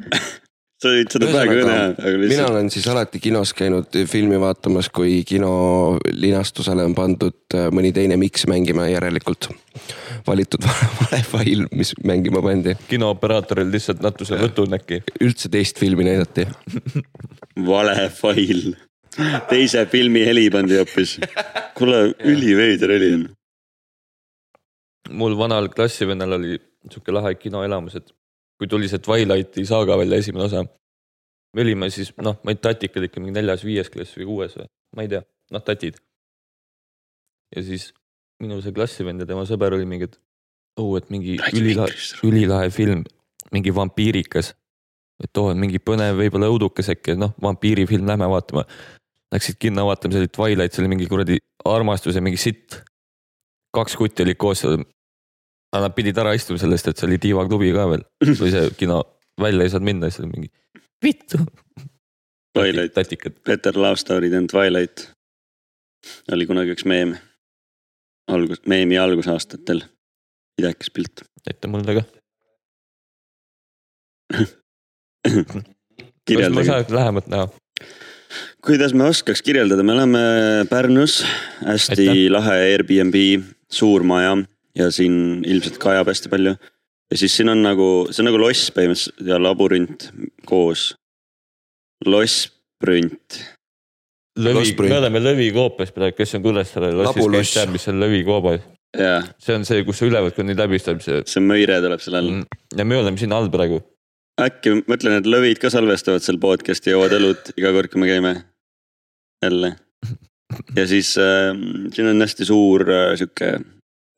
Speaker 1: sa võid seda praegu ka näha , aga
Speaker 5: mina
Speaker 1: lihtsalt
Speaker 5: olen siis alati kinos käinud filmi vaatamas , kui kino linastusele on pandud äh, mõni teine miks mängima järelikult . valitud [LAUGHS] vale fail , mis mängima pandi ,
Speaker 6: kinooperaatoril lihtsalt natukese võtun äkki .
Speaker 5: üldse teist filmi näidati .
Speaker 1: vale fail . teise filmi heli pandi hoopis . kuule , üliveider heli on .
Speaker 6: mul vanal klassivennal oli sihuke lahe kinoelamus , et kui tuli see Twilighti saaga välja esimene osa . me olime siis noh , ma ei tea , tatikad ikka mingi neljas-viies klass või kuues või , ma ei tea , noh tatid . ja siis minu see klassivend ja tema sõber oli mingi , et oo , et mingi ülilahe , ülilahe film , mingi vampiirikas . et oo , mingi põnev , võib-olla õudukas äkki , noh vampiirifilm , lähme vaatama . Läksid kinno vaatama , see oli Twilight , see oli mingi kuradi armastuse mingi sitt . kaks kutti olid koos seal . aga nad pidid ära istuma sellest , et see oli tiivaklubi ka veel , või see kino , välja ei saanud minna , siis oli mingi vittu .
Speaker 1: Twilight ,
Speaker 6: tatikad ,
Speaker 1: Better Love Story than Twilight . oli kunagi üks meem . algus , meemi algusaastatel . idekas pilt .
Speaker 6: näita mulle ka . kas ma
Speaker 1: kirjeldage ,
Speaker 6: saan lähemalt näha ?
Speaker 1: kuidas me oskaks kirjeldada , me oleme Pärnus , hästi
Speaker 6: Aitäh.
Speaker 1: lahe Airbnb , suur maja ja siin ilmselt kajab hästi palju . ja siis siin on nagu , see on nagu loss põhimõtteliselt ja labürint koos . loss , prünt ,
Speaker 6: lõvi ,
Speaker 5: Losspring.
Speaker 6: me oleme Lõvikoopas praegu , kes on Kuressaare lossis ,
Speaker 5: Labuloss.
Speaker 6: kes teab , mis on Lõvikoobas .
Speaker 1: jaa ,
Speaker 6: see on see , kus sa ülevõtkond nüüd läbistab see .
Speaker 1: see möire tuleb selle all .
Speaker 6: ja me oleme siin all praegu .
Speaker 1: äkki , ma ütlen , et lõvid ka salvestavad seal podcast'i , joovad õlut iga kord , kui me käime . jälle . ja siis äh, siin on hästi suur äh, sihuke ,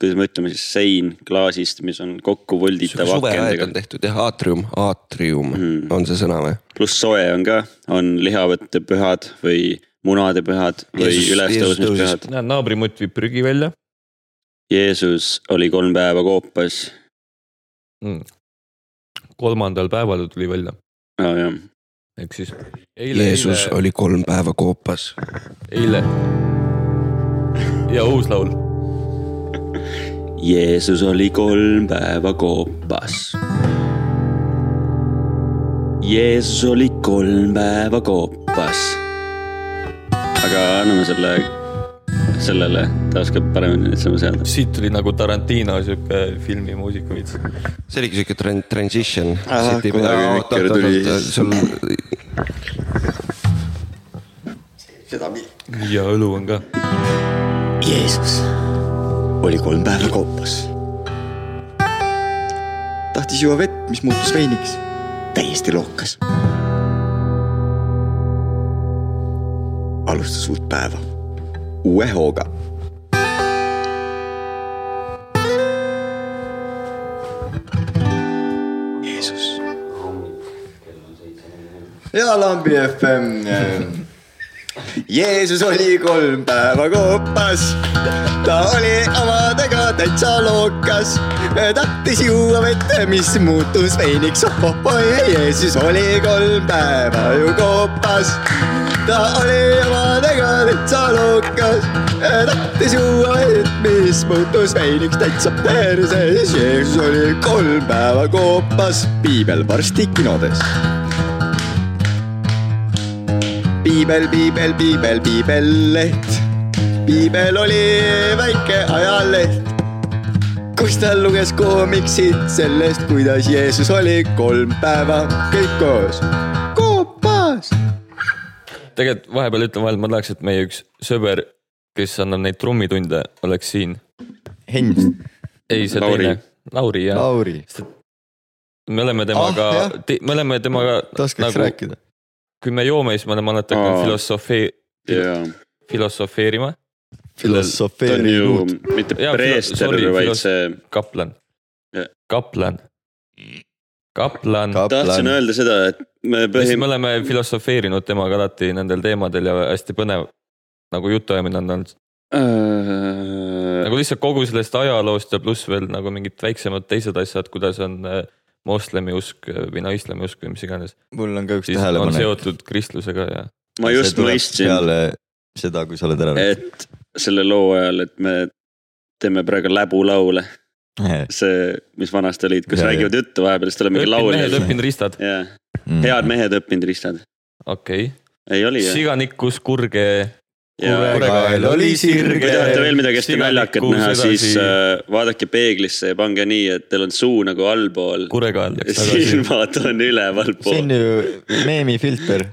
Speaker 1: kuidas me ütleme siis , sein klaasist , mis on kokku volditav
Speaker 5: suveaed
Speaker 1: akendega
Speaker 5: on . tehtud jah , aatrium , aatrium
Speaker 1: Mm.
Speaker 5: on see sõna või ?
Speaker 1: pluss soe on ka , on lihavõtte pühad või munade pühad või
Speaker 5: Jeesus- Jeesus
Speaker 1: ülestõusmispühad .
Speaker 6: näed , naabrimutt viib prügi välja
Speaker 1: Jeesus oli kolm päeva koopas ,
Speaker 6: mm. . kolmandal päeval ta tuli välja .
Speaker 1: ja , jah .
Speaker 6: ehk siis eile ,
Speaker 5: Jeesus
Speaker 6: eile ,
Speaker 5: oli kolm päeva koopas .
Speaker 6: eile . ja uus laul .
Speaker 1: Jeesus oli kolm päeva koopas . Jeesus oli kolm päeva koopas . aga anname selle , sellele , ta oskab paremini neid sõnu seada .
Speaker 6: siit tuli nagu Tarantino sihuke filmimuusika veits .
Speaker 5: see oligi siuke tran- , transition .
Speaker 2: Ahah, kunagi Vikker tuli siis-
Speaker 5: sul ,
Speaker 6: ja õlu on ka .
Speaker 2: Jeesus oli kolm päeva koopas . tahtis juua vett , mis muutus veiniks . täiesti lookas . alustas uut päeva uue hooga . Jeesus . ja Lambi FM . Jeesus oli kolm päeva koopas , ta oli omadega täitsa lookas , tahtis juua vett , mis muutus veiniks Oh, oh-oh-oi , Jeesus oli kolm päeva ju koopas . ta oli omadega täitsa lookas , tahtis juua vett , mis muutus veiniks täitsa perses , Jeesus oli kolm päeva koopas , piibel varsti kinodes piibel , piibel , piibel , piibelleht . piibel oli väike ajaleht , kus ta luges koomiksid sellest , kuidas Jeesus oli kolm päeva kõik koos koopas .
Speaker 6: tegelikult vahepeal ütlen vahel , ma tahaks , et meie üks sõber , kes annab neid trummitunde , oleks siin .
Speaker 7: Henn ,
Speaker 6: ei , see
Speaker 1: Lauri.
Speaker 6: teine , Lauri jah .
Speaker 7: Lauri ,
Speaker 6: me oleme temaga
Speaker 7: Ah, jah.
Speaker 6: oh, , me oleme temaga
Speaker 7: ta oskaks nagu...
Speaker 6: nagu ,
Speaker 7: rääkida .
Speaker 6: kui me joome , siis me oleme alati
Speaker 1: Aa.
Speaker 6: hakanud filosofee- ,
Speaker 1: jaa .
Speaker 6: filosofeerima ,
Speaker 1: ta on
Speaker 7: filosofeerinud
Speaker 1: ju . mitte
Speaker 6: Jaa, filo-
Speaker 1: preester
Speaker 6: sorry, ,
Speaker 1: vaid
Speaker 6: filos-
Speaker 1: see ,
Speaker 6: kaplan
Speaker 1: Jah. ,
Speaker 6: kaplan , kaplan .
Speaker 1: tahtsin
Speaker 7: kaplan ,
Speaker 1: öelda seda , et me
Speaker 6: Põhim... me
Speaker 1: põhim- ,
Speaker 6: oleme filosofeerinud temaga alati nendel teemadel ja hästi põnev nagu jutuajamine on olnud ,
Speaker 1: Äh,
Speaker 6: nagu lihtsalt kogu sellest ajaloost ja pluss veel nagu mingid väiksemad teised asjad , kuidas on äh, moslemi usk äh, või no islami usk või mis iganes .
Speaker 7: mul on ka üks
Speaker 6: siis on
Speaker 7: tähelepanek .
Speaker 6: seotud kristlusega ja
Speaker 1: ma just mõistsin ,
Speaker 7: peale seda , kui sa oled ära
Speaker 1: et selle loo ajal , et me teeme praegu läbulaule , Eh,
Speaker 7: rääkinud .
Speaker 1: see , mis vanasti olid , kus
Speaker 7: Jaa,
Speaker 1: ja, räägivad juttu vahepeal , siis tuleb mingi
Speaker 6: õppinud
Speaker 1: laul
Speaker 6: mehed ,
Speaker 1: jälle .
Speaker 6: õppinud ristad ,
Speaker 1: jaa ,
Speaker 2: Mm.
Speaker 1: head mehed õppinud ristad ,
Speaker 6: okei
Speaker 1: ei oli ju .
Speaker 6: siganikus kurge .
Speaker 1: kui
Speaker 7: kurekael oli sirge.
Speaker 1: tahate veel midagi hästi naljakat näha , siis äh, vaadake peeglisse ja pange nii , et teil on suu nagu allpool
Speaker 6: kurekael
Speaker 1: ja
Speaker 6: läks tagasi ,
Speaker 1: silmad on
Speaker 7: see on
Speaker 1: ülevalpool .
Speaker 7: ju meemifilter .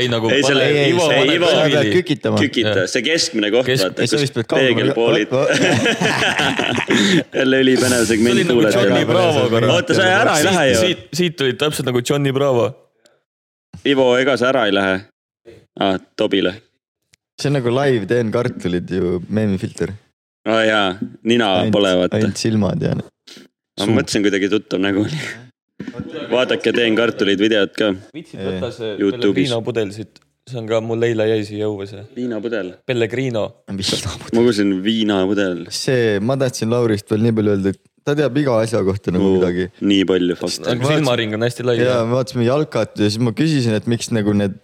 Speaker 6: ei nagu .
Speaker 1: Ei, selle-
Speaker 7: ei,
Speaker 1: Ivo
Speaker 7: see-
Speaker 1: paneb
Speaker 7: Ivo
Speaker 1: sa
Speaker 7: pead
Speaker 6: Ei,
Speaker 7: kükitama .
Speaker 1: kükita , see keskmine koht ,
Speaker 6: Kesk-
Speaker 1: vaata ,
Speaker 7: ei , sa
Speaker 1: kus
Speaker 7: vist pead
Speaker 1: peegelpoolid
Speaker 7: kaugele .
Speaker 1: [LAUGHS] jälle ülipõnev
Speaker 6: See oli
Speaker 1: segment
Speaker 6: nagu Johnny
Speaker 1: kuulajatele .
Speaker 6: Bravo korra.
Speaker 1: oota , sa ära ei lähe ju ,
Speaker 6: siit , siit tulid täpselt nagu Johnny Bravo .
Speaker 1: Ivo , ega sa ära ei lähe ? aa , Tobile .
Speaker 7: see on nagu live teen kartulid ju , meemifilter .
Speaker 1: aa Ah, jaa , nina pole vaata .
Speaker 7: ainult silmad ja .
Speaker 1: ma mõtlesin kuidagi tuttav nägu oli . vaadake , teen kartuleid videot ka .
Speaker 6: viitsid
Speaker 7: Ei. võtta
Speaker 6: see
Speaker 1: Youtube'is. Pellegrino
Speaker 6: pudel siit , see on ka mul eile jäi siia õue see .
Speaker 1: viinapudel .
Speaker 6: Pellegrino .
Speaker 1: ma kuulsin viinapudel .
Speaker 7: see , ma tahtsin Laurist veel nii palju öelda , et ta teab iga asja kohta nagu midagi .
Speaker 1: nii palju fakte .
Speaker 6: aga silmaring on hästi lai .
Speaker 7: ja me vaatasime jalkat ja siis ma küsisin , et miks nagu need ,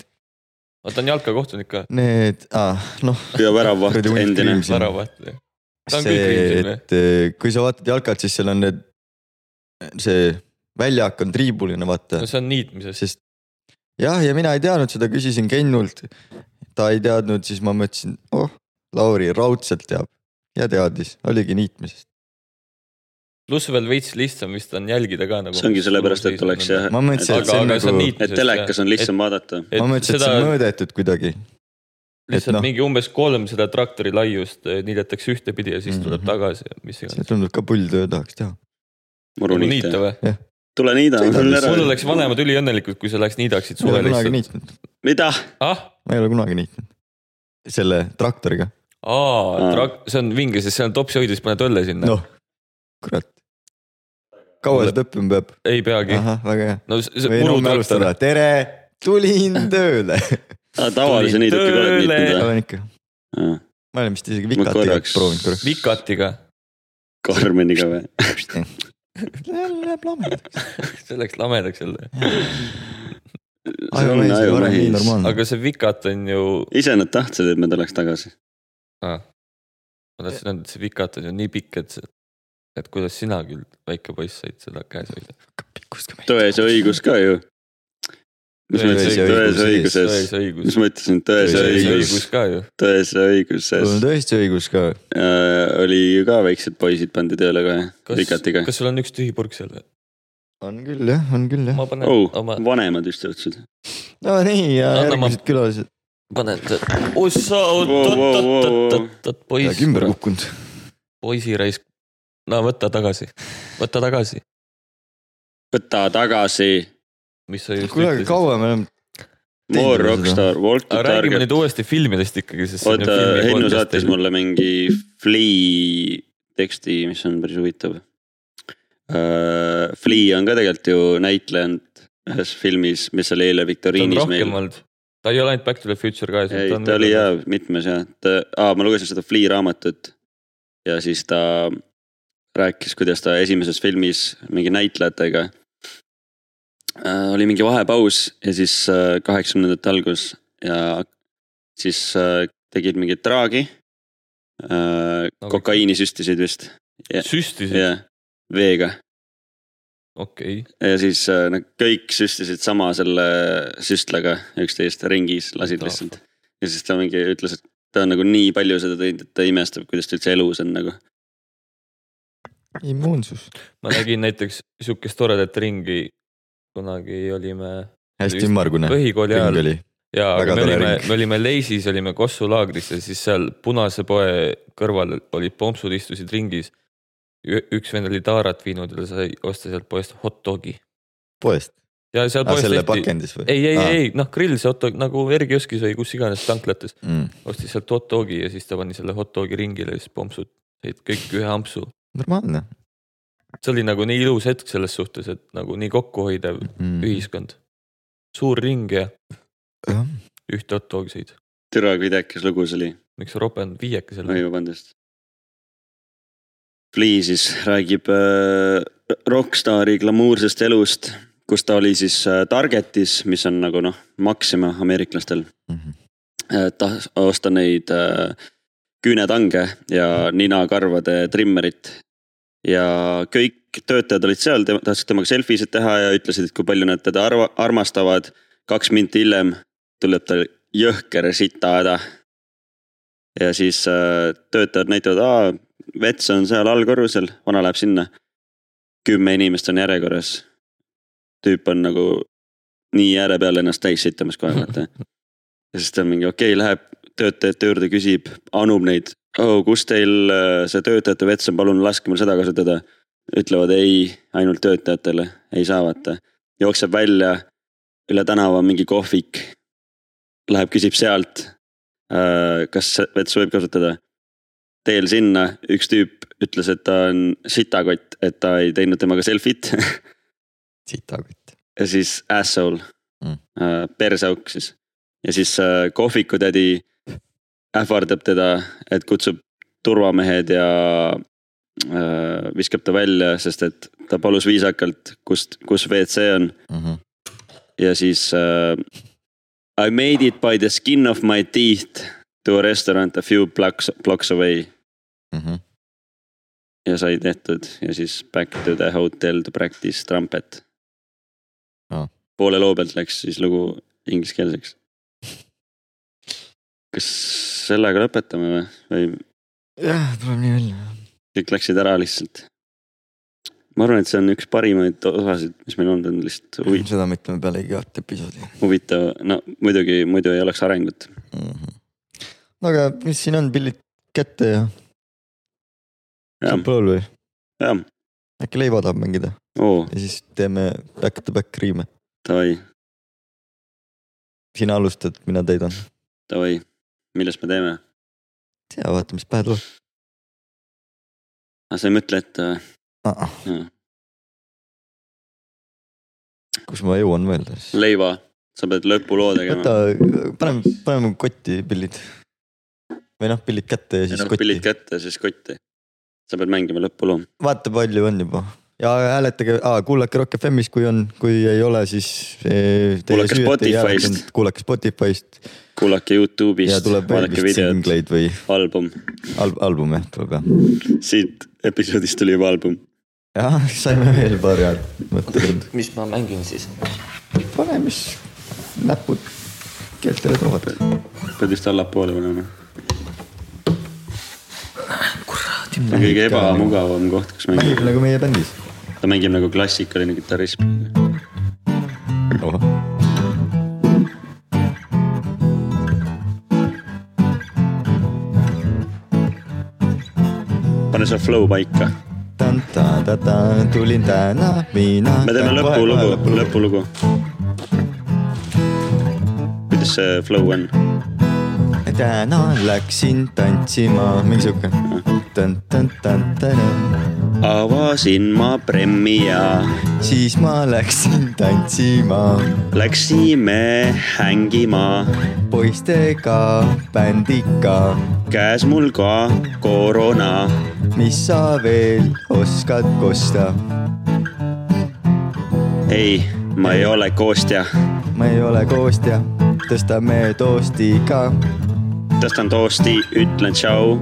Speaker 6: ma tahan jalkakohtunik ka ,
Speaker 7: need ah, , noh .
Speaker 1: ja väravaht endine .
Speaker 6: väravaht . Ta on kõik
Speaker 7: see ,
Speaker 6: kriimsil või?
Speaker 7: et eh, kui sa vaatad jalkat , siis seal on need , see väljak on triibuline , vaata
Speaker 6: no , see on niitmises .
Speaker 7: sest jah , ja mina ei teadnud seda , küsisin Kennult . ta ei teadnud , siis ma mõtlesin , oh , Lauri raudselt teab ja teadis , oligi niitmisest .
Speaker 6: pluss veel veits lihtsam vist on jälgida ka nagu .
Speaker 1: see ongi sellepärast , et oleks jah ,
Speaker 7: ma mõtlesin , et
Speaker 6: aga ,
Speaker 7: see on
Speaker 6: aga see on
Speaker 7: nagu ,
Speaker 6: niitmises .
Speaker 1: et telekas on lihtsam vaadata .
Speaker 7: ma mõtlesin , et
Speaker 6: seda
Speaker 7: see on mõõdetud kuidagi .
Speaker 6: lihtsalt
Speaker 7: noh.
Speaker 6: no. mingi umbes kolm seda traktori laiust eh, niidetakse ühtepidi ja siis tuleb
Speaker 7: Mhm.
Speaker 6: tagasi , mis
Speaker 7: see
Speaker 6: iganes .
Speaker 7: tundub ka pulltöö tahaks teha .
Speaker 1: muru
Speaker 6: Nagu niita
Speaker 1: niita .
Speaker 6: või ?
Speaker 1: tule niida , ma tulen ära
Speaker 6: mul . oleks vanemad üliõnnelikud , kui sa läheks
Speaker 7: ma
Speaker 6: niidaksid
Speaker 7: ei
Speaker 6: suve
Speaker 7: ole kunagi
Speaker 6: lihtsalt .
Speaker 7: niitnud ,
Speaker 1: mida ?
Speaker 6: ah ,
Speaker 7: ma ei ole kunagi niitnud . selle traktoriga ,
Speaker 6: aa
Speaker 1: Aa. ,
Speaker 6: see on vinge , sest see on topsihoidja , siis paned õlle sinna no. .
Speaker 7: noh , kurat . kaua
Speaker 6: Mulle-
Speaker 7: seda õppima peab ?
Speaker 6: ei peagi .
Speaker 7: ahah , väga hea .
Speaker 6: no see , see
Speaker 7: võin homme
Speaker 6: murutraktor
Speaker 7: alustada , tere , tulin tööle . [LAUGHS]
Speaker 1: tavalise
Speaker 6: Tulin
Speaker 1: niiduki oled
Speaker 6: tööle.
Speaker 1: niitnud või ?
Speaker 7: olen ikka , ma olen vist isegi
Speaker 1: Ma
Speaker 7: vikatiga
Speaker 1: korraks-
Speaker 7: proovinud korra .
Speaker 6: vikatiga ,
Speaker 1: Karmeniga või ?
Speaker 2: jälle läheb lambadeks .
Speaker 6: see läks lamedaks jälle .
Speaker 8: on
Speaker 2: ajumehis oli varem nii
Speaker 8: ajumehis.
Speaker 2: normaalne .
Speaker 6: aga see vikat on ju ,
Speaker 1: ise nad tahtsid , et me tuleks tagasi .
Speaker 6: ma tahtsin öelda , et see vikat on ju nii pikk , et see , et kuidas sina küll , väike poiss , said seda käes hoida .
Speaker 1: tõese õigus ka ju . mis ma
Speaker 2: Tõese
Speaker 1: ütlesin ,
Speaker 2: õigus
Speaker 1: tõese
Speaker 2: sees.
Speaker 1: õiguses ,
Speaker 6: tõese
Speaker 1: mis
Speaker 6: õigus .
Speaker 1: ma ütlesin , tõese
Speaker 2: Tõese
Speaker 1: õigus ,
Speaker 6: ka ju .
Speaker 1: tõese õiguses
Speaker 2: sul on tõesti õigus ka .
Speaker 1: äh, oli ju ka väiksed poisid pandi tööle kohe ,
Speaker 6: kas
Speaker 1: vikatiga ,.
Speaker 6: kas sul on üks tühi purk seal või ?
Speaker 2: on küll jah , on küll jah .
Speaker 6: ma panen
Speaker 1: oh ,
Speaker 6: oma ,
Speaker 1: vanemad just jõudsid .
Speaker 2: no nii ja
Speaker 6: Anna ma-
Speaker 2: järgmised külalised .
Speaker 6: panen , ossa ,
Speaker 1: Wow, wow, wow, wow.
Speaker 6: oot-oot-oot-oot-oot , poiss
Speaker 2: peaaegu , ümber kukkunud .
Speaker 6: poisiraisk . no võta tagasi , võta tagasi ,
Speaker 1: võta tagasi ,
Speaker 6: mis sa just
Speaker 2: kuule , aga
Speaker 6: ütlesid .
Speaker 2: kaua me oleme .
Speaker 1: More Rockstar , Walk the
Speaker 6: aga räägime nüüd
Speaker 1: Target .
Speaker 6: uuesti filmidest ikkagi , sest .
Speaker 1: oota , Hennu saatis . mulle mingi Flea teksti , mis on päris huvitav . Flea on ka tegelikult ju näitlejand ühes filmis , mis oli eile
Speaker 6: ta on
Speaker 1: viktoriinis meil
Speaker 6: rohkem . olnud , ta ei ole ainult Back to the Future ka .
Speaker 1: ei , ta oli jaa , mitmes jah , ta , aa , ma lugesin seda Flea raamatut . ja siis ta rääkis , kuidas ta esimeses filmis mingi näitlejatega äh, . oli mingi vahepaus ja siis äh, kaheksakümnendate algus ja siis äh, tegid mingi traagi äh, . kokaiini süstisid vist ,
Speaker 6: süstisid ,
Speaker 1: jah , veega
Speaker 6: okei ,
Speaker 1: ja siis äh, nad kõik süstisid sama selle süstlaga üksteist ringis , lasid
Speaker 6: Mida?
Speaker 1: lihtsalt . ja siis ta mingi ütles , et ta on nagu nii palju seda teinud , et ta imestab , kuidas ta üldse elus on nagu .
Speaker 2: immuunsus .
Speaker 6: ma nägin näiteks sihukest toredat ringi , kunagi olime
Speaker 2: hästi
Speaker 6: Just-
Speaker 2: ümmargune .
Speaker 6: põhikooli
Speaker 2: ring
Speaker 6: ajal
Speaker 2: oli .
Speaker 6: ja
Speaker 2: Väga
Speaker 6: aga me
Speaker 2: tore
Speaker 6: olime
Speaker 2: ring. ,
Speaker 6: me olime Leisis , olime Kossu laagris ja siis seal Punase poe kõrval olid pomsud , istusid ringis . üks vend oli taarat viinud ja ta sai osta sealt poest hot dogi
Speaker 2: poest .
Speaker 6: ja seal poes
Speaker 2: Ah, selle
Speaker 6: tehti ,
Speaker 2: pakendis või ? Ah,
Speaker 6: ei , ei ,
Speaker 2: Aa.
Speaker 6: ei noh , grill see hot dog nagu Ergioskis või kus iganes tanklates ,
Speaker 2: mm.
Speaker 6: ostis sealt hot dogi ja siis ta pani selle hot dogi ringile ja siis pomsud said kõik ühe ampsu .
Speaker 2: normaalne .
Speaker 6: see oli nagu nii ilus hetk selles suhtes , et nagu nii kokkuhoidev
Speaker 2: Mhm. Mm-hmm.
Speaker 6: ühiskond . suur ring ja
Speaker 2: Jah.
Speaker 6: ühte hot dogi sõid ,
Speaker 1: türa , kui idekas lugu see oli ,
Speaker 6: miks sa ropendad viiekesele ?
Speaker 1: oi vabandust . Flea siis räägib äh, rokkstaari glamuursest elust , kus ta oli siis äh, Targetis , mis on nagu noh , Maxima ameeriklastel .
Speaker 2: Mm-hmm.
Speaker 1: et Äh, osta neid äh, küünetange ja ninakarvade trimmerit . ja kõik töötajad olid seal , tahtsid temaga selfisid teha ja ütlesid , et kui palju nad teda arva, armastavad . kaks minti hiljem tuleb tal jõhker sita häda . ja siis äh, töötajad näitavad , aa , vets on seal allkorrusel , vana läheb sinna . kümme inimest on järjekorras . tüüp on nagu nii ääre peal ennast täis sitamas kohe , vaata . ja siis ta on mingi okei okay, , läheb töötajate juurde , küsib , anub neid oh, . kus teil äh, see töötajate vets on , palun laske mul seda kasutada . ütlevad ei , ainult töötajatele , ei saa vaata . jookseb välja , üle tänava on mingi kohvik . Läheb , küsib sealt äh, , kas vetsu võib kasutada . teel sinna üks tüüp ütles , et ta on sitakott , et ta ei teinud temaga selfit [LAUGHS]
Speaker 2: sitakott .
Speaker 1: ja siis asshole
Speaker 2: Mm.
Speaker 1: mm. , perseauk siis . ja siis äh, kohvikutädi ähvardab teda , et kutsub turvamehed ja äh, viskab ta välja , sest et ta palus viisakalt , kust , kus WC on ja siis äh, I made it by the skin of my teeth to a restaurant a few blocks , blocks away ja sai tehtud ja siis back to the hotel to practice trumpet
Speaker 2: Aa. .
Speaker 1: poole loo pealt läks siis lugu ingliskeelseks . kas sellega lõpetame või , või
Speaker 2: jah , tuleb nii välja .
Speaker 1: kõik läksid ära lihtsalt ? ma arvan , et see on üks parimaid osasid , mis meil olnud on , lihtsalt
Speaker 2: [LAUGHS]
Speaker 1: huvi,
Speaker 2: seda me ütleme peale igat episoodi
Speaker 1: huvitav , no muidugi muidu ei oleks arengut .
Speaker 2: mm . -hmm. no aga mis siin on , pillid kätte ja
Speaker 1: jah ,
Speaker 2: saab laul või ?
Speaker 1: jah ,
Speaker 2: äkki Leivo tahab mängida
Speaker 1: oo ,
Speaker 2: ja siis teeme back to back riime .
Speaker 1: davai ,
Speaker 2: sina alustad , mina täidan .
Speaker 1: davai , millest me teeme ?
Speaker 2: tea , vaata , mis pähe tuleb
Speaker 1: aa , sa ei mõtle , et äh,
Speaker 2: uh . -uh.
Speaker 1: Jaa.
Speaker 2: kus ma jõuan mõelda siis ?
Speaker 1: leiva , sa pead lõpuloo tegema
Speaker 2: võta , paneme , paneme kotti pillid . või noh , pillid kätte ja
Speaker 1: ja
Speaker 2: siis
Speaker 1: noh ,
Speaker 2: kotti
Speaker 1: pillid . kätte , siis kotti . sa pead mängima lõpuloo .
Speaker 2: vaata , palju on juba . ja hääletage , kuulake Rock FM-is , kui on , kui ei ole , siis . e,
Speaker 1: Kuulake Spotify'st. .
Speaker 2: kuulake Spotify'st
Speaker 1: kuulake
Speaker 2: ja
Speaker 1: Youtube'ist ,
Speaker 2: tuleb veel
Speaker 1: vaadake
Speaker 2: vist
Speaker 1: videot ,
Speaker 2: singleid või
Speaker 1: album ,
Speaker 2: al- , album jah , tuleb jah .
Speaker 1: siit episoodist tuli juba album .
Speaker 2: jah , saime veel paari häält mõtteid .
Speaker 6: mis ma mängin siis ?
Speaker 2: pane , mis näpud keeltele toovad .
Speaker 1: pead vist allapoole panema . see on kõige ebamugavam koht , kus mängib
Speaker 2: mängib , nagu meie bändis .
Speaker 1: ta mängib nagu klassikaline kitarrism . pane see flow paika ,
Speaker 2: tulin täna mina .
Speaker 1: me teeme lõpulugu , lõpulugu . kuidas see flow on ?
Speaker 2: täna läksin tantsima , mingi siuke .
Speaker 1: avasin ma Premmi ja
Speaker 2: siis ma läksin tantsima
Speaker 1: läksime hängima ,
Speaker 2: poistega bändiga ,
Speaker 1: käes mul ka koroona
Speaker 2: mis sa veel oskad kosta ,
Speaker 1: ei , ma ei ole koostja ,
Speaker 2: ma ei ole koostja , tõstame toosti ka ,
Speaker 1: tõstan toosti , ütlen tšau ,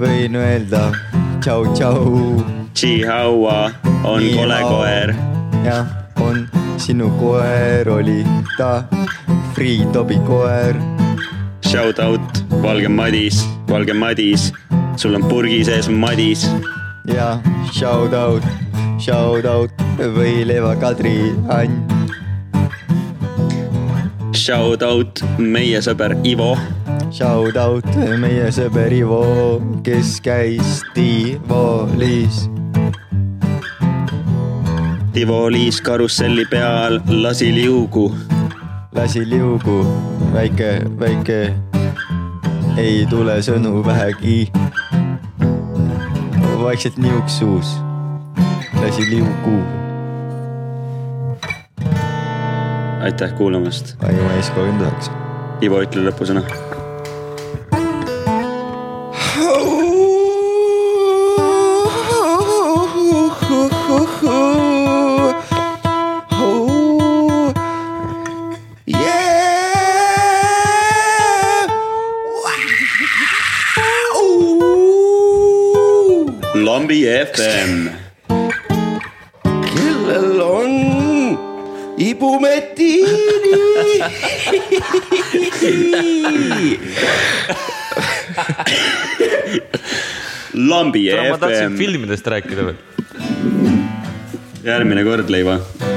Speaker 2: võin öelda tšau , tšau .
Speaker 1: tšihaua on
Speaker 2: Nii,
Speaker 1: kole
Speaker 2: au.
Speaker 1: koer ,
Speaker 2: jah , on sinu koer , oli ta Freeh Tobi koer ,
Speaker 1: shout out , Valge Madis , Valge Madis , sul on purgi sees Madis ,
Speaker 2: ja shout out , shout out võileiva Kadri Ann
Speaker 1: shout out meie sõber Ivo ,
Speaker 2: Shout out meie sõber Ivo , kes käis Tivolis .
Speaker 1: Tivolis karusselli peal lasi liugu ,
Speaker 2: lasi liugu , väike , väike , ei tule sõnu vähegi . vaikselt niuk suus , lasi liugu ,
Speaker 1: aitäh kuulamast ,
Speaker 2: ai ma ei oska öelda , eks .
Speaker 1: Ivo ütle lõpusõna , lambi FM ,
Speaker 5: kellel on ibumetiini ?
Speaker 1: lambi
Speaker 6: ma tahtsin
Speaker 1: FM ,
Speaker 6: filmidest rääkida veel .
Speaker 1: järgmine kord leiva ,